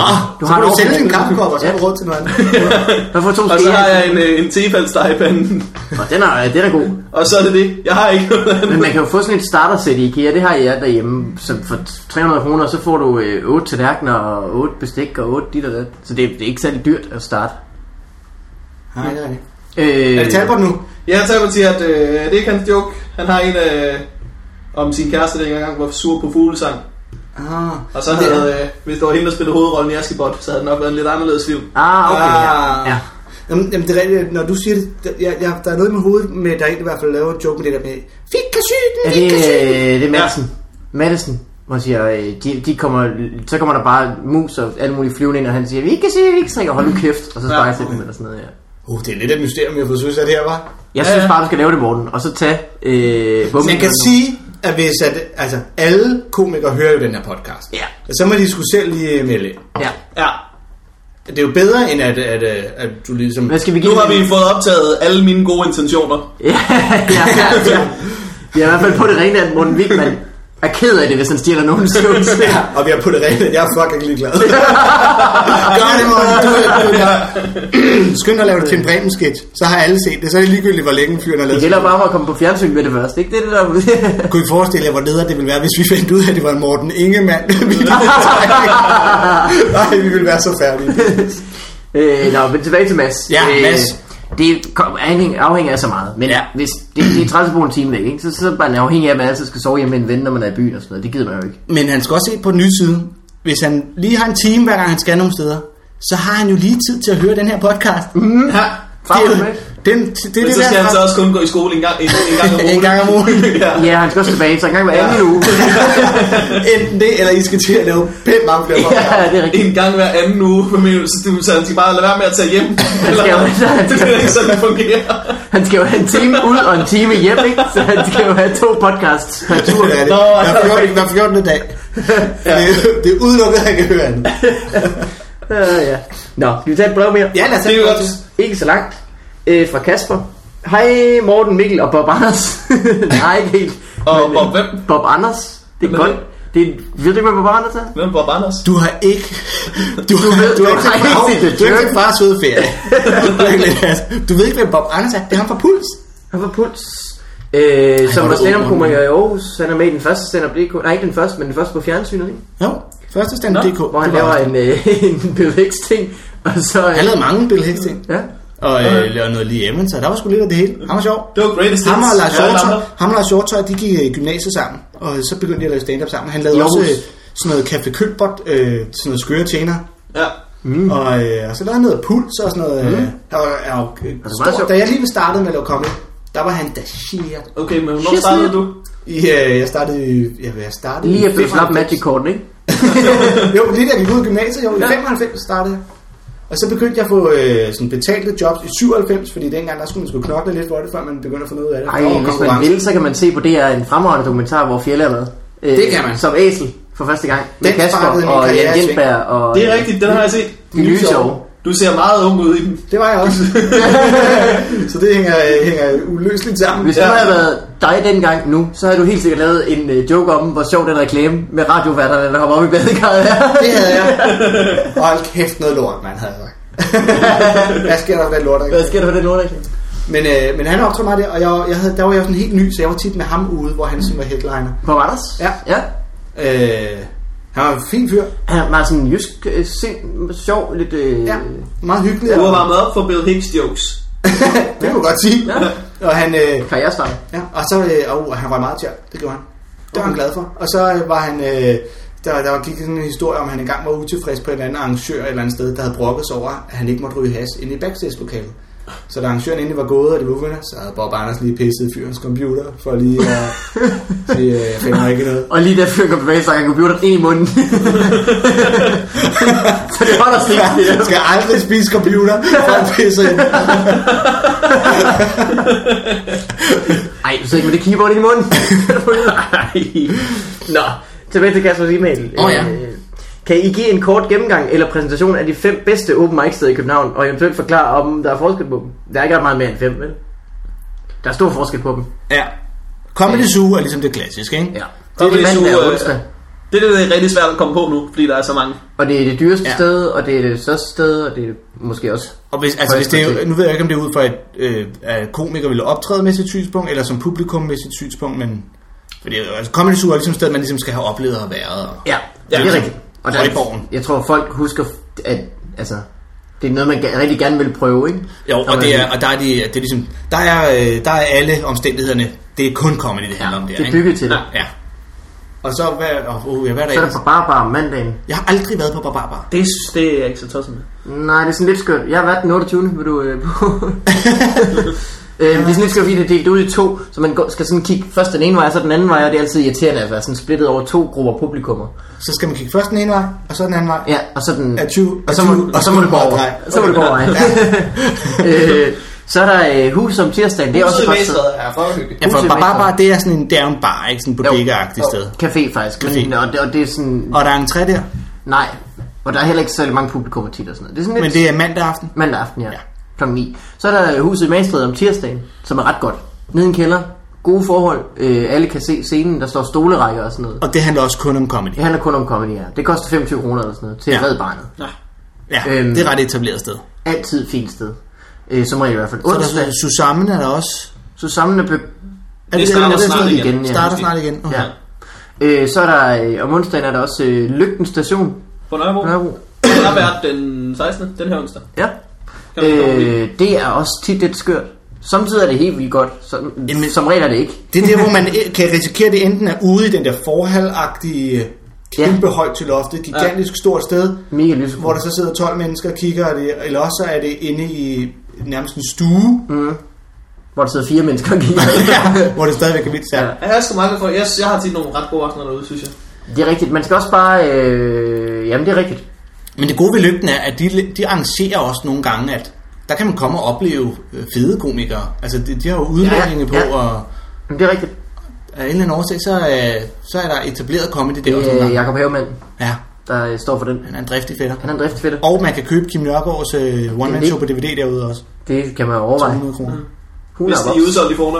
[SPEAKER 1] har
[SPEAKER 3] du har
[SPEAKER 1] en
[SPEAKER 3] du sælge
[SPEAKER 1] overforbrug.
[SPEAKER 3] din kaffekop, og så har du
[SPEAKER 1] Ja.
[SPEAKER 3] råd til noget andet.
[SPEAKER 1] Hvad for to
[SPEAKER 2] Og så
[SPEAKER 1] skeer?
[SPEAKER 2] har jeg en, øh, en tefaldstejpande.
[SPEAKER 1] Og den er, den er god.
[SPEAKER 2] Og så er det det. Jeg har ikke noget andet.
[SPEAKER 1] Men man kan jo få sådan et starter sæt i IKEA, det har jeg derhjemme. Så for 300 kroner, så får du øh, 8 tallerkener og 8 bestik og 8 dit og dat. Så det, det er ikke særlig dyrt at starte.
[SPEAKER 3] Nej, det er det.
[SPEAKER 1] Øh,
[SPEAKER 3] Er det Talbot nu?
[SPEAKER 2] Ja, Talbot siger, at øh, det er ikke hans joke. Han har en øh, om sin kæreste, der ikke engang var sur på fuglesang.
[SPEAKER 3] Ah,
[SPEAKER 2] Og så havde, øh, hvis det var hende, der spillede hovedrollen i Askebot, så havde det nok været en lidt anderledes film.
[SPEAKER 1] Ah, okay.
[SPEAKER 3] Ah.
[SPEAKER 1] Ja. ja.
[SPEAKER 3] Jamen, jamen, det er rigtigt, når du siger det, der, jeg, jeg, der er noget i mit hoved med, der er en, der i hvert fald laver en joke med det der med, fik kan syge
[SPEAKER 1] Er
[SPEAKER 3] den,
[SPEAKER 1] det,
[SPEAKER 3] fik kan syge den.
[SPEAKER 1] øh, det er Madsen? Ja. Madsen, hvor han siger, øh, de, de kommer, så kommer der bare mus og alle mulige flyvende ind, og han siger, vi kan se, vi kan se, og hold nu kæft, og så sparer jeg til dem eller sådan noget, ja.
[SPEAKER 3] Uh, det er lidt af et mysterium, jeg har fået søsat her, var.
[SPEAKER 1] Jeg
[SPEAKER 2] Ja,
[SPEAKER 1] synes
[SPEAKER 2] ja.
[SPEAKER 1] bare, du skal lave det, Morten, og så tage... Øh,
[SPEAKER 3] Så jeg kan sige, at hvis at, altså, alle komikere hører jo den her podcast,
[SPEAKER 1] Ja.
[SPEAKER 3] så må de skulle selv lige øh, melde ind.
[SPEAKER 1] Ja.
[SPEAKER 2] Ja.
[SPEAKER 3] Det er jo bedre, end at, at, at, at du ligesom...
[SPEAKER 1] Hvad skal vi give
[SPEAKER 2] Nu har
[SPEAKER 1] den?
[SPEAKER 2] vi fået optaget alle mine gode intentioner.
[SPEAKER 1] ja, ja, ja, ja. Vi er i hvert fald på det rene, at Morten Wigman er ked af det, hvis han stjæler nogen skjult.
[SPEAKER 3] Ja, og vi har puttet rent, at jeg er fucking ligeglad. Gør det, Morten. Du, du, du. Skynd dig at lave det til en Bremen-sketch. Så har alle set det. Så er det ligegyldigt, hvor længe fyren har lavet
[SPEAKER 1] Det gælder bare om at komme på fjernsyn med det først, ikke? Det er det, der...
[SPEAKER 3] Kunne I forestille jer, hvor leder det ville være, hvis vi fandt ud af, at det var en Morten Ingemann? vi ville Nej, vi ville være så færdige.
[SPEAKER 1] øh, nå, men tilbage til Mads. Øh,
[SPEAKER 3] Ja, Mads.
[SPEAKER 1] Det kom- afhæng- afhænger af så meget, men ja.
[SPEAKER 3] Ja.
[SPEAKER 1] hvis det, det er 30 kroner en time væk, ikke? Så, så er man afhængig af, at man altid skal sove hjemme med en ven, når man er i byen og sådan noget. Det gider man jo ikke.
[SPEAKER 3] Men han skal også se på den nye side. Hvis han lige har en time, hver gang han skal nogle steder, så har han jo lige tid til at høre den her podcast. Mm. Det,
[SPEAKER 2] Ja.
[SPEAKER 3] er jo-
[SPEAKER 1] Farvel med.
[SPEAKER 3] den, det, det,
[SPEAKER 2] Men
[SPEAKER 3] det
[SPEAKER 2] så skal han så
[SPEAKER 3] der,
[SPEAKER 2] også kun gå i skole en gang, en, en gang om ugen.
[SPEAKER 3] en gang om ugen.
[SPEAKER 2] ja.
[SPEAKER 1] Ja, han skal også tilbage, så en gang hver anden uge.
[SPEAKER 3] Enten det, eller I skal til at lave pænt mange flere podcasts.
[SPEAKER 1] ja, det er rigtigt.
[SPEAKER 2] En gang hver anden uge, hvad mener du? Så du- så han skal bare lade være med at tage hjem? Eller,
[SPEAKER 1] skal jo-
[SPEAKER 2] det er ikke sådan, det fungerer.
[SPEAKER 1] Han skal jo have en time ud og en time hjem, ikke? Så han skal jo have to podcasts per tur.
[SPEAKER 3] Det er det.
[SPEAKER 2] Nå,
[SPEAKER 3] Hver 14. hver 14. dag.
[SPEAKER 2] Ja.
[SPEAKER 3] Det, er- det er udelukket, at han kan høre andet.
[SPEAKER 1] Uh, ja. Nå, skal vi tage et brev mere?
[SPEAKER 3] Ja, lad os
[SPEAKER 2] Det er jo
[SPEAKER 3] tage
[SPEAKER 2] godt.
[SPEAKER 1] Ikke så langt. Øh, fra Kasper. Hej Morten, Mikkel og Bob Anders. Nej, ikke helt.
[SPEAKER 2] Og
[SPEAKER 1] Men,
[SPEAKER 2] Bob
[SPEAKER 1] øh,
[SPEAKER 2] hvem?
[SPEAKER 1] Bob Anders. Det er
[SPEAKER 2] Hvem er
[SPEAKER 1] godt.
[SPEAKER 2] det?
[SPEAKER 1] Det er, ved du ikke, hvad Bob Anders er?
[SPEAKER 2] Hvem Bob Anders?
[SPEAKER 3] Du har ikke... Du, du,
[SPEAKER 1] ved-
[SPEAKER 3] du,
[SPEAKER 1] du
[SPEAKER 3] har ikke
[SPEAKER 1] har ikke set The
[SPEAKER 3] set Du har
[SPEAKER 1] Jerk.
[SPEAKER 3] ikke set fars søde ferie. Du er ikke lidt- du ved ikke, hvem Bob Anders er. Det er ham fra Puls.
[SPEAKER 1] Han var puls. Øh, som
[SPEAKER 3] hvor
[SPEAKER 1] var
[SPEAKER 3] er det
[SPEAKER 1] stand-up komiker
[SPEAKER 3] ondt.
[SPEAKER 1] i Aarhus. Han er med i den første stand-up DK. Nej, ikke den første, men den første på fjernsynet, ikke?
[SPEAKER 3] Jo, første stand DK.
[SPEAKER 1] Hvor han
[SPEAKER 3] det var-
[SPEAKER 1] laver en, øh, en Bill Hicks ting. Og så... øh,
[SPEAKER 3] Han lavede mange Bill Hicks ting.
[SPEAKER 1] Ja.
[SPEAKER 3] Og øh, lavede noget lige Evans, så der var sgu lidt af det hele. Han var sjov.
[SPEAKER 2] Det var greatest
[SPEAKER 3] Ham og Lars
[SPEAKER 2] hits. Ja,
[SPEAKER 3] Hjortøj,
[SPEAKER 2] Lander.
[SPEAKER 3] ham og Lars Hjortøj, de gik i gymnasiet sammen, og så begyndte de at lave stand-up sammen. Han lavede
[SPEAKER 1] I
[SPEAKER 3] også øh,
[SPEAKER 1] Aarhus.
[SPEAKER 3] sådan noget Café Kølbert, øh, sådan noget skøre tjener.
[SPEAKER 2] Ja.
[SPEAKER 3] Mm. Og, øh, og så lavede han noget puls og sådan noget. Øh, og, og, og,
[SPEAKER 1] Mm. Altså, meget
[SPEAKER 3] stor,
[SPEAKER 1] sjovt.
[SPEAKER 3] da jeg lige startede med at lave comedy, der var han da shit.
[SPEAKER 2] Okay, men hvornår startede du?
[SPEAKER 3] Ja, øh, jeg startede, i- ja, jeg startede i
[SPEAKER 1] Lige efter du
[SPEAKER 3] 95.
[SPEAKER 1] slap Magic Corden, ikke?
[SPEAKER 3] jo, lige da jeg gik ud af gymnasiet, jo, i 95 startede jeg. Og så begyndte jeg at få øh, sådan betalte jobs i 97, fordi dengang der skulle man skulle knokle lidt for det, før man begyndte at få noget ud af det.
[SPEAKER 1] Ej,
[SPEAKER 3] Der var
[SPEAKER 1] hvis man
[SPEAKER 3] konkurrence.
[SPEAKER 1] vil, så kan man se på DR en fremragende dokumentar, hvor Fjelle er med. Øh,
[SPEAKER 3] Det kan man.
[SPEAKER 1] Som æsel for første gang. Med
[SPEAKER 3] Den sparkede
[SPEAKER 1] Kasper
[SPEAKER 3] min
[SPEAKER 1] og
[SPEAKER 3] karriere
[SPEAKER 1] Jan
[SPEAKER 3] i sving.
[SPEAKER 1] Gensberg og...
[SPEAKER 2] Det er rigtigt, den har jeg set.
[SPEAKER 1] De nye sjove.
[SPEAKER 2] Du ser meget ung ud i den.
[SPEAKER 3] Det var jeg også. så det hænger, øh, hænger uløseligt sammen.
[SPEAKER 1] Hvis du havde været dig dengang nu, så havde du helt sikkert lavet en øh, joke om, hvor sjov den reklame med radioværterne, der hopper op i badekarret er.
[SPEAKER 3] Det havde jeg. Hold kæft noget lort, mand, havde jeg sagt. Hvad sker der for den lort? der ikke?
[SPEAKER 1] Hvad sker der for den lortreklame?
[SPEAKER 3] Men, øh, men han optog mig der, og jeg, jeg havde, der var jeg sådan helt ny, så jeg var tit med ham ude, hvor han sådan var headliner.
[SPEAKER 1] På Randers?
[SPEAKER 3] Ja.
[SPEAKER 1] ja.
[SPEAKER 3] Øh, han var en fin fyr.
[SPEAKER 1] Han var sådan en jysk, øh, sind, sjov, lidt... Øh,
[SPEAKER 3] Ja, meget hyggelig.
[SPEAKER 2] Du har varmet op for Bill Hicks jokes.
[SPEAKER 3] det kunne man godt sige.
[SPEAKER 1] Ja.
[SPEAKER 3] Og han, øh,
[SPEAKER 1] Karrierestarter.
[SPEAKER 3] Ja, og så øh, og han var meget tjern. Det gjorde han. Det var han glad for. Og så øh, var han... Øh, der, der gik sådan en historie om, at han engang var utilfreds på en anden arrangør et eller andet sted, der havde brokket sig over, at han ikke måtte ryge has inde i backstage-lokalet. Så da arrangøren endelig var gået, og det var uvenner, så havde Bob Anders lige pisset i fyrens computer, for lige at sige, øh, jeg finder ikke noget.
[SPEAKER 1] Og lige da fyren kom tilbage, så han computeren ind i munden. så det holder sig ikke. det
[SPEAKER 3] Jeg
[SPEAKER 1] der.
[SPEAKER 3] skal aldrig spise computer, for at pisse ind.
[SPEAKER 1] Ej, du sidder ikke med det keyboard ind i munden. Ej. Nå, tilbage til Kaspers e-mail.
[SPEAKER 3] Åh, ja.
[SPEAKER 1] Øh, Kan I give en kort gennemgang eller præsentation af de fem bedste open mic steder i København, og eventuelt forklare, om der er forskel på dem? Der er ikke ret meget mere end fem, vel? Der er stor forskel på dem.
[SPEAKER 3] Ja. Comedy Zoo er ligesom det klassiske, ikke?
[SPEAKER 1] Ja. Det er
[SPEAKER 2] Comedy
[SPEAKER 1] det
[SPEAKER 2] Zoo,
[SPEAKER 1] mandag og
[SPEAKER 2] øh,
[SPEAKER 1] onsdag.
[SPEAKER 2] Det er det, der er rigtig svært at komme på nu, fordi der er så mange.
[SPEAKER 1] Og det er det dyreste
[SPEAKER 3] Ja.
[SPEAKER 1] ja. sted, og det er det største sted, og det er måske også...
[SPEAKER 3] Og hvis, altså, hvis det er, nu ved jeg ikke, om det er ud fra, at, øh, at komikere ville optræde med sit synspunkt, eller som publikum med sit synspunkt, men... Fordi altså, Comedy Zoo er ligesom et sted, man ligesom skal have oplevet og været. Og,
[SPEAKER 1] Ja,
[SPEAKER 2] Ja,
[SPEAKER 1] ja det er
[SPEAKER 2] ligesom
[SPEAKER 1] rigtigt. Og der,
[SPEAKER 3] Højborgen.
[SPEAKER 1] jeg tror, folk husker, at altså, det er noget, man ga- rigtig gerne vil prøve, ikke?
[SPEAKER 3] jo,
[SPEAKER 1] Når
[SPEAKER 3] og,
[SPEAKER 1] man-
[SPEAKER 3] det er, og der er, de, det er ligesom, der er, øh, der er alle omstændighederne. Det er kun comedy, det handler om der,
[SPEAKER 1] det er
[SPEAKER 3] ikke?
[SPEAKER 1] bygget til det.
[SPEAKER 3] Ja. Og så, hvad, og, uh, hvad er
[SPEAKER 1] Så
[SPEAKER 3] der
[SPEAKER 1] er der
[SPEAKER 3] ellers?
[SPEAKER 1] på Barbar om mandagen.
[SPEAKER 3] Jeg har aldrig været på Barbarbar.
[SPEAKER 2] Det, det er jeg ikke så tosset med.
[SPEAKER 1] Nej, det er sådan lidt skørt. Jeg har været den 28. Vil du øh, på? Øh, det er sådan lidt skørt, fordi det er delt ud i to, så man går, skal sådan kigge først den ene vej, og så den anden vej, og det er altid irriterende at være sådan splittet over to grupper publikummer.
[SPEAKER 3] Så skal man kigge først den ene vej, og så den anden vej.
[SPEAKER 1] Ja, og så den...
[SPEAKER 3] Er 20,
[SPEAKER 1] og, så
[SPEAKER 3] er
[SPEAKER 1] må,
[SPEAKER 3] 20,
[SPEAKER 1] og så må
[SPEAKER 3] er
[SPEAKER 1] det gå over.
[SPEAKER 3] 20,
[SPEAKER 1] Så må det gå over, ja. øh, så er der øh, hus om tirsdagen, det er også et godt sted.
[SPEAKER 2] er for hyggeligt.
[SPEAKER 3] Ja, for
[SPEAKER 1] Utilvægt.
[SPEAKER 3] Barbarbar, det er sådan en, det er jo en bar, ikke? Sådan en bodega-agtig
[SPEAKER 1] Jo.
[SPEAKER 3] sted.
[SPEAKER 1] Café faktisk. Men,
[SPEAKER 3] Café.
[SPEAKER 1] og, det, og det er sådan...
[SPEAKER 3] Og der er en træ der,
[SPEAKER 1] Nej. Og der er heller ikke særlig mange publikummer tit og sådan noget. Det er sådan
[SPEAKER 3] men
[SPEAKER 1] lidt
[SPEAKER 3] det er mandag aften.
[SPEAKER 1] mandag aften, ja.
[SPEAKER 3] Ja.
[SPEAKER 1] ja. Klokken 9. Så er der huset i Magstred om tirsdagen, som er ret godt. Nede i en kælder. Gode forhold. Øh, alle kan se scenen. Der står stolerækker og sådan noget.
[SPEAKER 3] Og det handler også kun om comedy.
[SPEAKER 1] Det handler kun om comedy her. Det koster 25 kroner eller sådan noget til
[SPEAKER 3] Ja.
[SPEAKER 1] at redde barnet.
[SPEAKER 3] Ja, øhm,
[SPEAKER 1] Øhm,
[SPEAKER 3] det er ret etableret sted.
[SPEAKER 1] Altid fint sted. Øh, som regel i hvert fald.
[SPEAKER 3] Og der
[SPEAKER 1] Onsdag,
[SPEAKER 3] er Susammen er der også.
[SPEAKER 1] så sammen er
[SPEAKER 3] Er
[SPEAKER 2] Det starter
[SPEAKER 3] er
[SPEAKER 2] snart
[SPEAKER 3] sådan-
[SPEAKER 2] igen.
[SPEAKER 1] igen. Ja.
[SPEAKER 3] Starter snart igen. Okay.
[SPEAKER 1] Ja. Øh, så er der, øh, om onsdagen er der også øh, Lygten Station.
[SPEAKER 2] På Nørrebro.
[SPEAKER 1] Nørrebro.
[SPEAKER 2] Den har været den 16. den her onsdag.
[SPEAKER 1] Ja.
[SPEAKER 2] Kan man komme i?
[SPEAKER 1] Øh, det er også tit lidt skørt. Samtidig er det helt vildt godt. Som,
[SPEAKER 3] Jamen-
[SPEAKER 1] som regel er det ikke.
[SPEAKER 3] Det er der, hvor man eh, kan risikere, at det enten er ude i den der forhalagtige, kæmpe højt til loftet, gigantisk stort sted,
[SPEAKER 1] Mega lysegrønt.
[SPEAKER 3] hvor der så sidder 12 mennesker og kigger, og det, eller også så er det inde i nærmest en stue,
[SPEAKER 1] Mm. Hvor der sidder fire mennesker og kigger.
[SPEAKER 3] ja, hvor det stadigvæk er vildt
[SPEAKER 1] Øh.
[SPEAKER 3] særligt.
[SPEAKER 2] Jeg har sgu meget for. Jeg, jeg har tit nogle ret gode aftener derude, synes jeg.
[SPEAKER 1] det er rigtigt. Man skal også bare... Øh, jamen, det er rigtigt.
[SPEAKER 3] Men det gode ved lygten er, at de, de arrangerer også nogle gange, at der kan man komme og opleve øh, fede komikere. Altså, de, de har jo udlændinge
[SPEAKER 1] Ja, ja.
[SPEAKER 3] på, og
[SPEAKER 1] Jamen, det er rigtigt.
[SPEAKER 3] af en eller anden årsag, så, øh, så er der etableret comedy der også nogle
[SPEAKER 1] Det er
[SPEAKER 3] gange.
[SPEAKER 1] Øh, Jacob Havemand,
[SPEAKER 3] Ja,
[SPEAKER 1] der øh, står for den.
[SPEAKER 3] han er en driftig fætter.
[SPEAKER 1] Han er en driftfætter.
[SPEAKER 3] Og man kan købe Kim Nørgaards øh, One Man
[SPEAKER 1] Det-
[SPEAKER 3] Show på DVD derude også.
[SPEAKER 1] Det kan man overveje.
[SPEAKER 3] 200 kroner.
[SPEAKER 1] Hun
[SPEAKER 2] Hvis
[SPEAKER 1] er
[SPEAKER 2] de
[SPEAKER 1] op.
[SPEAKER 2] er udsolgt i Fornø.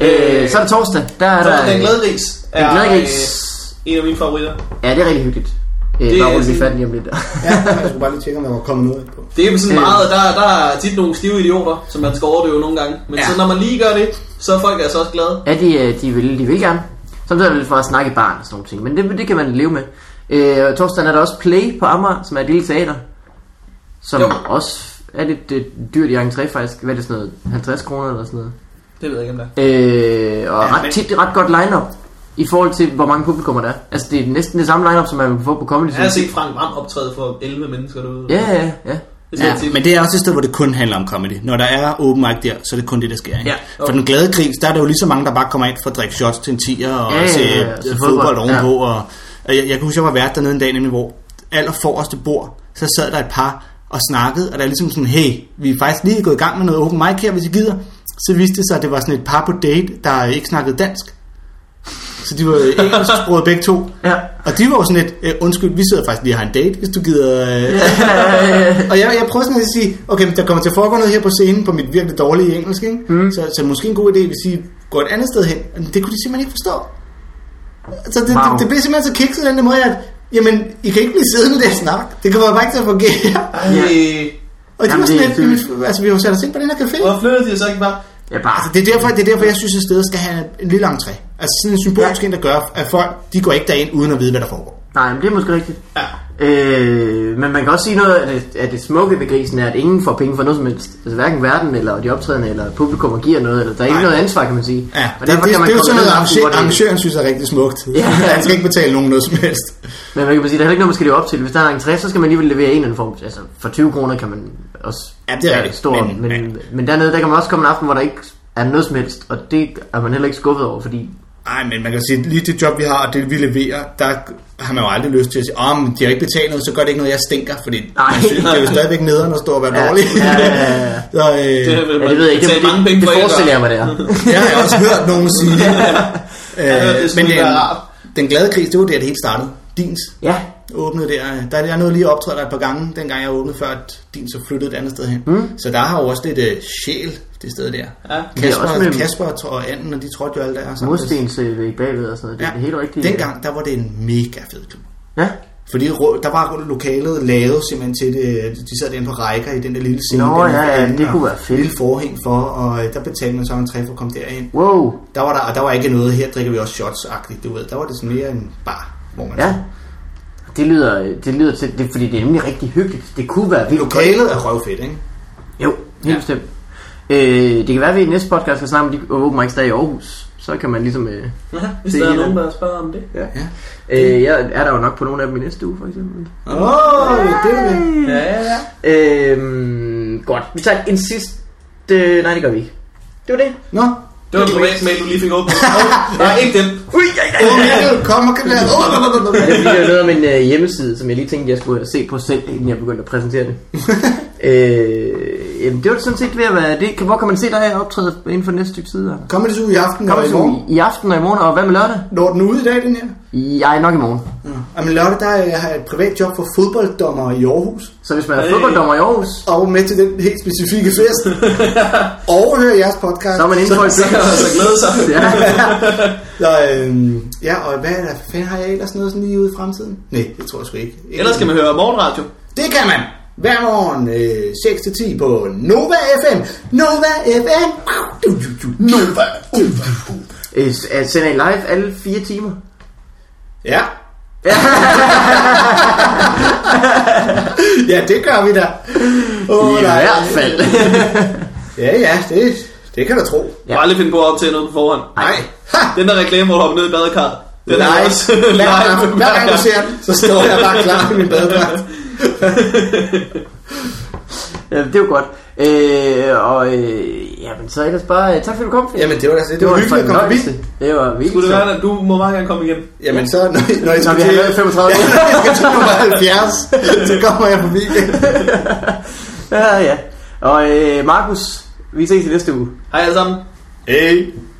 [SPEAKER 1] øh, så er det torsdag. Der er
[SPEAKER 2] Så
[SPEAKER 1] der...
[SPEAKER 2] er den
[SPEAKER 1] øh,
[SPEAKER 2] glæderis.
[SPEAKER 1] en
[SPEAKER 2] er,
[SPEAKER 1] gladgris.
[SPEAKER 2] øh, En af mine favoritter.
[SPEAKER 1] Ja, det er rigtig hyggeligt. Øh,
[SPEAKER 2] Det
[SPEAKER 1] der
[SPEAKER 2] er
[SPEAKER 1] ruller vi
[SPEAKER 2] sådan-
[SPEAKER 1] fat lige om lidt.
[SPEAKER 3] Ja, jeg skulle bare lige tjekke, om der var kommet noget på.
[SPEAKER 2] Det er sådan
[SPEAKER 1] Øh.
[SPEAKER 2] meget, der, der er tit nogle stive idioter, som man skal overdøve nogle gange. Men
[SPEAKER 1] Ja.
[SPEAKER 2] ja. så når man lige gør det, så er folk altså også glade.
[SPEAKER 1] Ja, de, øh, de vil, de vil gerne. Samtidig er det lidt for at snakke i barn og sådan nogle ting, men det, det kan man leve med. Øh, og torsdagen er der også Play på Amager, som er et lille teater, som
[SPEAKER 2] Jo.
[SPEAKER 1] jo. også er lidt øh, dyrt i entré faktisk. Hvad er det sådan noget? 50 kroner eller sådan noget?
[SPEAKER 2] Det ved jeg ikke, om det er.
[SPEAKER 1] Øh, og
[SPEAKER 3] Ja,
[SPEAKER 1] ja, ret
[SPEAKER 3] men-
[SPEAKER 1] tit ret godt lineup i forhold til, hvor mange publikummer der er. Altså, det er næsten det samme lineup som man kan få på Comedy
[SPEAKER 2] Jeg har
[SPEAKER 1] Zoo.
[SPEAKER 2] set Frank Ram optræde for 11 mennesker derude.
[SPEAKER 1] Ja, ja, ja.
[SPEAKER 2] Det
[SPEAKER 3] Ja,
[SPEAKER 2] ja, tit.
[SPEAKER 3] men det er også et sted, hvor det kun handler om comedy. Når der er open mic der, så er det kun det, der sker. Ikke?
[SPEAKER 1] Ja,
[SPEAKER 3] For
[SPEAKER 2] okay.
[SPEAKER 3] den glade gris, der er der jo lige så mange, der bare kommer ind for at drikke shots til en tiger og
[SPEAKER 1] Ja, ja,
[SPEAKER 3] se
[SPEAKER 1] ja, ja,
[SPEAKER 3] øh,
[SPEAKER 1] til
[SPEAKER 3] fodbold,
[SPEAKER 1] fodbold,
[SPEAKER 3] ovenpå. Og, og jeg, jeg kan huske, jeg var vært dernede en dag, nemlig hvor aller forreste bord, så sad der et par og snakkede, og der er ligesom sådan, hey, vi er faktisk lige gået i gang med noget open mic her, hvis I gider. Så viste det sig, at det var sådan et par på date, der ikke snakkede dansk. Så de var øh, engelsksprogede begge to.
[SPEAKER 1] Ja.
[SPEAKER 3] Og de var jo sådan lidt, øh, undskyld, vi sidder faktisk lige og har en date, hvis du gider... Øh, og jeg, jeg prøver sådan lidt at sige, okay, men der kommer til at foregå noget her på scenen på mit virkelig dårlige engelsk, ikke? Mm. Så, så måske en god idé, hvis I går et andet sted hen. Men det kunne de simpelthen ikke forstå. Så det, wow.
[SPEAKER 1] Wow.
[SPEAKER 3] det, det blev simpelthen så kikset den der måde, at jamen, I kan ikke blive siddende der og snakke. Det kommer bare ikke til at fungere.
[SPEAKER 1] Ja.
[SPEAKER 2] Øh,
[SPEAKER 3] Og det
[SPEAKER 1] Jamen,
[SPEAKER 3] var sådan
[SPEAKER 1] det er
[SPEAKER 3] lidt, "Jamen, altså vi har jo sat os ind på den her café.
[SPEAKER 2] Hvor flyttede de så ikke bare?
[SPEAKER 1] Ja, bare.
[SPEAKER 3] Altså, det, er derfor, det er derfor, jeg synes, at stedet skal have en lille entré. Altså sådan en symbolsk ind, der gør, at folk de går ikke derind uden at vide, hvad der foregår.
[SPEAKER 1] Nej, men det er måske rigtigt.
[SPEAKER 3] Ja.
[SPEAKER 1] Øh, men man kan også sige noget af det, af det smukke ved grisen er, at ingen får penge for noget som helst. Altså hverken verden eller de optrædende eller publikum giver noget. Eller, der er ikke
[SPEAKER 3] Nej.
[SPEAKER 1] noget ansvar, kan man sige.
[SPEAKER 3] Ja,
[SPEAKER 1] og
[SPEAKER 3] det, det,
[SPEAKER 1] derfor
[SPEAKER 3] det,
[SPEAKER 1] kan man
[SPEAKER 3] det er jo
[SPEAKER 1] komme
[SPEAKER 3] sådan noget,
[SPEAKER 1] ned i aften, hvor
[SPEAKER 3] arrangø-
[SPEAKER 1] det-
[SPEAKER 3] arrangøren synes er rigtig smukt.
[SPEAKER 1] Ja.
[SPEAKER 3] Han skal ikke betale nogen noget som helst.
[SPEAKER 1] Men man kan sige, der er heller ikke noget, man skal leve op til. Hvis der er en entré, så skal man alligevel levere en eller anden form. Altså for 20 kroner kan man også...
[SPEAKER 3] Ja, det er rigtigt,
[SPEAKER 1] Stor,
[SPEAKER 3] men-
[SPEAKER 1] men, men, men, dernede, der kan man også komme en aften, hvor der ikke er noget som helst. Og det er man heller ikke skuffet over, fordi...
[SPEAKER 3] Nej, men man kan sige, lige det job, vi har, og det vi leverer, der har man jo aldrig lyst til at sige, om oh, de har ikke betalt noget, så gør det ikke noget, jeg stinker, fordi
[SPEAKER 1] Nej.
[SPEAKER 3] man synes, det er jo stadigvæk nederen at stå og være dårlig.
[SPEAKER 1] ja, ja, ja.
[SPEAKER 3] så, øh,
[SPEAKER 2] Det, vil
[SPEAKER 1] Ja,
[SPEAKER 2] man
[SPEAKER 1] det ved jeg ikke. Det,
[SPEAKER 2] betale mange
[SPEAKER 1] det,
[SPEAKER 2] penge
[SPEAKER 1] det
[SPEAKER 2] for
[SPEAKER 1] forestiller
[SPEAKER 2] ikke
[SPEAKER 1] jeg mig, det er.
[SPEAKER 3] det har jeg også hørt nogen sige.
[SPEAKER 2] Ja,
[SPEAKER 3] øh,
[SPEAKER 2] det skulle
[SPEAKER 3] men
[SPEAKER 2] være
[SPEAKER 3] øh,
[SPEAKER 2] rart.
[SPEAKER 3] den glade kris, det var der, det hele startede. Dins
[SPEAKER 1] ja,
[SPEAKER 3] åbnede der. øh, Der er noget lige optrådt der et par gange, dengang jeg åbnede før, at din så flyttede et andet sted hen. Mm. Så der har jo også lidt øh, sjæl, det sted der.
[SPEAKER 2] Ja.
[SPEAKER 1] Det er også
[SPEAKER 3] Kasper,
[SPEAKER 1] med-
[SPEAKER 3] Kasper og Anden, og de trådte jo alle der. sammen.
[SPEAKER 1] murstens øh, væg bagved og sådan noget. Det er det helt rigtigt.
[SPEAKER 3] Dengang, der var det en mega fed klub.
[SPEAKER 1] Ja,
[SPEAKER 3] Fordi rå- der var lokalet lavet simpelthen til det. De sad derinde på rækker i den der lille scene.
[SPEAKER 1] Nå,
[SPEAKER 3] der
[SPEAKER 1] ja, ja,
[SPEAKER 3] derinde,
[SPEAKER 1] det
[SPEAKER 3] og
[SPEAKER 1] kunne være fedt.
[SPEAKER 3] Lille forhæng for, og øh, der betalte man så en træ for at komme derind.
[SPEAKER 1] wow.
[SPEAKER 3] Der var der, og der var ikke noget, her drikker vi også shots-agtigt, du ved. Der var det sådan mere en bar, hvor man...
[SPEAKER 1] Ja. Det lyder, det lyder til, det, fordi det er nemlig rigtig hyggeligt. Det kunne være vildt godt.
[SPEAKER 3] Lokalet er røvfedt, ikke?
[SPEAKER 1] Jo, helt
[SPEAKER 3] Ja.
[SPEAKER 1] ja. bestemt. Øh, det kan være, at vi i næste podcast skal snakke om de åben mics, der er i Aarhus. Så kan man ligesom... Øh,
[SPEAKER 2] Ja, hvis
[SPEAKER 1] Det
[SPEAKER 2] der
[SPEAKER 1] er
[SPEAKER 2] er nogen,
[SPEAKER 1] det.
[SPEAKER 2] der spørger om det.
[SPEAKER 1] ja. ja. Øh, jeg er der jo nok på nogle af dem i næste uge, for eksempel.
[SPEAKER 3] Åh, oh, det er det.
[SPEAKER 2] Ja, ja, ja.
[SPEAKER 1] Øh, godt. Vi tager en sidste... Øh, nej, det gør vi ikke. Det var det.
[SPEAKER 3] Nå,
[SPEAKER 2] Det var en privat mail, du lige fik åbnet. Åh, Nej, ikke den.
[SPEAKER 1] Ui, ej, ej,
[SPEAKER 3] Åh,
[SPEAKER 1] ej.
[SPEAKER 3] Mikkel, kom og kan lade.
[SPEAKER 1] Ja, det er fordi, det er noget om en øh, hjemmeside, som jeg lige tænkte, jeg skulle se på selv, inden jeg begyndte at præsentere det. øh, jamen, det var det sådan set ved at være det. Kan- Hvor kan man se dig optræde inden for næste stykke tid? eller?
[SPEAKER 3] Kom med det i aften,
[SPEAKER 1] Kom
[SPEAKER 3] og i morgen.
[SPEAKER 1] i, i aften og i morgen, og hvad med lørdag?
[SPEAKER 3] Når den ude i dag, den her?
[SPEAKER 1] Jeg er nok i morgen.
[SPEAKER 3] Ja. Jamen lørdag, der øh, har jeg et privat job for fodbolddommer i Aarhus.
[SPEAKER 1] Så hvis man er
[SPEAKER 2] Øh.
[SPEAKER 1] fodbolddommer i Aarhus,
[SPEAKER 3] og med til den helt specifikke fest, og høre jeres podcast.
[SPEAKER 1] så er man inde på et
[SPEAKER 2] Så kan man altså glæde sig.
[SPEAKER 1] Ja.
[SPEAKER 3] Så, øhm, ja, og hvad der fanden har jeg ellers noget sådan lige ude i fremtiden? Nej, det tror jeg sgu ikke. ikke
[SPEAKER 2] Ellers kan man høre morgenradio.
[SPEAKER 3] Det kan man! Hver morgen øh, 6-10 på Nova FM. Nova FM! Du, du, du. Nova FM.
[SPEAKER 1] Øh, s- øh, Sender I live alle fire timer?
[SPEAKER 3] Ja. ja, det gør vi da. Oh,
[SPEAKER 1] I hvert fald.
[SPEAKER 3] Ja, ja, det, det kan du tro.
[SPEAKER 2] Jeg har aldrig finde på at optage noget på forhånd.
[SPEAKER 3] Nej. Ha!
[SPEAKER 2] Den der reklame, hvor du hopper ned i badekarret. Den er
[SPEAKER 3] Nej,
[SPEAKER 2] også
[SPEAKER 3] hver,
[SPEAKER 2] live.
[SPEAKER 3] gang, hver gang du ser den, så står jeg bare klar med min badedragt.
[SPEAKER 1] Ja, det er jo godt. Øh, og øh, jamen, så ellers bare øh, tak fordi du kom. Finn.
[SPEAKER 3] Jamen, det var, altså, det var,
[SPEAKER 1] en
[SPEAKER 3] hyggeligt at komme forbi.
[SPEAKER 1] fornøjelse. Det var vildt.
[SPEAKER 2] Skulle det
[SPEAKER 1] sjovt.
[SPEAKER 2] være, at du må meget gerne komme igen.
[SPEAKER 3] Jamen, så når, I- når I
[SPEAKER 1] Når
[SPEAKER 3] skal
[SPEAKER 1] vi har
[SPEAKER 3] til,
[SPEAKER 1] lavet 35
[SPEAKER 3] ja, når I skal til nummer 70, så kommer jeg forbi.
[SPEAKER 1] Ja, ja. Og øh, Markus, vi ses i næste uge.
[SPEAKER 2] Hej alle sammen.
[SPEAKER 3] Hey.